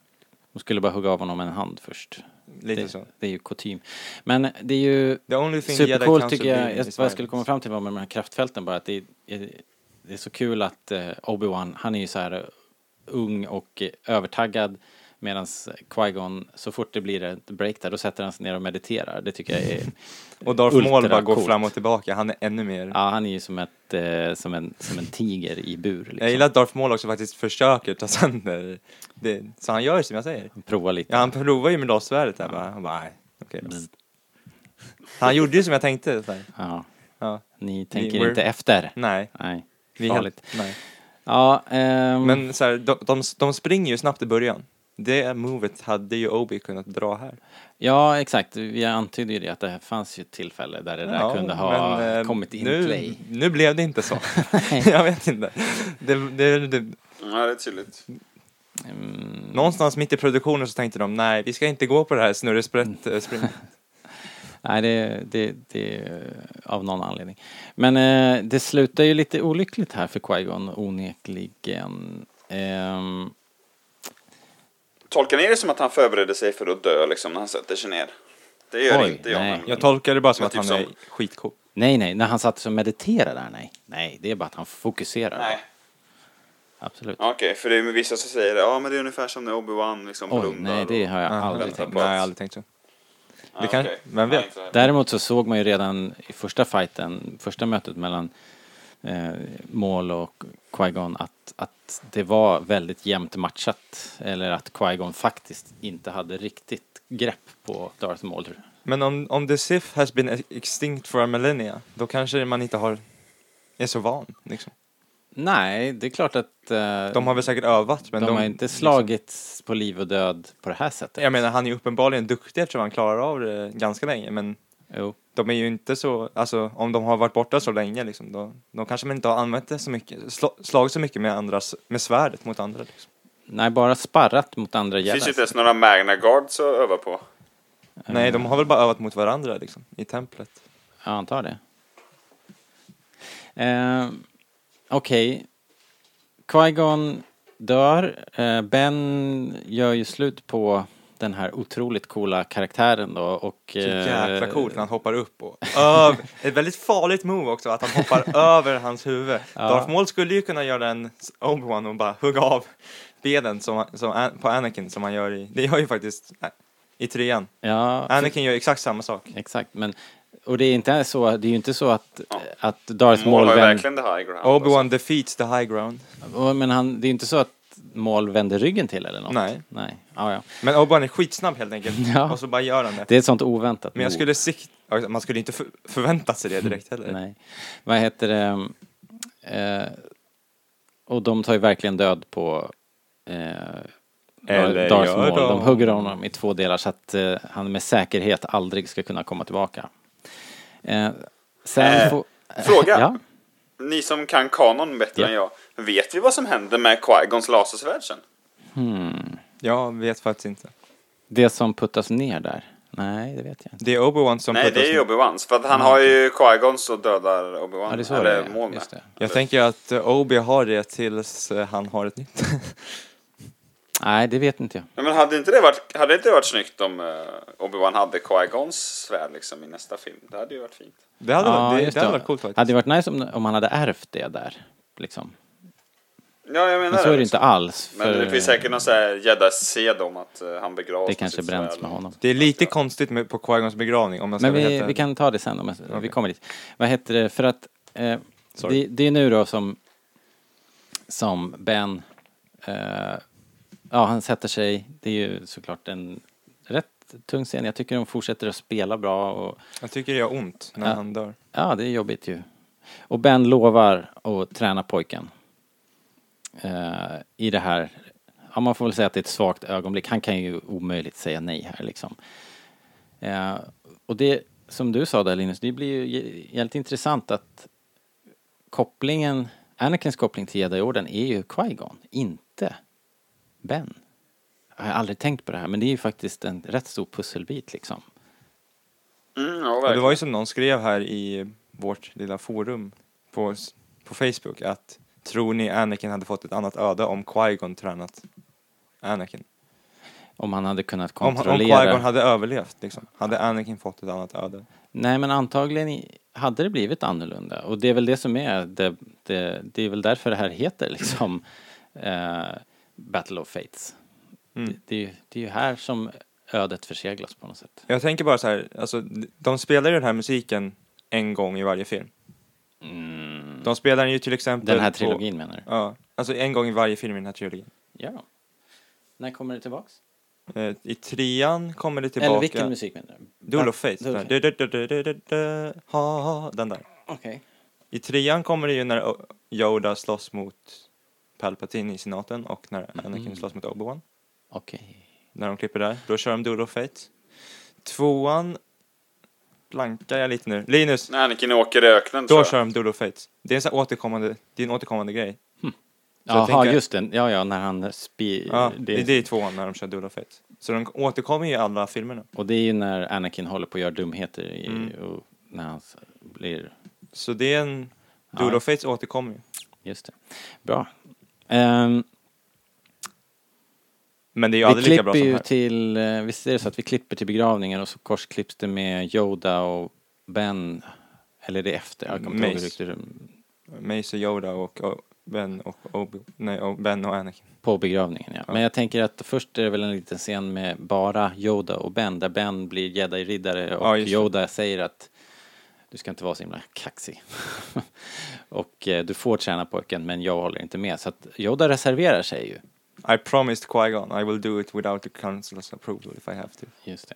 Speaker 1: De skulle bara hugga av honom en hand först.
Speaker 3: Lite
Speaker 1: det,
Speaker 3: så.
Speaker 1: det är ju kutym. Men det är ju
Speaker 3: The only thing Jedi
Speaker 1: supercoolt
Speaker 3: can
Speaker 1: tycker
Speaker 3: subdue
Speaker 1: jag. jag
Speaker 3: is
Speaker 1: vad jag skulle
Speaker 3: violence.
Speaker 1: komma fram till var med de här kraftfälten bara att det är, det är så kul att eh, Obi-Wan, han är ju så här eh, ung och eh, övertaggad medan Qui-Gon, så fort det blir ett break där, då sätter han sig ner och mediterar. Det tycker jag är...
Speaker 3: Och Darth Maul bara går
Speaker 1: ultracoolt.
Speaker 3: fram och tillbaka, han är ännu mer...
Speaker 1: Ja, han är ju som, ett, eh, som, en, som en tiger i bur. Liksom.
Speaker 3: Jag gillar att Darth Maul också faktiskt försöker ta sönder det, så han gör som jag säger.
Speaker 1: Prova lite.
Speaker 3: Ja, han provar ju med lasersvärdet där bara, han bara, nej, okej. då." Han gjorde ju som jag tänkte. Så här.
Speaker 1: Ja.
Speaker 3: Ja,
Speaker 1: Ni tänker
Speaker 3: we're-
Speaker 1: inte efter.
Speaker 3: nej.
Speaker 1: Nej.
Speaker 3: Vi är
Speaker 1: Farligt.
Speaker 3: helt, nej.
Speaker 1: Ja, ehm,
Speaker 3: Men så här, de, de, de springer ju snabbt i början. Det movet hade ju Obi kunnat dra här.
Speaker 1: ja, exakt. Vi antydde ju det att det här fanns ju ett tillfälle där det där
Speaker 3: Ja,
Speaker 1: kunde ha
Speaker 3: men, eh,
Speaker 1: kommit in
Speaker 3: nu,
Speaker 1: play.
Speaker 3: Nu blev det inte så. jag vet inte. Det, det, det,
Speaker 4: Ja, det är tydligt.
Speaker 3: någonstans mitt i produktionen så tänkte de, nej, vi ska inte gå på det här snurresprätt
Speaker 1: Mm.
Speaker 3: eh, springet.
Speaker 1: Nej, det, det, det är av någon anledning. Men eh, det slutar ju lite olyckligt här för Qui-Gon, onekligen. Ehm,
Speaker 4: Tolkar ni det som att han förbereder sig för att dö liksom när han sätter sig ner? Det gör
Speaker 1: Oj,
Speaker 4: inte jag.
Speaker 1: nej.
Speaker 4: nämligen.
Speaker 3: Jag tolkar det bara som
Speaker 4: Men
Speaker 3: att
Speaker 4: typ
Speaker 3: han är
Speaker 4: som-
Speaker 3: skitcool.
Speaker 1: nej, nej, när han satt sig och mediterade där, nej. Nej, det är bara att han fokuserar.
Speaker 4: Nej.
Speaker 1: Absolut.
Speaker 4: Okej, för det är vissa som säger ja men det är ungefär som när Obi-Wan liksom
Speaker 1: Oj,
Speaker 4: blundar
Speaker 1: nej, det
Speaker 4: och-
Speaker 1: har jag
Speaker 3: Aha.
Speaker 1: aldrig tänkt.
Speaker 4: tänkt på.
Speaker 3: Nej, jag har aldrig tänkt så.
Speaker 4: Ja,
Speaker 3: det kan-
Speaker 4: Ah, okej.
Speaker 3: vem
Speaker 4: Nej,
Speaker 3: vet?
Speaker 4: inte heller.
Speaker 1: Däremot så såg man ju redan i första fighten, första mötet mellan eh, Maul och Qui-Gon att, att det var väldigt jämnt matchat. Eller att Qui-Gon faktiskt inte hade riktigt grepp på Darth Maul.
Speaker 3: Men om, om the Sith has been e- extinct for a millennia, då kanske man inte har, är så van. Liksom.
Speaker 1: Nej, det är klart att eh,
Speaker 3: De har väl säkert övat, men
Speaker 1: de,
Speaker 3: de, liksom-
Speaker 1: har inte slagits på liv och död på det här sättet.
Speaker 3: Jag menar, han är ju uppenbarligen duktig eftersom han klarar av det ganska länge, men
Speaker 1: Jo.
Speaker 3: de är ju inte så, alltså om de har varit borta så länge liksom, då, då kanske man inte har använt det så mycket, sl- slagit så mycket med andras, med svärdet mot andra liksom.
Speaker 1: Nej, bara sparrat mot andra
Speaker 4: Det finns ju
Speaker 1: jävlar.
Speaker 4: inte ens några Magna Guards att öva på.
Speaker 1: Mm.
Speaker 3: Nej, de har väl bara övat mot varandra liksom, i templet.
Speaker 1: Jag antar det. Eh, Okej. Qui-Gon dör. Eh, ben gör ju slut på den här otroligt coola karaktären då och...
Speaker 3: Så
Speaker 1: eh,
Speaker 3: jäkla coolt när han hoppar upp och över, ett väldigt farligt move också, att han hoppar över hans huvud. Darth Maul skulle ju kunna göra en s- Obi-Wan och bara hugga av benen som, han- som, An- på Anakin som han gör i, det gör ju faktiskt äh, i trean.
Speaker 1: Ja,
Speaker 3: Anakin gör ju exakt samma sak.
Speaker 1: exakt. Men, och det är, inte så, det är ju inte så att,
Speaker 4: Ja.
Speaker 1: att
Speaker 3: Mm,
Speaker 1: Darth
Speaker 4: Mål
Speaker 1: Maul...
Speaker 4: har ju
Speaker 1: Vänd,
Speaker 4: verkligen det high ground. alltså.
Speaker 3: Obi-Wan defeats the high ground.
Speaker 1: men han, det är ju inte så att Maul vänder ryggen till eller något.
Speaker 3: Nej.
Speaker 1: Nej. Ja, ja.
Speaker 3: Men Obi-Wan är skitsnabb helt enkelt,
Speaker 1: Ja.
Speaker 3: och så bara gör han det.
Speaker 1: Det är ett sånt oväntat
Speaker 3: Men jag
Speaker 1: move.
Speaker 3: skulle alltså,
Speaker 1: Mm,
Speaker 3: sikt... ja, Man skulle inte för, förvänta sig det direkt heller.
Speaker 1: Nej. Vad heter det? Eh, och de tar ju verkligen död på eh,
Speaker 3: Eller
Speaker 1: Darth
Speaker 3: gör
Speaker 1: Maul. De.
Speaker 3: de?
Speaker 1: hugger honom i två delar så att eh, han med säkerhet aldrig ska kunna komma tillbaka. Eh, sen
Speaker 4: Eh,
Speaker 1: får-
Speaker 4: fråga.
Speaker 1: ja,
Speaker 4: Ni som kan kanon bättre
Speaker 1: Ja.
Speaker 4: än jag, vet vi vad som hände med Qui-Gons lasersvärd sen?
Speaker 3: Jag vet faktiskt inte.
Speaker 1: det som puttas ner där. Nej, det vet jag inte.
Speaker 3: Det är Obi-Wan som
Speaker 4: Nej,
Speaker 3: puttar
Speaker 4: det är ju
Speaker 3: oss-
Speaker 4: Obi-Wans, för att han har ju Qui-Gons och dödar Obi-Wan.
Speaker 1: Ja, det är så det
Speaker 4: eller
Speaker 1: är.
Speaker 4: mål med.
Speaker 1: Just det.
Speaker 3: Jag tänker att eh, Obi har det tills eh, han har ett nytt.
Speaker 1: Nej, det vet inte jag.
Speaker 4: Ja, men hade inte det varit, hade inte det varit snyggt om eh, Obi-Wan hade Qui-Gons svärd liksom i nästa film? Det hade ju varit fint.
Speaker 3: Det hade, varit, det,
Speaker 1: just
Speaker 3: det hade varit coolt faktiskt.
Speaker 1: Hade det varit nice om, om han hade ärvt det där. Liksom.
Speaker 4: Ja, jag menar
Speaker 1: Men så är det
Speaker 4: liksom.
Speaker 1: inte alls.
Speaker 4: Men
Speaker 1: för
Speaker 4: det finns säkert någon sån här jedi-sed om att eh, han begravs
Speaker 1: det
Speaker 4: med
Speaker 1: kanske
Speaker 4: sitt
Speaker 1: bränns
Speaker 4: svärd.
Speaker 1: med honom.
Speaker 3: Det är lite konstigt med, på Qui-Gons begravning om man ska
Speaker 1: Men
Speaker 3: vara
Speaker 1: vi,
Speaker 3: helt
Speaker 1: vi
Speaker 3: ärlig.
Speaker 1: kan ta det sen om jag, vi
Speaker 3: Okej.
Speaker 1: kommer dit. Vad heter det, för att eh,
Speaker 3: Sorry.
Speaker 1: det, det är nu då som, som Ben, eh, ja han sätter sig, det är ju såklart en rätt tung scen. Jag tycker de fortsätter att spela bra och
Speaker 3: Jag tycker det gör ont när
Speaker 1: Ja.
Speaker 3: han dör.
Speaker 1: ja det är jobbigt ju. Och Ben lovar att träna pojken eh, i det här, ja man får väl säga att det är ett svagt ögonblick. Han kan ju omöjligt säga nej här liksom. Eh, och det som du sa där Linus, det blir ju jä- jävligt intressant att kopplingen, Anakins koppling till Jedi-orden är ju Qui-Gon, inte Ben. Jag har aldrig tänkt på det här, men det är ju faktiskt en rätt stor pusselbit liksom.
Speaker 4: Mm, ja,
Speaker 3: Och det
Speaker 4: verkligen.
Speaker 3: var ju som någon skrev här i vårt lilla forum på, s- på Facebook att tror ni Anakin hade fått ett annat öde om Qui-Gon tränat Anakin?
Speaker 1: Om han hade kunnat
Speaker 3: Om,
Speaker 1: kontrollera...
Speaker 3: om Qui-Gon hade överlevt liksom, hade Anakin fått ett annat öde?
Speaker 1: Nej, men antagligen i- hade det blivit annorlunda. Och det är väl det som är, det, det, det är väl därför det här heter liksom eh, Battle of Fates.
Speaker 3: Mm.
Speaker 1: Det, det, är ju- det är ju här som ödet förseglas på något sätt.
Speaker 3: Jag tänker bara så här, alltså, de spelar ju den här musiken en gång i varje film. De spelar den ju till exempel
Speaker 1: Mm. Den här
Speaker 3: på-
Speaker 1: trilogin menar du?
Speaker 3: Ja, alltså en gång i varje film i den här trilogin.
Speaker 1: Ja. När kommer det tillbaks?
Speaker 3: Eh, I trean kommer det tillbaka...
Speaker 1: Eller vilken musik menar du?
Speaker 3: Duel of Fate.
Speaker 1: Duel of
Speaker 3: Den där. Du- du- du- du- du- du- ha- ha- Den där.
Speaker 1: Okej.
Speaker 3: I trean kommer det ju när O- Yoda slåss mot Palpatine i senaten och när
Speaker 1: Mm.
Speaker 3: Anakin slåss mot Obi-Wan.
Speaker 1: Okej.
Speaker 3: När de klipper där, då kör de Duel of Fate. Tvåan blankar jag lite nu. Linus,
Speaker 4: När Anakin åker i öknen
Speaker 3: då
Speaker 4: tror
Speaker 3: kör
Speaker 4: jag.
Speaker 3: de Duel of Fate. Det är en, sån här återkommande, det är en återkommande grej. jag
Speaker 1: Jaha,
Speaker 3: tänker-
Speaker 1: just det. Ja, ja, när han spyr.
Speaker 3: Ja, det, det är i tvåan när de kör Duel of Fate. Så de återkommer ju i alla filmerna.
Speaker 1: Och det är ju när Anakin håller på att göra dumheter i,
Speaker 3: Mm.
Speaker 1: och när han s- blir
Speaker 3: Så det är en... Duel
Speaker 1: Ja.
Speaker 3: of Fates återkommer ju.
Speaker 1: Just det. Bra. Ehm,
Speaker 3: Men det är ju
Speaker 1: vi
Speaker 3: aldrig lika
Speaker 1: klipper
Speaker 3: bra som
Speaker 1: ju
Speaker 3: här.
Speaker 1: till, eh, visst är det så att vi klipper till begravningen och så korsklipps det med Yoda och Ben, eller är det efter? Jag kommer inte ihåg
Speaker 3: Mace.
Speaker 1: riktigt.
Speaker 3: Mace och Yoda och O- Ben och Obi... Nej, O- Ben och Anakin.
Speaker 1: På begravningen ja. Men jag tänker att först är det väl en liten scen med bara Yoda och Ben, där Ben blir jedi-riddare och
Speaker 3: Ja, just det.
Speaker 1: Yoda säger att du ska inte vara så himla kaxig. och eh, du får träna pojken men jag håller inte med. Så att Yoda reserverar sig ju.
Speaker 3: I promised Qui-Gon I will do it without the council's approval if I have to.
Speaker 1: Just det.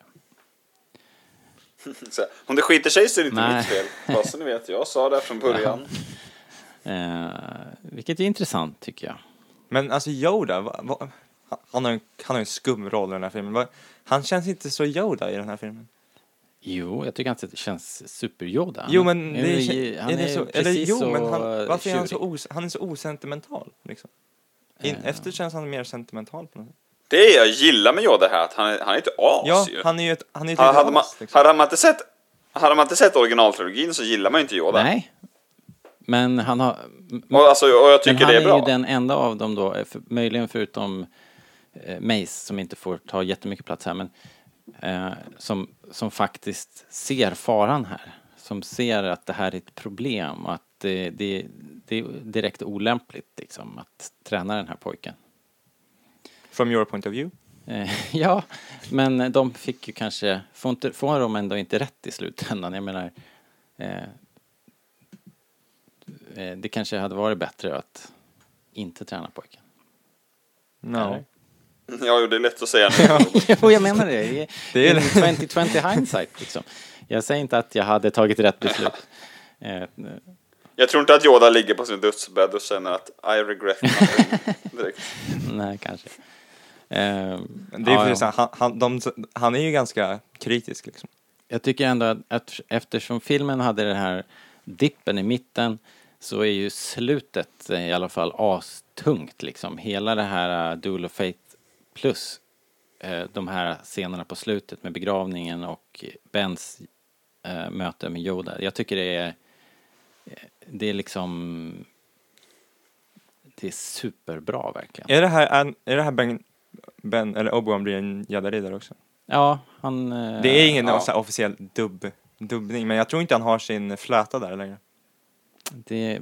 Speaker 4: Så här, Om det skiter sig så är det inte
Speaker 1: Nej.
Speaker 4: mitt fel. Bara så ni vet, jag sa det här från början.
Speaker 1: Eh, vilket är intressant tycker jag.
Speaker 3: Men alltså Yoda, va, va, han, har en, han har en skum roll i den här filmen. Va, han känns inte så Yoda i den här filmen.
Speaker 1: Jo, jag tycker han ser- känns super-Yoda.
Speaker 3: Jo men
Speaker 1: Han
Speaker 3: det är,
Speaker 1: ju-
Speaker 3: är, det så, eller,
Speaker 1: precis
Speaker 3: jo,
Speaker 1: så
Speaker 3: men han, varför är han så,
Speaker 1: tjurig. Eh.
Speaker 3: os, han är så osentimental liksom? In, Efter känns han mer sentimental på något sätt.
Speaker 4: Det är jag gillar med Yoda här, att han är, han är inte as
Speaker 3: Ja,
Speaker 4: ju.
Speaker 3: han är ju ett, han är ju ett
Speaker 4: Ha- hade,
Speaker 3: as,
Speaker 4: man,
Speaker 3: liksom.
Speaker 4: hade, man inte sett, hade man inte sett originaltrilogin så gillar man ju inte Yoda.
Speaker 1: Nej. Men han har...
Speaker 4: Och, alltså, och jag
Speaker 1: men
Speaker 4: tycker
Speaker 1: han
Speaker 4: det är
Speaker 1: är,
Speaker 4: bra.
Speaker 1: ju den enda av dem då, eh, för, möjligen förutom eh, Mace som inte får ta jättemycket plats här, men eh, som, som faktiskt ser faran här. Som ser att det här är ett problem och att det, det, det är direkt olämpligt liksom, att träna den här pojken.
Speaker 3: From your point of view.
Speaker 1: Eh, Ja, men de fick ju kanske, får, inte, får de ändå inte rätt i slutändan? Jag menar, eh, eh, det kanske hade varit bättre att inte träna pojken.
Speaker 3: No.
Speaker 1: Eller?
Speaker 4: Ja, jo, det är lätt att säga nu.
Speaker 1: Jo, jag menar det. Det är,
Speaker 3: Det är-
Speaker 1: det är 2020 hindsight liksom. Jag säger inte att jag hade tagit rätt beslut. Eh,
Speaker 4: Jag tror inte att Yoda ligger på sin dödsbädd och känner att I regret nothing direkt.
Speaker 1: Nej, kanske. Ehm,
Speaker 3: Men Det är
Speaker 1: ja,
Speaker 3: ju
Speaker 1: ja.
Speaker 3: så här, han, han, de, han är ju ganska kritisk liksom.
Speaker 1: Jag tycker ändå att, att eftersom filmen hade den här dippen i mitten så är ju slutet eh, i alla fall astungt liksom. Hela det här eh, Duel of Fate plus eh, de här scenerna på slutet med begravningen och Bens eh, möte med Yoda. Jag tycker det är, eh, det är liksom, det är superbra verkligen.
Speaker 3: Är det här, är, är det här ben, ben, eller Obi-Wan blir en jedi-riddare också?
Speaker 1: Ja, han... eh,
Speaker 3: Det är ingen
Speaker 4: ja.
Speaker 3: så här, officiell dubb, dubbning, men jag tror inte han har sin fläta där längre.
Speaker 1: Det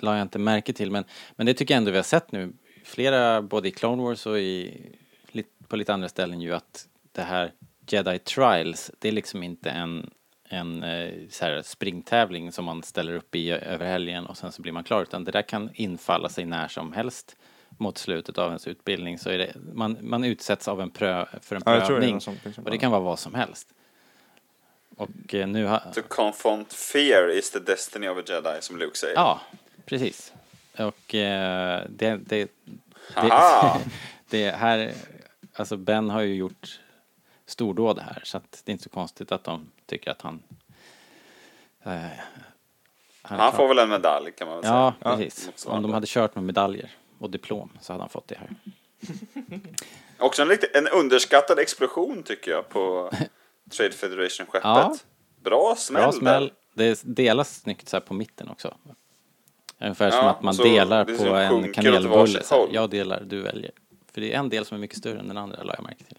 Speaker 1: la jag inte märke till, men, men det tycker jag ändå vi har sett nu. Flera, både i Clone Wars och i, lit- på lite andra ställen ju att det här Jedi Trials, det är liksom inte en, en eh, så här springtävling som man ställer upp i ö- över helgen och sen så blir man klar, utan det där kan infalla sig när som helst mot slutet av ens utbildning så är det, man, man utsätts av en prö, för en
Speaker 3: Ja, jag tror det är
Speaker 1: prövning
Speaker 3: något sånt, liksom.
Speaker 1: och det kan vara vad som helst. Och eh, nu har...
Speaker 4: To confront fear is the destiny of a jedi, som Luke säger.
Speaker 1: Ja, precis. Och eh, det, det, det,
Speaker 4: Haha!
Speaker 1: det här, alltså Ben har ju gjort stordåd här så att det är inte så konstigt att de tycker att han... eh, han är
Speaker 4: Han
Speaker 1: klar.
Speaker 4: får väl en medalj kan man väl
Speaker 1: Ja,
Speaker 4: säga.
Speaker 1: precis. Om
Speaker 4: motsvarande.
Speaker 1: de hade kört med medaljer och diplom så hade han fått det här.
Speaker 4: Också en, riktig, en underskattad explosion tycker jag på Trade Federation-skeppet.
Speaker 1: Ja.
Speaker 4: Bra smäll
Speaker 1: Bra
Speaker 4: där.
Speaker 1: smäll. Det delas snyggt så här på mitten också. Ungefär som
Speaker 4: Ja,
Speaker 1: att man
Speaker 4: så
Speaker 1: delar
Speaker 4: det
Speaker 1: på
Speaker 4: som sjunker
Speaker 1: en
Speaker 4: åt varsitt
Speaker 1: kanelbulle. Så här,
Speaker 4: håll.
Speaker 1: jag delar, du väljer. För det är en del som är mycket större än den andra, la jag märke till.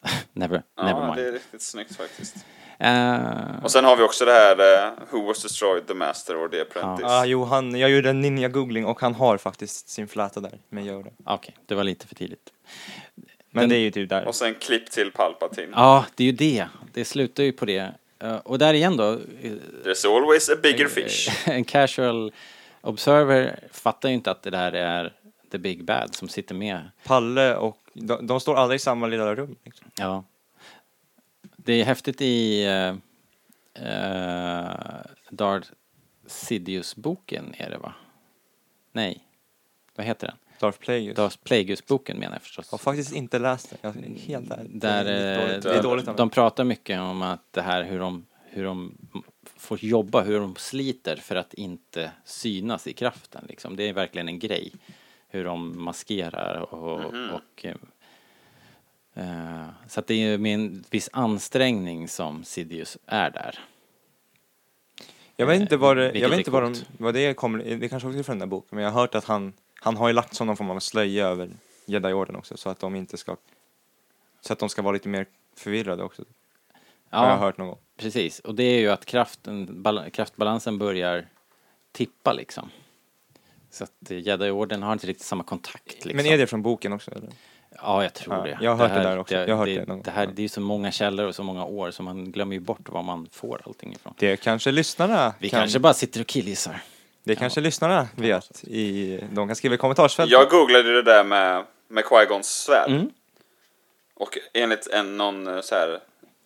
Speaker 1: never, never
Speaker 4: Ja,
Speaker 1: mind.
Speaker 4: det är riktigt snyggt faktiskt.
Speaker 1: Eh,
Speaker 4: Och sen har vi också det här eh, Who was destroyed the master or the apprentice.
Speaker 3: Ah, jo, han, jag gjorde en ninja-googling och han har faktiskt sin fläta där, men gör det.
Speaker 1: Okej, det var lite för tidigt.
Speaker 3: Men det är ju typ där.
Speaker 4: Och sen klipp till Palpatine.
Speaker 1: Ja, det är ju det. Det slutar ju på det. Eh, och där igen då, eh,
Speaker 4: There's always a bigger fish.
Speaker 1: en casual observer fattar ju inte att det där är the big bad som sitter med.
Speaker 3: Palle och, de, de står aldrig i samma lilla rum. Liksom.
Speaker 1: Ja. Det är häftigt i uh, uh, Darth Sidious-boken är det va? Nej, vad heter den?
Speaker 3: Darth Plagueis.
Speaker 1: Darth Plagueis-boken menar jag förstås.
Speaker 3: Jag har faktiskt inte läst den, jag är helt ärlig.
Speaker 1: Där,
Speaker 3: det är
Speaker 1: eh,
Speaker 3: dåligt, det är dåligt av
Speaker 1: de
Speaker 3: mig.
Speaker 1: pratar mycket om att det här hur de, hur de får jobba, hur de sliter för att inte synas i kraften. Liksom. Det är verkligen en grej, hur de maskerar och...
Speaker 3: Mhm.
Speaker 1: och eh, eh, så att det är ju med en viss ansträngning som Sidious är där.
Speaker 3: Jag vet inte vad det, jag
Speaker 1: vilket är
Speaker 3: vet inte vad, de,
Speaker 1: coolt.
Speaker 3: vad det kommer, det kanske också är från den där boken, men jag har hört att han, han har ju lagt sån någon form av slöja över jedi-orden också, så att de inte ska, så att de ska vara lite mer förvirrade också. Har jag hört någon gång.
Speaker 1: Precis, och det är ju att kraften, bal- kraftbalansen börjar tippa liksom. Så att eh, jedi-orden har inte riktigt samma kontakt. Liksom.
Speaker 3: Men är det från boken också? Eller?
Speaker 1: Ja, jag tror
Speaker 3: Ja,
Speaker 1: det.
Speaker 3: jag har hört det där också.
Speaker 1: Det,
Speaker 3: Jag har hört
Speaker 1: det,
Speaker 3: det någon gång.
Speaker 1: det här,
Speaker 3: Ja.
Speaker 1: det är ju så många källor och så många år så man glömmer ju bort var man får allting ifrån.
Speaker 3: Det kanske lyssnarna
Speaker 1: Vi
Speaker 3: kan,
Speaker 1: kanske bara sitter och killgissar.
Speaker 3: det kanske lyssnarna vet. I, de kan skriva i kommentarsfältet.
Speaker 4: Jag googlade det där med, med Qui-Gons svärd.
Speaker 1: Mm.
Speaker 4: Och enligt en, någon eh, så här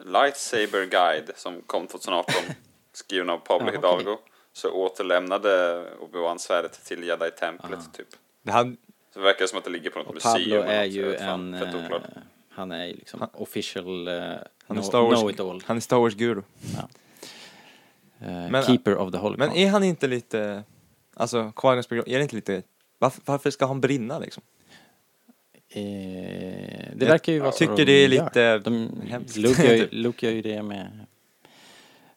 Speaker 4: lightsaber guide som kom 2018, skriven av Pablo
Speaker 1: Ja, okej.
Speaker 4: Hidalgo, så återlämnade Obi-Wan svärdet till Jedi-templet, typ.
Speaker 3: Det här,
Speaker 4: Så det verkar som att det ligger på något museum.
Speaker 1: Ah. Pablo
Speaker 4: eller
Speaker 1: är
Speaker 4: något, jag
Speaker 1: ju
Speaker 4: vet fan,
Speaker 1: en...
Speaker 4: Fett
Speaker 1: eh,
Speaker 4: oklart.
Speaker 1: Han är ju liksom official eh,
Speaker 3: han, är
Speaker 1: know-
Speaker 3: Star Wars,
Speaker 1: know-it-all.
Speaker 3: han är Star Wars-guru.
Speaker 1: Eh,
Speaker 3: men-
Speaker 1: keeper of the Holocaust.
Speaker 3: Men är han inte lite, alltså Quagons program, är det inte lite, varför, varför ska han brinna liksom?
Speaker 1: Eh, det
Speaker 3: Jag
Speaker 1: verkar ju vara så
Speaker 3: tycker
Speaker 1: de
Speaker 3: det är
Speaker 1: gör.
Speaker 3: lite
Speaker 1: De,
Speaker 3: hemskt.
Speaker 1: Luke, gör ju, Luke gör ju det med,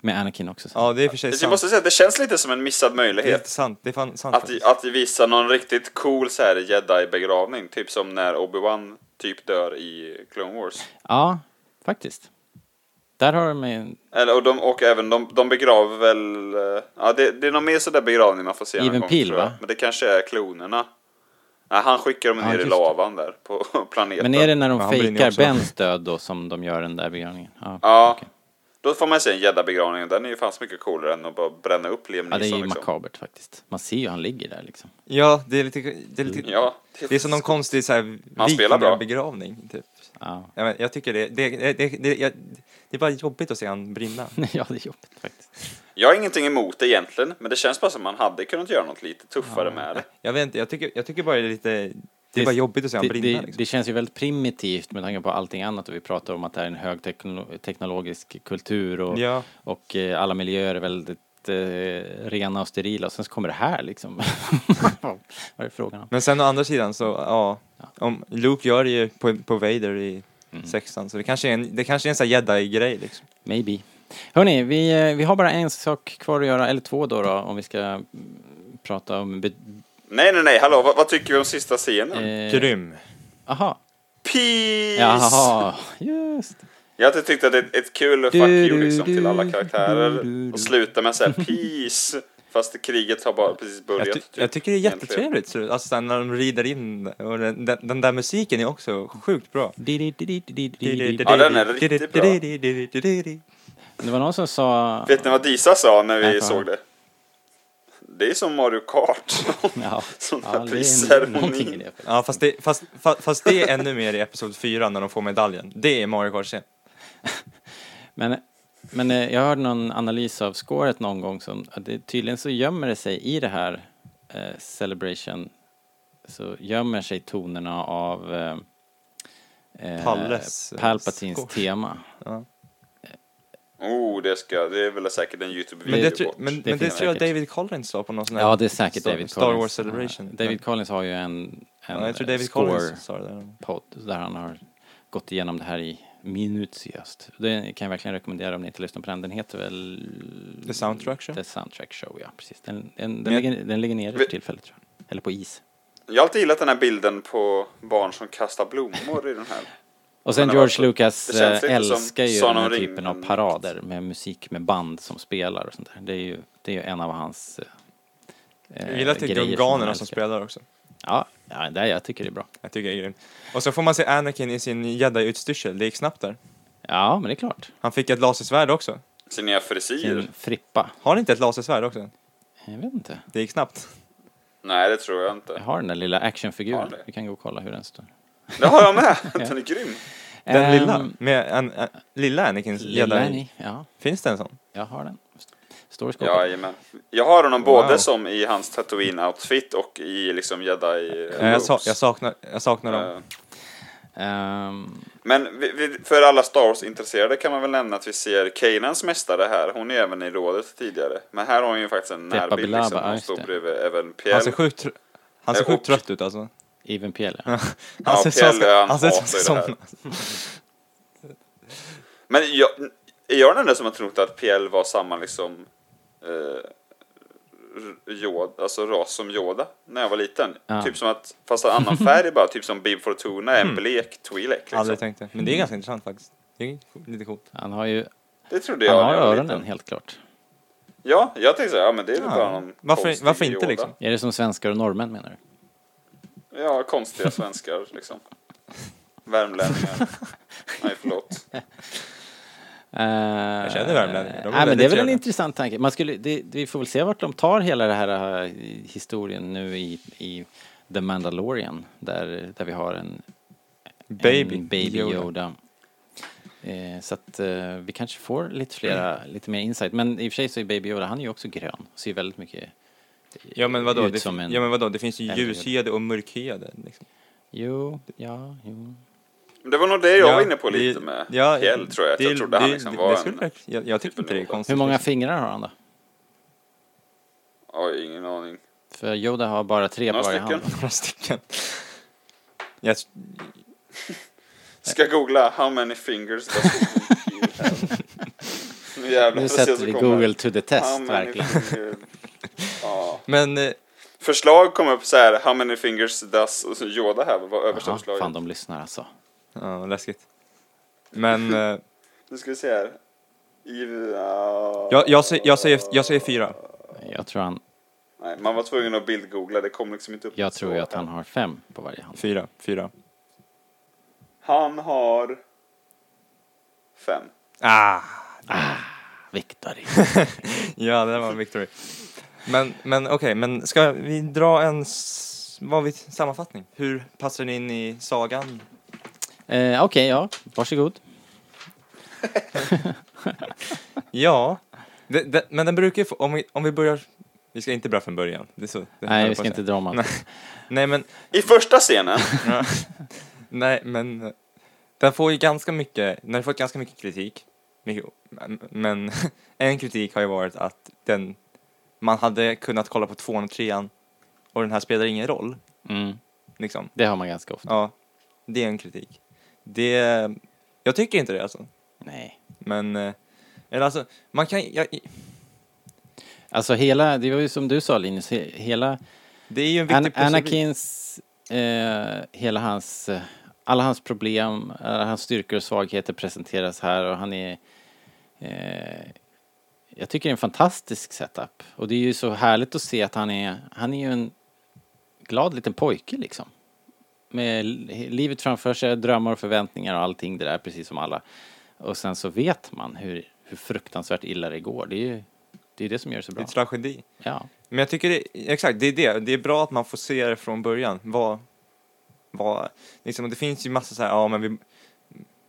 Speaker 1: med Anakin också. Så.
Speaker 3: Ja, det är i och för sig
Speaker 4: Jag
Speaker 3: sant.
Speaker 4: måste säga, det känns lite som en missad
Speaker 3: Det är inte
Speaker 4: möjlighet.
Speaker 3: sant, det är fan sant.
Speaker 4: Att,
Speaker 3: faktiskt.
Speaker 4: att visa någon riktigt cool så här jedi-begravning, typ som när Obi-Wan typ dör i Clone Wars.
Speaker 1: Ja, faktiskt. Där har de en
Speaker 4: Eller, och, de, och även de, de begraver väl... eh, Ja, det, det är någon mer sådär begravning man får se
Speaker 1: Even
Speaker 4: någon gång,
Speaker 1: Peel,
Speaker 4: tror jag.
Speaker 1: va?
Speaker 4: Men det kanske är klonerna. Nej, han skickar dem
Speaker 1: Ja,
Speaker 4: ner i
Speaker 1: just det.
Speaker 4: lavan där på planeten.
Speaker 1: Men är det när de
Speaker 3: Men han brinner
Speaker 1: fejkar
Speaker 3: också.
Speaker 1: Bens död då som de gör den där begravningen? Ja,
Speaker 4: Ja.
Speaker 1: okej.
Speaker 4: Då får man se en gäddabegravning och den är ju fan så mycket coolare än att bara bränna upp Liam
Speaker 1: ja,
Speaker 4: Neeson.
Speaker 1: det är ju
Speaker 4: liksom.
Speaker 1: makabert faktiskt. Man ser ju han ligger där liksom.
Speaker 3: Ja, det är lite, det är lite,
Speaker 4: Ja,
Speaker 3: det är som någon konstig så här
Speaker 4: Han spelar bra.
Speaker 3: begravning typ.
Speaker 1: Ja,
Speaker 3: Jag, vet, jag tycker det, det, det, det, det, jag, det är bara jobbigt att se han brinna.
Speaker 1: ja det är jobbigt faktiskt.
Speaker 4: Jag har ingenting emot det egentligen, men det känns bara som man hade kunnat göra något lite tuffare med det.
Speaker 3: Jag vet inte, jag tycker, jag tycker bara det är lite... Det, är bara jobbigt att se han
Speaker 1: det,
Speaker 3: brinna
Speaker 1: det,
Speaker 3: liksom.
Speaker 1: det känns ju väldigt primitivt med tanke på allting annat och vi pratar om att det här är en hög teknolo- teknologisk kultur och,
Speaker 3: Ja.
Speaker 1: och eh, alla miljöer är väldigt eh, rena och sterila och sen så kommer det här liksom. Vad är det frågan om?
Speaker 3: Men sen å andra sidan så, ja. Om Luke gör det ju på, på Vader i
Speaker 1: Mm.
Speaker 3: sexan, så det kanske är en, det kanske är en sån här jedi-grej liksom.
Speaker 1: Maybe. Hörni, vi, eh, vi har bara en sak kvar att göra, eller två då, då om vi ska mm, prata om... be-
Speaker 4: Nej, nej, nej, hallå, vad, vad tycker vi om sista scenen?
Speaker 1: Eh,
Speaker 3: Grym.
Speaker 1: aha.
Speaker 4: Peace!
Speaker 1: Jaha, just.
Speaker 4: Jag hade tyckt att det är ett kul fuck
Speaker 1: Du,
Speaker 4: you
Speaker 1: du,
Speaker 4: liksom till alla
Speaker 1: du, du,
Speaker 4: karaktärer
Speaker 1: du,
Speaker 4: och
Speaker 1: du.
Speaker 4: sluta med så här peace, fast kriget har bara precis börjat.
Speaker 3: Jag, ty-
Speaker 4: typ,
Speaker 3: jag tycker det är
Speaker 4: egentligen.
Speaker 3: jättetrevligt slut. Alltså sen när de rider in och den, den, den där musiken är också sjukt bra.
Speaker 1: Det
Speaker 4: Ja, den är riktigt bra.
Speaker 1: var någon som sa...
Speaker 4: Vet ni vad Disa sa när vi
Speaker 1: Ja.
Speaker 4: såg det? Det är som Mario Kart.
Speaker 1: Ja,
Speaker 4: Sån
Speaker 1: ja,
Speaker 4: här
Speaker 1: det är
Speaker 4: prisceremoni.
Speaker 1: någonting i det.
Speaker 3: Ja, fast det, fast, fast, fast det är ännu mer i Episod 4 när de får medaljen. Det är Mario Kart-scen.
Speaker 1: Men, men eh, jag hörde någon analys av scoret någon gång som att det, tydligen så gömmer det sig i det här eh, Celebration så gömmer sig tonerna av eh, eh,
Speaker 3: Palles, eh,
Speaker 1: Palpatines
Speaker 3: score.
Speaker 1: tema.
Speaker 4: oh, det, ska, det är väl säkert en YouTube-video
Speaker 3: Men det,
Speaker 4: bort.
Speaker 3: tror- men,
Speaker 1: Det
Speaker 3: men det
Speaker 1: finns
Speaker 3: tror jag
Speaker 1: säkert.
Speaker 3: David Collins sa på någon sån här
Speaker 1: Ja, det är säkert
Speaker 3: Star,
Speaker 1: David
Speaker 3: Star
Speaker 1: Collins.
Speaker 3: Wars Celebration.
Speaker 1: Eh, David Collins har ju en, en
Speaker 3: ja, jag tror
Speaker 1: eh,
Speaker 3: David
Speaker 1: score
Speaker 3: Collins sa det där.
Speaker 1: podd där han har gått igenom det här i minutiöst. Det kan jag verkligen rekommendera om ni inte lyssnar på den. Den heter väl
Speaker 3: The Soundtrack Show.
Speaker 1: The Soundtrack Show, ja precis. Den, den, den,
Speaker 3: Men-
Speaker 1: ligger, den ligger nere för tillfället tror jag. Eller på is.
Speaker 4: Jag har alltid gillat den här bilden på barn som kastar blommor i den här.
Speaker 1: Och sen
Speaker 4: Men
Speaker 1: George
Speaker 4: alltså,
Speaker 1: Lucas
Speaker 4: det känns
Speaker 1: eh,
Speaker 4: lite som
Speaker 1: älskar ju
Speaker 4: Sagan
Speaker 1: den
Speaker 4: om
Speaker 1: här typen av
Speaker 4: ringen.
Speaker 1: parader med musik med band som spelar och sånt där. Det är ju, det är ju en av hans eh,
Speaker 3: Jag gillar att det är
Speaker 1: grejer som
Speaker 3: gunganerna
Speaker 1: han
Speaker 3: som
Speaker 1: älskar.
Speaker 3: spelar också.
Speaker 1: Ja, ja det, jag tycker det är bra.
Speaker 3: Jag tycker det är grymt. Och så får man se Anakin i sin jedi-utstyrsel. Det gick snabbt där.
Speaker 1: Ja, men det är klart.
Speaker 3: Han fick ett lasersvärd också.
Speaker 4: Sin nya frisyr.
Speaker 1: En frippa.
Speaker 3: Har han inte ett lasersvärd också?
Speaker 1: Jag vet inte.
Speaker 3: Det gick snabbt.
Speaker 4: Nej, det tror jag
Speaker 1: Jag
Speaker 4: inte.
Speaker 1: har den där lilla actionfiguren.
Speaker 4: Har du?
Speaker 1: Vi kan gå och kolla hur den står.
Speaker 4: Det har jag med! Den är grym.
Speaker 3: Den
Speaker 1: Ehm,
Speaker 3: lilla? Med en, en, lilla Anakins
Speaker 1: Lilla
Speaker 3: jedi?
Speaker 1: Annie, ja.
Speaker 3: Finns det en sån?
Speaker 1: Jag har den. Står i skåpet.
Speaker 4: Jajamän. Jag har honom både
Speaker 3: Wow.
Speaker 4: som i hans Tatooine-outfit och i liksom jedi
Speaker 3: Nej, Jag, sa, jag saknar, jag saknar dem.
Speaker 4: Eh,
Speaker 1: Ehm,
Speaker 4: Men vi, vi, för alla Star Wars-intresserade kan man väl nämna att vi ser Kanans mästare här. Hon är även i rådet tidigare. Men här har hon ju faktiskt en
Speaker 1: Peppa
Speaker 4: närbild
Speaker 1: Bilaba,
Speaker 4: liksom.
Speaker 1: ja,
Speaker 4: Hon
Speaker 1: just
Speaker 4: står
Speaker 1: det.
Speaker 4: bredvid även
Speaker 3: Han ser
Speaker 4: Pjäll.
Speaker 3: sjukt, tr- han ser
Speaker 4: Eh,
Speaker 3: sjukt
Speaker 4: och-
Speaker 3: trött ut alltså.
Speaker 1: Even Pjäll, ja.
Speaker 4: Ja,
Speaker 3: ser
Speaker 4: Pjäll, han
Speaker 3: han ser ut
Speaker 4: hatar ju det här.
Speaker 3: som
Speaker 4: Men jag, är jag den enda som har trott att PL var samma liksom eh, Yoda, alltså ras som Yoda när jag var liten?
Speaker 1: Ja.
Speaker 4: Typ som att, fast en annan färg bara, typ som Bib Fortuna är en blek Twi'lek liksom.
Speaker 3: Mm. Aldrig tänkt det. Men det är ganska intressant faktiskt. Det är lite coolt.
Speaker 1: Han har ju
Speaker 4: Det trodde jag
Speaker 1: han har
Speaker 4: när jag var
Speaker 1: öronen,
Speaker 4: liten.
Speaker 1: helt klart.
Speaker 4: Ja, jag tänkte så här, ja men det är väl
Speaker 3: Ja.
Speaker 4: bara någon
Speaker 3: Varför-
Speaker 4: konstig
Speaker 3: varför inte,
Speaker 4: Yoda.
Speaker 3: liksom?
Speaker 1: Är det som svenskar och norrmän, menar du?
Speaker 4: Ja, konstiga svenskar liksom. Värmlänningar. Nej, förlåt.
Speaker 1: Jag
Speaker 3: känner värmlänningar, de är
Speaker 1: Ehm, Nej, men
Speaker 3: väldigt
Speaker 1: det är väl en
Speaker 3: trevliga.
Speaker 1: intressant tanke. Man skulle, det, det- vi får väl se vart de tar hela den här eh, historien nu i, i The Mandalorian, där, där vi har en
Speaker 3: Baby,
Speaker 1: en baby
Speaker 3: Yoda.
Speaker 1: Yoda. Eh, så att eh, vi kanske får lite flera, lite mer insight. Men i och för sig så är baby Yoda, han är ju också grön. Ser ju väldigt mycket,
Speaker 3: Ja men vadå,
Speaker 1: Ut
Speaker 3: det,
Speaker 1: som en-
Speaker 3: ja, men vadå? det finns ju
Speaker 1: Äldre.
Speaker 3: ljushyade och mörkhyade. Liksom.
Speaker 1: jo, ja, jo.
Speaker 4: Men Det var nog det jag
Speaker 3: Ja,
Speaker 4: var inne på
Speaker 3: det-
Speaker 4: lite med
Speaker 3: ja,
Speaker 4: Pjäll tror jag. Att
Speaker 3: det-
Speaker 4: jag trodde han
Speaker 3: det-
Speaker 4: liksom
Speaker 3: det-
Speaker 4: var
Speaker 3: det skulle
Speaker 4: en...
Speaker 3: verkligen- Jag, jag tycker inte det är
Speaker 4: Yoda.
Speaker 3: konstigt.
Speaker 1: Hur många
Speaker 3: liksom.
Speaker 1: fingrar har han då?
Speaker 4: Oj, ingen aning.
Speaker 1: För Yoda har bara tre på
Speaker 4: Några
Speaker 1: varje hand.
Speaker 4: stycken.
Speaker 3: Några stycken. Jag,
Speaker 4: Ska googla how many fingers does you have? Nu jävlar,
Speaker 1: Nu
Speaker 4: får se
Speaker 1: sätter
Speaker 4: så
Speaker 1: vi
Speaker 4: kommer-
Speaker 1: Google to the
Speaker 4: How
Speaker 1: test,
Speaker 4: many
Speaker 1: verkligen.
Speaker 4: fingers- Ja.
Speaker 3: men eh,
Speaker 4: Förslag kom upp så här, how many fingers does och så Yoda här var översta
Speaker 1: Jaha,
Speaker 4: förslaget.
Speaker 1: fan, de lyssnar alltså.
Speaker 3: Ja, läskigt. Men eh,
Speaker 4: Nu ska vi se här. Eve- ja.
Speaker 3: jag, jag, säger, jag, säger, jag säger fyra.
Speaker 1: Jag tror, han,
Speaker 4: Nej, man var tvungen att bildgoogla, det kom liksom inte upp.
Speaker 1: jag tror
Speaker 4: så
Speaker 1: ju att
Speaker 4: här.
Speaker 1: han har fem på varje hand.
Speaker 3: Fyra, fyra.
Speaker 4: Han har... Fem.
Speaker 3: Ah,
Speaker 1: Viktor.
Speaker 3: ja, det där var en victory. Men, men okej, men ska vi dra en s- vad vi, sammanfattning? Hur passar den in i sagan?
Speaker 1: eh, Okej, ja. Varsågod.
Speaker 3: Ja, Det, det, men den brukar ju få, om vi, om vi börjar, vi ska inte börja från början. Det är så, det
Speaker 1: Nej,
Speaker 3: höll
Speaker 1: vi
Speaker 3: på
Speaker 1: ska
Speaker 3: att
Speaker 1: inte
Speaker 3: säga.
Speaker 1: dra om allt.
Speaker 3: Nej men,
Speaker 4: I första scenen,
Speaker 3: nej men, eh, den får ju ganska mycket, den har fått ganska mycket kritik. Mycket, men- men en kritik har ju varit att den, man hade kunnat kolla på tvåan och trean och den här spelar ingen roll.
Speaker 1: Mm,
Speaker 3: Liksom.
Speaker 1: det har man ganska ofta.
Speaker 3: Ja, det är en kritik. Det, jag tycker inte det alltså.
Speaker 1: Nej.
Speaker 3: Men, eh, eller alltså, man kan, jag,
Speaker 1: Alltså hela, det var ju som du sa Linus, he- hela
Speaker 3: det är ju en viktig
Speaker 1: An-
Speaker 3: pusselbit.
Speaker 1: Anakins, eh, hela hans, eh, alla hans problem, alla hans styrkor och svagheter presenteras här och han är, eh, jag tycker det är en fantastisk setup. Och det är ju så härligt att se att han är, han är ju en glad liten pojke liksom. Med li- livet framför sig, drömmar och förväntningar och allting det där, precis som alla. Och sen så vet man hur, hur fruktansvärt illa det går. Det är ju det, är det som gör det så
Speaker 3: Det är
Speaker 1: bra.
Speaker 3: en tragedi.
Speaker 1: Ja.
Speaker 3: Men jag tycker det, exakt, det är det. Det är bra att man får se det från början. Vad, vad, liksom, och det finns ju massa så här, ja men vi,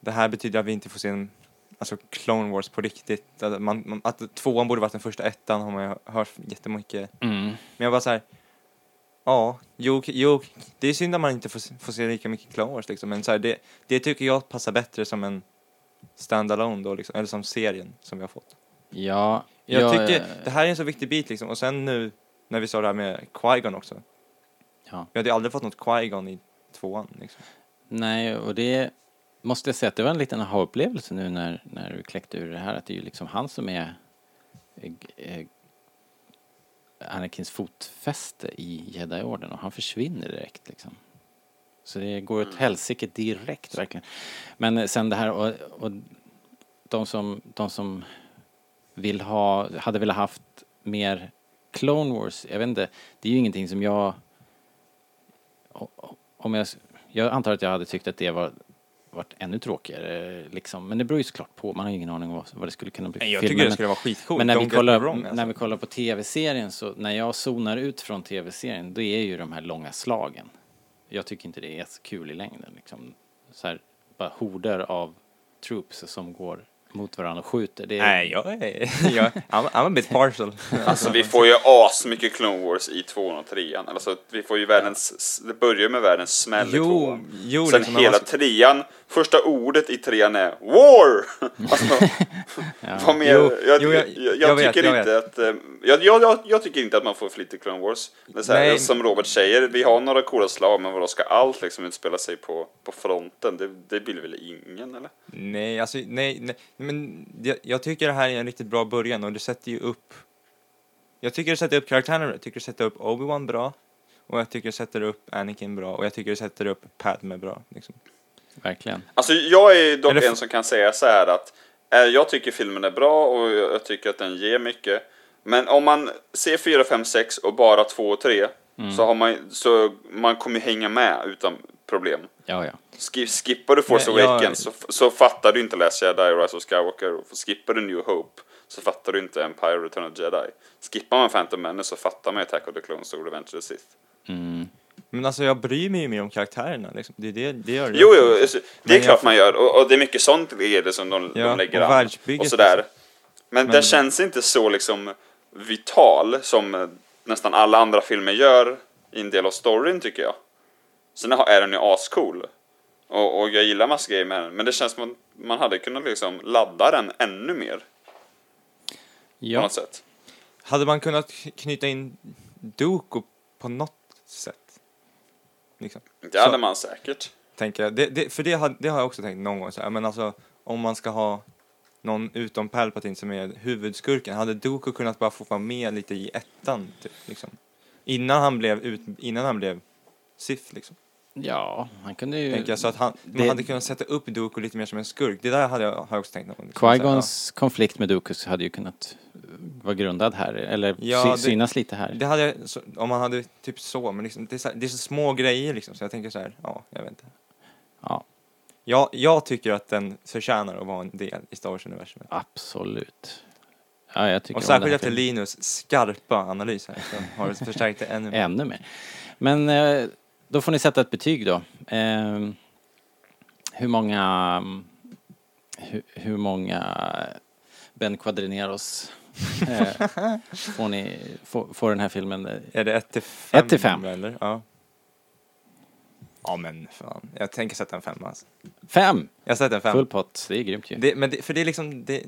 Speaker 3: det här betyder att vi inte får se en, alltså Clone Wars på riktigt. Att, man, man- att tvåan borde varit den första ettan har man ju hört jättemycket.
Speaker 1: Mm.
Speaker 3: Men jag bara så här, ja, jo, jo, det är synd att man inte får, se- får se lika mycket Clone Wars liksom. Men så här, det, det tycker jag passar bättre som en standalone då liksom, eller som serien som vi har fått.
Speaker 1: Ja,
Speaker 3: Jag
Speaker 1: ja,
Speaker 3: tycker
Speaker 1: eh,
Speaker 3: det här är en så viktig bit liksom. Och sen nu när vi sa det här med Qui-Gon också.
Speaker 1: Ja.
Speaker 3: Vi hade ju aldrig fått något Qui-Gon i tvåan liksom.
Speaker 1: Nej, och det måste jag säga att det var en liten aha-upplevelse nu när, när du kläckte ur det här. Att det är ju liksom han som är eh, eh, Anakins fotfäste i Jedi-orden och han försvinner direkt liksom. Så det går
Speaker 3: Mm.
Speaker 1: åt helsike direkt verkligen. Men eh, sen det här och, och de som, de som vill ha, hade velat haft mer Clone Wars, jag vet inte, det är ju ingenting som jag om jag, jag antar att jag hade tyckt att det var varit ännu tråkigare liksom. Men det beror ju såklart på, man har ju ingen aning om vad, vad det skulle kunna bli för
Speaker 3: Nej, jag
Speaker 1: filmer,
Speaker 3: tycker det
Speaker 1: men-
Speaker 3: skulle vara skitcoolt.
Speaker 1: men när
Speaker 3: Don't
Speaker 1: vi,
Speaker 3: get me
Speaker 1: kollar,
Speaker 3: wrong, alltså.
Speaker 1: när vi kollar på tv-serien så, när jag zonar ut från tv-serien, då är ju de här långa slagen. Jag tycker inte det är så kul i längden liksom. Så här, bara horder av troops som går mot varandra och skjuter. Det är,
Speaker 3: Nej, jag är... Jag, I'm, I'm a bit partial.
Speaker 4: alltså vi får ju asmycket Clone Wars i tvåan och trean. Alltså vi får ju världens, det börjar med världens smäll i
Speaker 3: Jo,
Speaker 4: tvåan.
Speaker 3: jo,
Speaker 4: Sen
Speaker 3: liksom, men
Speaker 4: hela
Speaker 3: alltså-
Speaker 4: trean, första ordet i trean är WAR! Alltså, vad mer?
Speaker 3: Jo,
Speaker 4: jag,
Speaker 3: jo, jag-
Speaker 4: jag,
Speaker 3: jag
Speaker 4: jag,
Speaker 3: vet,
Speaker 4: tycker
Speaker 3: jag
Speaker 4: inte att, eh, jag, jag, jag, jag tycker inte att man får för lite Clone Wars. Det är så här,
Speaker 3: Nej.
Speaker 4: som Robert säger, vi har några coola slag, men vadå, ska allt liksom utspela sig på, på fronten? Det, det vill väl ingen, eller?
Speaker 3: nej, alltså nej, nej. Men jag, jag tycker det här är en riktigt bra början och det sätter ju upp... Jag tycker det sätter upp karaktärerna bra. Jag tycker det sätter upp Obi-Wan bra. Och jag tycker det sätter upp Anakin bra. Och jag tycker det sätter upp Padme bra. Liksom.
Speaker 1: Verkligen.
Speaker 4: Alltså jag är dock
Speaker 3: Eller f-
Speaker 4: en som kan säga så här att eh, jag tycker filmen är bra och jag jag tycker att den ger mycket. Men om man ser 4, 5, 6 och bara 2 och 3
Speaker 3: Mm.
Speaker 4: så har man så man kommer ju hänga med utan problem.
Speaker 1: Ja, ja.
Speaker 4: Ski- Skippar du Force
Speaker 3: Men jag-
Speaker 4: Awakens så, f- så fattar du inte Last Jedi och Rise of Skywalker. Och Skippar du New Hope så fattar du inte Empire och Return of the Jedi. Skippar man Phantom Menace så fattar man ju Attack of the Clones och Revenge of the Sith.
Speaker 3: Men alltså jag bryr mig ju mer om karaktärerna. Liksom. Det, är det, det gör det.
Speaker 4: Jo, jo, alltså, det
Speaker 3: Men
Speaker 4: är
Speaker 3: jag-
Speaker 4: klart man gör. Och, och det är mycket sånt i det som de,
Speaker 3: Ja,
Speaker 4: de lägger
Speaker 3: och
Speaker 4: an.
Speaker 3: världsbygget
Speaker 4: Och sådär.
Speaker 3: liksom.
Speaker 4: Men, den känns inte så liksom vital som eh, nästan alla andra filmer gör i en del av storyn tycker jag. Sen har- är den ju ascool. Och, och jag gillar massa grejer med den. Men det känns som att man hade kunnat liksom ladda den ännu mer. På
Speaker 1: ja.
Speaker 4: något sätt.
Speaker 3: Hade man kunnat k- knyta in Dooku på något sätt? Liksom,
Speaker 4: Det hade man säkert.
Speaker 3: tänker jag. Det, det, för det har, det har jag också tänkt någon gång. Så här. Men alltså, om man ska ha någon utom Palpatine som är huvudskurken, hade Dooku kunnat bara få vara med lite i ettan? Typ, liksom? Innan han blev, ut, innan han blev Sith, liksom.
Speaker 1: ja, han kunde ju...
Speaker 3: Tänker jag. Så att han, man
Speaker 1: Det-
Speaker 3: hade kunnat sätta upp Dooku lite mer som en skurk. Det där hade jag, har jag också tänkt någon gång. liksom. Så här, ja.
Speaker 1: Qui-Gons konflikt med Dookus hade ju kunnat eh, vara grundad här, eller
Speaker 3: Ja,
Speaker 1: sy-
Speaker 3: det-
Speaker 1: synas lite här.
Speaker 3: Det hade jag, så, om man hade typ så, men liksom, det, är så här, det är så små grejer liksom, så jag tänker så här, ja, jag vet inte.
Speaker 1: Ja,
Speaker 3: Jag, jag tycker att den förtjänar att vara en del i Star Wars-universumet.
Speaker 1: absolut. Ja, jag tycker
Speaker 3: Och
Speaker 1: om
Speaker 3: särskilt
Speaker 1: den här
Speaker 3: efter
Speaker 1: filmen.
Speaker 3: Linus skarpa analys här, så har det förstärkt det ännu mer.
Speaker 1: Ännu mer. Men eh, då får ni sätta ett betyg då. Ehm, hur många... Hur, hur många Ben Quadrineros eh, får, ni, får, får den här filmen. eh,
Speaker 3: Är det 1 till 5?
Speaker 1: Ett till fem.
Speaker 3: Eller? Ja. ja men fan, jag tänker sätta en femma alltså.
Speaker 1: Fem!
Speaker 3: Jag sätter en femma.
Speaker 1: Full pott, det är grymt ju.
Speaker 3: Det, men det, för det är liksom, det,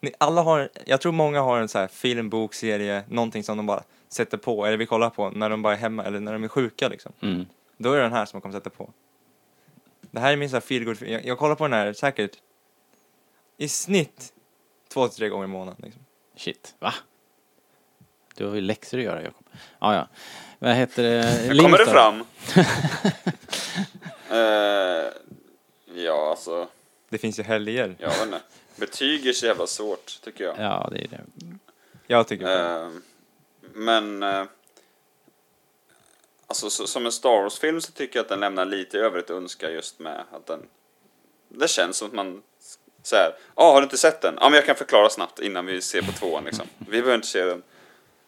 Speaker 3: ni alla har, jag tror många har en så här film, bok, serie, någonting som de bara sätter på, eller vi kollar på när de bara är hemma eller när de är sjuka liksom.
Speaker 1: Mm.
Speaker 3: Då är det den här som man kommer sätta på. Det här är min så här feel good, jag, jag kollar på den här säkert i snitt två till tre gånger i månaden. Liksom.
Speaker 1: Shit, va? Du har ju läxor att göra Jakob. Ja, ja. Vad heter det?
Speaker 4: Kommer det
Speaker 1: Lindstad?
Speaker 4: fram? Eh, ja, alltså.
Speaker 3: Det finns ju helger.
Speaker 4: Jag vet inte. Betyg är så jävla svårt, tycker jag.
Speaker 1: Ja, det är det.
Speaker 3: Jag tycker själv.
Speaker 4: Eh, men... eh, alltså, så, som en Star Wars-film så tycker jag att den lämnar lite övrigt att önska just med att den... Det känns som att man... Så här, ja, har du inte sett den? Ja, men jag kan förklara snabbt innan vi ser på tvåan liksom. Vi
Speaker 3: Mm.
Speaker 4: behöver inte se den.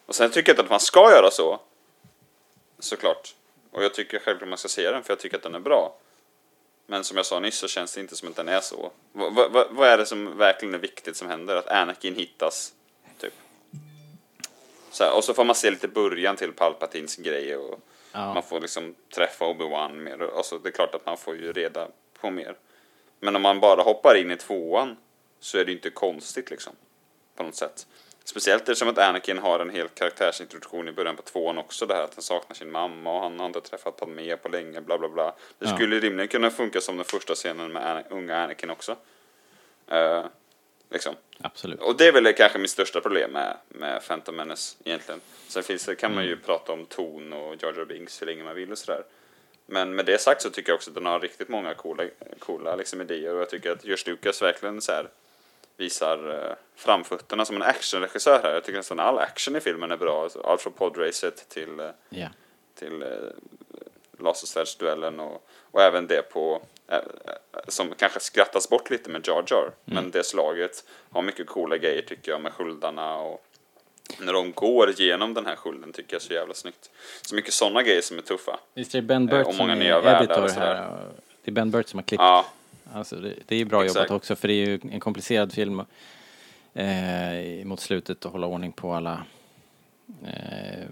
Speaker 4: Och sen tycker jag inte att man ska göra så. Såklart. Och jag tycker självklart man ska se den, för jag tycker att den är bra. Men som jag sa nyss så känns det inte som att den är så. Va, va, va, vad är det som verkligen är viktigt som händer? Att Anakin hittas, typ. Så här, och så får man se lite början till Palpatins grej och
Speaker 1: Ja.
Speaker 4: man får liksom träffa Obi-Wan mer. Och- Alltså, det är klart att man får ju reda på mer. Men om man bara hoppar in i tvåan så är det ju inte konstigt liksom. På något sätt. Speciellt eftersom att Anakin har en hel karaktärsintroduktion i början på tvåan också. Det här att han saknar sin mamma och han har inte träffat Padmé på länge, bla bla bla. Det
Speaker 1: Ja.
Speaker 4: skulle rimligen kunna funka som den första scenen med Ana- unga Anakin också. Eh, liksom.
Speaker 1: Absolut.
Speaker 4: Och det är väl kanske mitt största problem med, med Phantom Menace egentligen. Sen finns det, kan man ju prata om ton och Jar Jar Binks hur länge man vill och sådär. Men med det sagt så tycker jag också att den har riktigt många coola, coola liksom idéer och jag tycker att George Lucas verkligen så här visar eh, framfötterna som en actionregissör här. Jag tycker nästan all action i filmen är bra. Alltså, Allt från podracet till eh,
Speaker 1: Ja.
Speaker 4: till eh, lasersvärdsduellen och, och även det på eh, eh, som kanske skrattas bort lite med Jar Jar.
Speaker 3: Mm.
Speaker 4: Men det slaget har mycket coola grejer tycker jag med skuldarna och när de går genom den här skulden tycker jag är så jävla snyggt. Så mycket sådana grejer som är tuffa.
Speaker 1: Visst är det Ben
Speaker 4: Eh,
Speaker 1: Burt
Speaker 4: och
Speaker 1: som
Speaker 4: många
Speaker 1: är
Speaker 4: nya världar och
Speaker 1: editor
Speaker 4: sådär.
Speaker 1: här? och Det är Ben Burt som har klippt.
Speaker 4: Ja,
Speaker 1: Alltså, det, det är ju bra
Speaker 4: Exakt.
Speaker 1: jobbat också för det är ju en komplicerad film eh, mot slutet att hålla ordning på alla eh,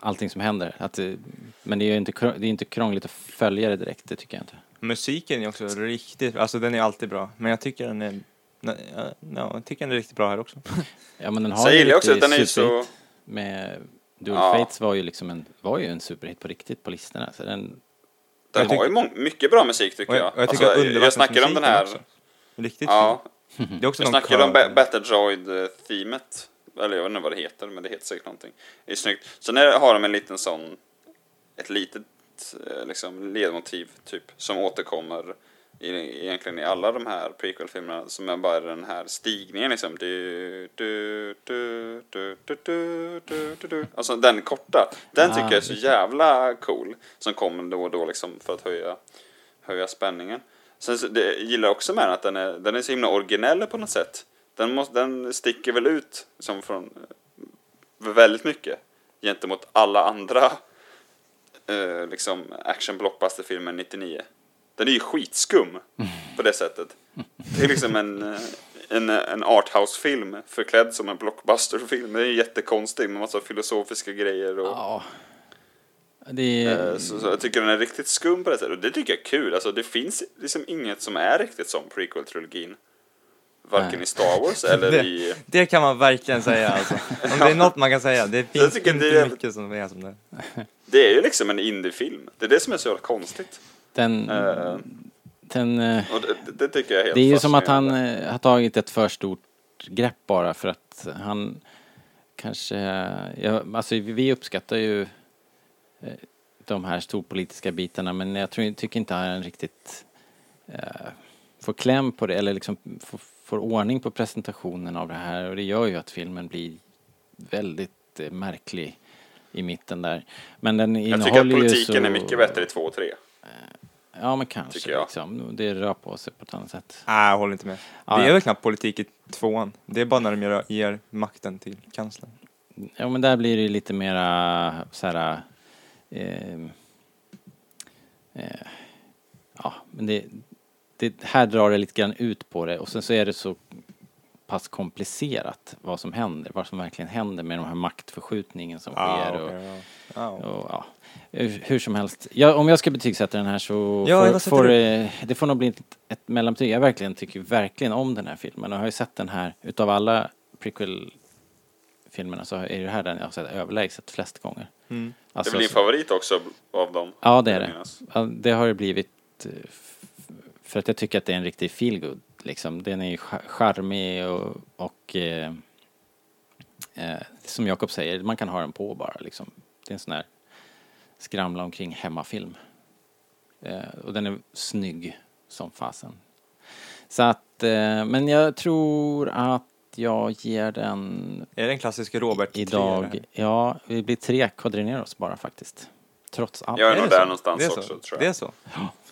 Speaker 1: allting som händer. Att, det- men det är ju inte, krå- det är inte krångligt att följa det direkt, det tycker jag inte.
Speaker 3: Musiken är också riktigt, alltså den är alltid bra. Men jag tycker den är, nej, ja, ja, jag tycker den är riktigt bra här också.
Speaker 1: Ja, men den har
Speaker 4: sen
Speaker 1: ju
Speaker 4: gillar jag också att
Speaker 1: riktig
Speaker 4: den är ju så...
Speaker 1: superhit Med Dual
Speaker 4: Ja.
Speaker 1: Fates var ju liksom en, var ju en superhit på riktigt på listorna. Så den,
Speaker 4: Den
Speaker 3: Jag tycker-
Speaker 4: har ju mång- mycket bra musik tycker
Speaker 3: Och jag,
Speaker 4: jag.
Speaker 3: och jag tycker
Speaker 4: alltså,
Speaker 3: alltså,
Speaker 4: jag, jag snackar om den här...
Speaker 3: Riktigt
Speaker 4: Ja,
Speaker 3: fin. Det är också
Speaker 4: Jag
Speaker 3: någon
Speaker 4: snackade om
Speaker 3: kör.
Speaker 4: Ba- Battledroid-teamet. Eller jag vet inte vad det heter, men det heter säkert någonting. Det är snyggt. Sen är, har de en liten sån, ett litet eh, liksom, ledmotiv typ, som återkommer i, egentligen i alla de här prequel-filmerna som är bara den här stigningen liksom. Du, du, du, du, du, du, du, du, du. Alltså den korta. Den
Speaker 3: Ah,
Speaker 4: tycker jag är så jävla cool. Som kommer då och då liksom för att höja höja spänningen. Sen så, det, jag gillar också med den att den är, den är så himla originell på något sätt. Den, måste, den sticker väl ut som från eh, väldigt mycket gentemot alla andra eh, liksom action blockbuster 99. Den är ju skitskum på det sättet. Det är liksom en, eh, en, en arthouse-film förklädd som en blockbuster-film. Den är ju jättekonstig med massa filosofiska grejer och
Speaker 1: ja. Det är,
Speaker 4: Eh, Så, så jag tycker den är riktigt skum på det sättet. Och det tycker jag är kul. Alltså det finns liksom inget som är riktigt som prequel-trilogin. Varken
Speaker 1: Nej.
Speaker 4: i Star Wars eller i...
Speaker 3: Det, det kan man verkligen säga alltså. Om det är något man kan säga, det finns
Speaker 4: tycker
Speaker 3: inte
Speaker 4: det är-
Speaker 3: mycket som är som det.
Speaker 4: Det är ju liksom en indiefilm. Det är det som är så jävla konstigt.
Speaker 1: den,
Speaker 4: Eh,
Speaker 1: den, eh,
Speaker 4: och det, det- det tycker jag är helt
Speaker 1: Det är ju som att han
Speaker 4: fascinerande.
Speaker 1: eh, har tagit ett för stort grepp bara för att han kanske, eh, ja, alltså vi- vi uppskattar ju eh, de här storpolitiska bitarna men jag tror, tycker inte han riktigt eh, får kläm på det eller liksom får, får ordning på presentationen av det här och det gör ju att filmen blir väldigt eh, märklig i mitten där. Men den
Speaker 4: Jag
Speaker 1: innehåller
Speaker 4: tycker att
Speaker 1: ju så...
Speaker 4: politiken är mycket bättre i 2 och 3.
Speaker 1: Ja men kanske
Speaker 4: tycker jag.
Speaker 1: liksom. Det rör på sig på ett annat sätt.
Speaker 3: Nej, jag håller inte med.
Speaker 1: Ja,
Speaker 3: Det
Speaker 1: ja.
Speaker 3: är väl knappt politik i tvåan. Det är bara när de ger, ger makten till kanslern.
Speaker 1: Ja men där blir det ju lite mera så här, eh, eh, ja men det, det, här drar det lite grann ut på det och sen så är det så pass komplicerat vad som händer, vad som verkligen händer med de här maktförskjutningen som
Speaker 3: Ah,
Speaker 1: sker. Och,
Speaker 3: okej, ja. Ah, okej.
Speaker 1: och, ja. hur, hur som helst, ja, om jag ska betygsätta den här så
Speaker 3: Ja,
Speaker 1: får,
Speaker 3: vad sätter
Speaker 1: får,
Speaker 3: du?
Speaker 1: eh, det får nog bli ett, ett mellanbetyg. Jag verkligen, tycker verkligen om den här filmen och jag har ju sett den här, utav alla prequel-filmerna så är det här den jag har sett överlägset flest gånger.
Speaker 4: Det
Speaker 3: Mm.
Speaker 1: Alltså,
Speaker 4: är väl din favorit också av dem?
Speaker 1: Ja, det är
Speaker 4: Jag
Speaker 1: det.
Speaker 4: minns.
Speaker 1: Ja, det har det blivit. eh, f- För att jag tycker att det är en riktig feelgood. Liksom. Den är ju cha- charmig och, och eh, eh, som Jakob säger, man kan ha den på bara. Liksom. Det är en sån här skramla omkring hemmafilm. Eh, och den är snygg som fasen. Så att, eh, men jag tror att jag ger den
Speaker 3: Är det en klassisk Robert
Speaker 1: idag,
Speaker 3: Trier?
Speaker 1: ja, vi blir tre quadrineros bara faktiskt. Trots allt.
Speaker 4: Jag är
Speaker 3: Är
Speaker 4: nog
Speaker 3: det
Speaker 4: där
Speaker 3: så?
Speaker 4: någonstans
Speaker 3: det är så.
Speaker 4: också, tror jag.
Speaker 3: Det är så?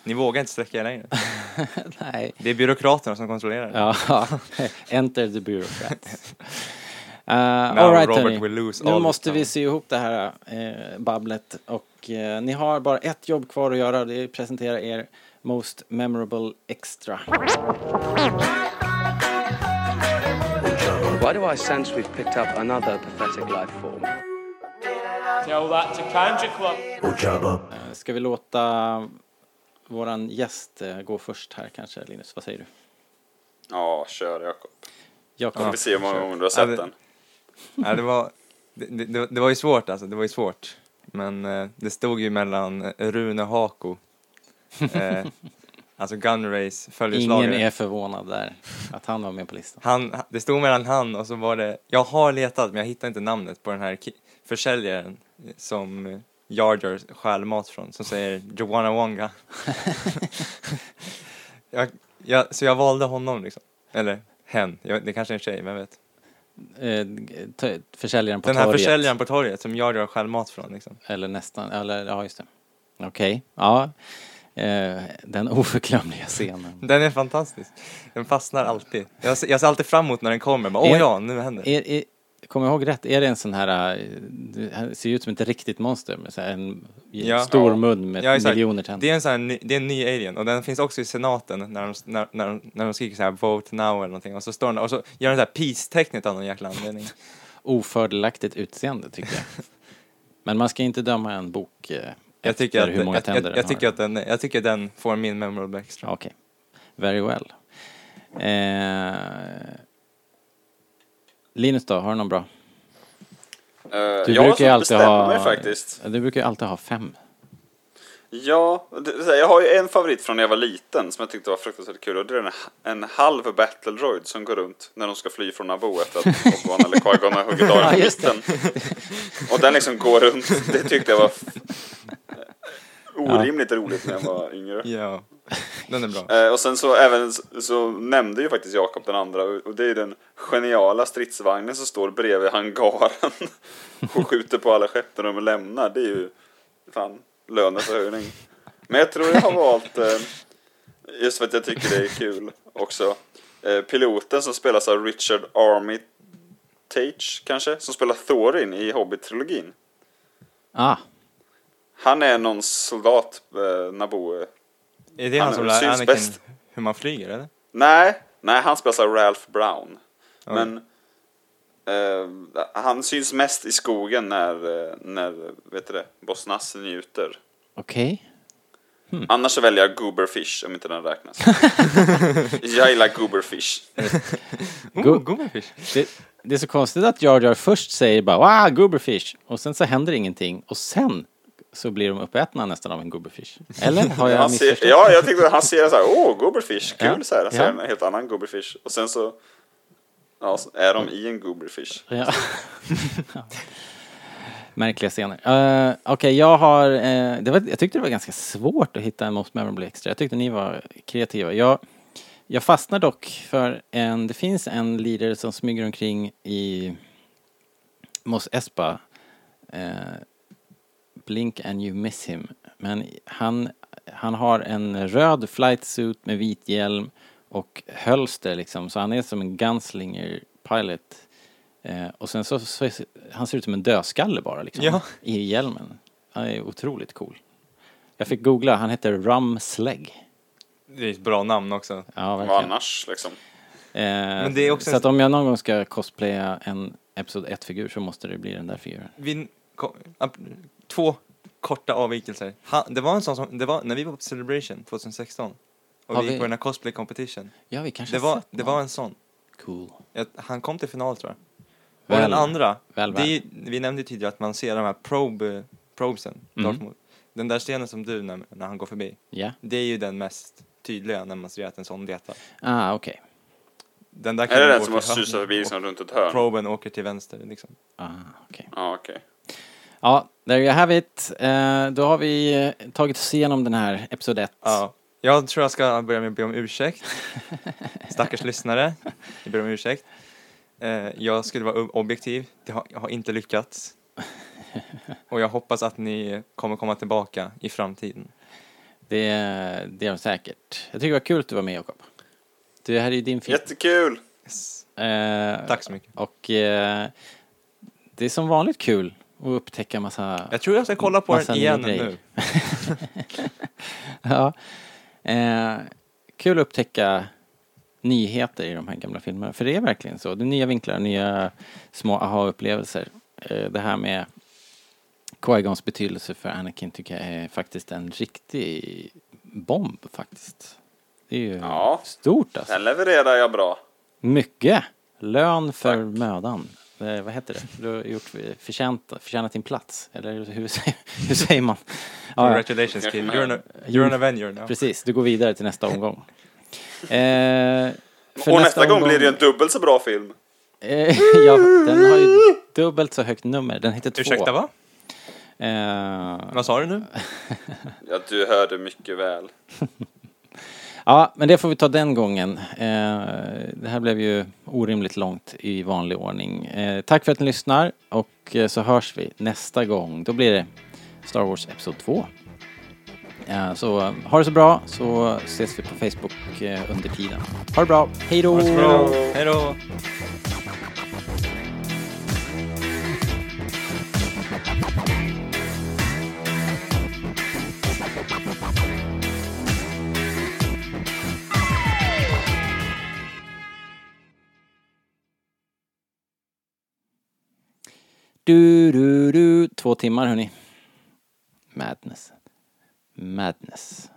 Speaker 3: Ni vågar inte sträcka er längre?
Speaker 1: Nej.
Speaker 3: Det är byråkraterna som kontrollerar det.
Speaker 1: Ja, enter the bureaucrats. Uh,
Speaker 3: Now
Speaker 1: all right,
Speaker 3: Robert
Speaker 1: hörni.
Speaker 3: will lose
Speaker 1: Nu
Speaker 3: all
Speaker 1: måste
Speaker 3: his
Speaker 1: vi
Speaker 3: time.
Speaker 1: sy ihop det här eh, babblet och eh, ni har bara ett jobb kvar att göra. Det är att presentera er Most Memorable Extra.
Speaker 8: Why do I sense we've picked up another pathetic life form?
Speaker 9: Tell that to Country Club.
Speaker 1: Eh, Ska vi låta våran gäst eh, gå först här kanske, Linus? Vad säger du?
Speaker 4: Ja, kör Jakob.
Speaker 1: Jakob?
Speaker 4: Vi får se hur många
Speaker 3: kör.
Speaker 4: gånger du har
Speaker 3: Ja,
Speaker 4: sett
Speaker 3: det-
Speaker 4: den.
Speaker 3: Ja, det, var, det, det, det var ju svårt alltså, det var ju svårt. Men eh, det stod ju mellan eh, Rune Hako, eh, alltså Gunrays följeslagare.
Speaker 1: Ingen är förvånad där, att han var med på listan.
Speaker 3: han, det stod mellan han och så var det, jag har letat men jag hittar inte namnet på den här ki- försäljaren som eh, Jar Jar stjäl mat från, som säger Joanna Wonga. jag, jag, så jag valde honom liksom, eller hen, jag, det kanske är en tjej, vem vet.
Speaker 1: Eh, t- försäljaren på
Speaker 3: Den här
Speaker 1: torget.
Speaker 3: försäljaren på torget som Jar Jar stjäl mat från liksom.
Speaker 1: Eller nästan, eller ja just det. Okej, ja. Eh, den oförglömliga scenen.
Speaker 3: Den är fantastisk. Den fastnar alltid. Jag ser, jag ser alltid fram emot när den kommer. Bara, Åh
Speaker 1: Är-
Speaker 3: ja, nu händer det.
Speaker 1: är, är, kommer jag ihåg rätt, är det en sån här, eh, det ser ju ut som ett riktigt monster med så här en
Speaker 3: Ja.
Speaker 1: stor
Speaker 3: Ja.
Speaker 1: mun med
Speaker 3: Ja, exakt.
Speaker 1: miljoner
Speaker 3: Det
Speaker 1: tänder?
Speaker 3: är en, sån här, ny- det är en ny alien och den finns också i senaten när de, när, när, de- när de skriker så här vote now eller någonting och så står den och så gör den så här peace-tecknet av någon jäkla anledning.
Speaker 1: Ofördelaktigt utseende tycker jag. Men man ska inte döma en bok eh,
Speaker 3: Jag tycker
Speaker 1: efter
Speaker 3: att,
Speaker 1: hur många
Speaker 3: jag,
Speaker 1: tänder
Speaker 3: jag, jag,
Speaker 1: den
Speaker 3: tycker
Speaker 1: har.
Speaker 3: att den, jag tycker att den får min memorable extra.
Speaker 1: Okej. Very well. Eh, Linus då, har du någon bra?
Speaker 4: Eh,
Speaker 1: Du
Speaker 4: jag har
Speaker 1: brukar ju
Speaker 4: svårt att
Speaker 1: alltid
Speaker 4: bestämma
Speaker 1: ha...
Speaker 4: mig faktiskt.
Speaker 1: Du brukar ju alltid ha fem.
Speaker 4: Ja, det- det, är så här, jag har ju en favorit från när jag var liten som jag tyckte var fruktansvärt kul och det är en, en halv battle droid som går runt när de ska fly från Naboo efter att Obi-Wan eller Qui-Gon har huggit av
Speaker 1: Ja,
Speaker 4: den i
Speaker 1: just det.
Speaker 4: mitten. Och den liksom går runt, det tyckte jag var f- orimligt roligt när jag var yngre.
Speaker 3: Ja, den är bra.
Speaker 4: Eh, och sen så även s- så nämnde ju faktiskt Jakob den andra och och det är ju den geniala stridsvagnen som står bredvid hangaren och skjuter på alla skepp när de lämnar. Det är ju fan löneförhöjning. Men jag tror jag har valt eh, just för att jag tycker det är kul också. Eh, piloten som spelas av Richard Armitage kanske, som spelar Thorin i Hobbit-trilogin.
Speaker 1: Ah,
Speaker 4: Han är någon soldat, eh, Naboo.
Speaker 3: Är det han,
Speaker 4: han
Speaker 3: som
Speaker 4: syns
Speaker 3: lär Anakin
Speaker 4: bäst.
Speaker 3: hur man flyger eller?
Speaker 4: Nej, nej han spelas av Ralph Brown. Men eh, han syns mest i skogen när, eh, när vet du det, Boss Nass njuter.
Speaker 1: okej. Mm.
Speaker 4: Annars så väljer jag Gooberfish om inte den räknas. jag gillar Gooberfish.
Speaker 1: Go-
Speaker 4: Mm.
Speaker 3: Oh, Gooberfish!
Speaker 1: Det, det är så konstigt att Jar Jar först säger bara wow, gooberfish och sen så händer ingenting och sen så blir de uppätna nästan av en gooberfish. Eller har jag
Speaker 4: Han ser,
Speaker 1: missförstått?
Speaker 4: ja, jag tänkte att han ser så här, åh Gooberfish, kul
Speaker 1: Ja,
Speaker 4: så här. Så är
Speaker 1: ja.
Speaker 4: det en helt annan Gooberfish. Och sen så ja, så är de i en Gooberfish.
Speaker 1: Ja. Märkliga scener. Eh, Okej, jag har... eh, det var, jag tyckte det var ganska svårt att hitta en Most Memorable Extra. Jag tyckte ni var kreativa. Jag, jag fastnar dock för en... Det finns en leader som smyger omkring i Mos Espa. eh, blink and you miss him. Men han, han har en röd flight suit med vit hjälm och hölster liksom. Så han är som en gunslinger pilot. Eh, och sen så, så, han ser ut som en dödskalle bara liksom.
Speaker 3: Ja.
Speaker 1: I hjälmen. Han är otroligt cool. Jag fick googla, han heter Rum Slegg.
Speaker 3: Det är ett bra namn också.
Speaker 1: Ja,
Speaker 4: Vad
Speaker 1: verkligen.
Speaker 4: annars liksom?
Speaker 1: Men
Speaker 3: det är också
Speaker 1: Eh, så
Speaker 3: en-
Speaker 1: att om jag någon gång ska cosplaya en Episod 1-figur så måste det bli den där figuren.
Speaker 3: Vi, ko- ap- två korta avvikelser. Ha, det var en sån som, det var när vi var på Celebration 2016 och
Speaker 1: Har
Speaker 3: vi gick
Speaker 1: vi-
Speaker 3: på den här cosplay competition.
Speaker 1: Ja, vi kanske
Speaker 3: Det
Speaker 1: har
Speaker 3: var,
Speaker 1: sett
Speaker 3: det
Speaker 1: någon.
Speaker 3: var en sån.
Speaker 1: Cool.
Speaker 3: Jag, han kom till final tror jag. Och
Speaker 1: Väl-
Speaker 3: den andra,
Speaker 1: väl,
Speaker 3: det är, vi nämnde ju tidigare att man ser de här probe, probesen,
Speaker 1: Mm.
Speaker 3: Darth Maul. Den där stenen som du när, när han går förbi,
Speaker 1: Ja.
Speaker 3: det är ju den mest tydliga när man ser att en sån letar.
Speaker 1: Ah, okej.
Speaker 3: Den där kan
Speaker 4: Är det
Speaker 3: ju
Speaker 4: den
Speaker 3: gå
Speaker 4: som har
Speaker 3: till höger
Speaker 4: susat förbi
Speaker 3: och
Speaker 4: liksom runt ett hörn? Ja,
Speaker 3: Proben åker till vänster liksom.
Speaker 1: Ah, okej.
Speaker 4: okej.
Speaker 1: Ja, there you have it. Eh, då har vi eh, tagit oss igenom den här Episod 1.
Speaker 3: Ja, jag tror jag ska börja med att be om ursäkt. Stackars lyssnare, jag ber om ursäkt. Eh, Jag skulle vara ob- objektiv, det har, jag har inte lyckats. Och jag hoppas att ni kommer komma tillbaka i framtiden.
Speaker 1: Det, det är de säkert. Jag tycker det var kul att du var med, Jakob. Det här är ju din film.
Speaker 4: Jättekul!
Speaker 3: Yes.
Speaker 1: Eh,
Speaker 3: Tack så mycket.
Speaker 1: Och eh, det är som vanligt kul att upptäcka massa...
Speaker 3: Jag tror jag ska kolla på
Speaker 1: Massa
Speaker 3: den
Speaker 1: nya
Speaker 3: igen
Speaker 1: grejer.
Speaker 3: nu.
Speaker 1: Ja. Eh, kul att upptäcka nyheter i de här gamla filmerna. För det är verkligen så. Det är nya vinklar, nya små aha-upplevelser. Eh, det här med Qui-Gons betydelse för Anakin tycker jag är faktiskt en riktig bomb faktiskt. Det är ju
Speaker 4: Ja.
Speaker 1: stort alltså.
Speaker 4: Den levererar jag bra.
Speaker 1: Mycket! Lön för mödan. Eh, vad heter det? Du har gjort förtjänt, förtjänat din plats. Eller hur, säger- hur säger man? Ja, ja.
Speaker 3: Congratulations Kim, you're, an- you're an Avenger now.
Speaker 1: Precis, du går vidare till nästa omgång. Eh, för
Speaker 4: Och nästa, gång blir det ju en dubbelt så bra film.
Speaker 1: Eh, ja, den har ju dubbelt så högt nummer. Den heter två.
Speaker 3: Ursäkta va?
Speaker 1: Eh,
Speaker 3: Vad sa du nu?
Speaker 4: Ja, du hörde mycket väl.
Speaker 1: ja, men det får vi ta den gången. Eh, det här blev ju orimligt långt i vanlig ordning. Eh, tack för att ni lyssnar och eh, så hörs vi nästa gång. Då blir det Star Wars Episod 2. Eh, så eh, ha det så bra så ses vi på Facebook eh, under tiden. Ha det bra, hej då!
Speaker 3: Hej då!
Speaker 1: Du, du, du. Två timmar hörni. Madness. Madness.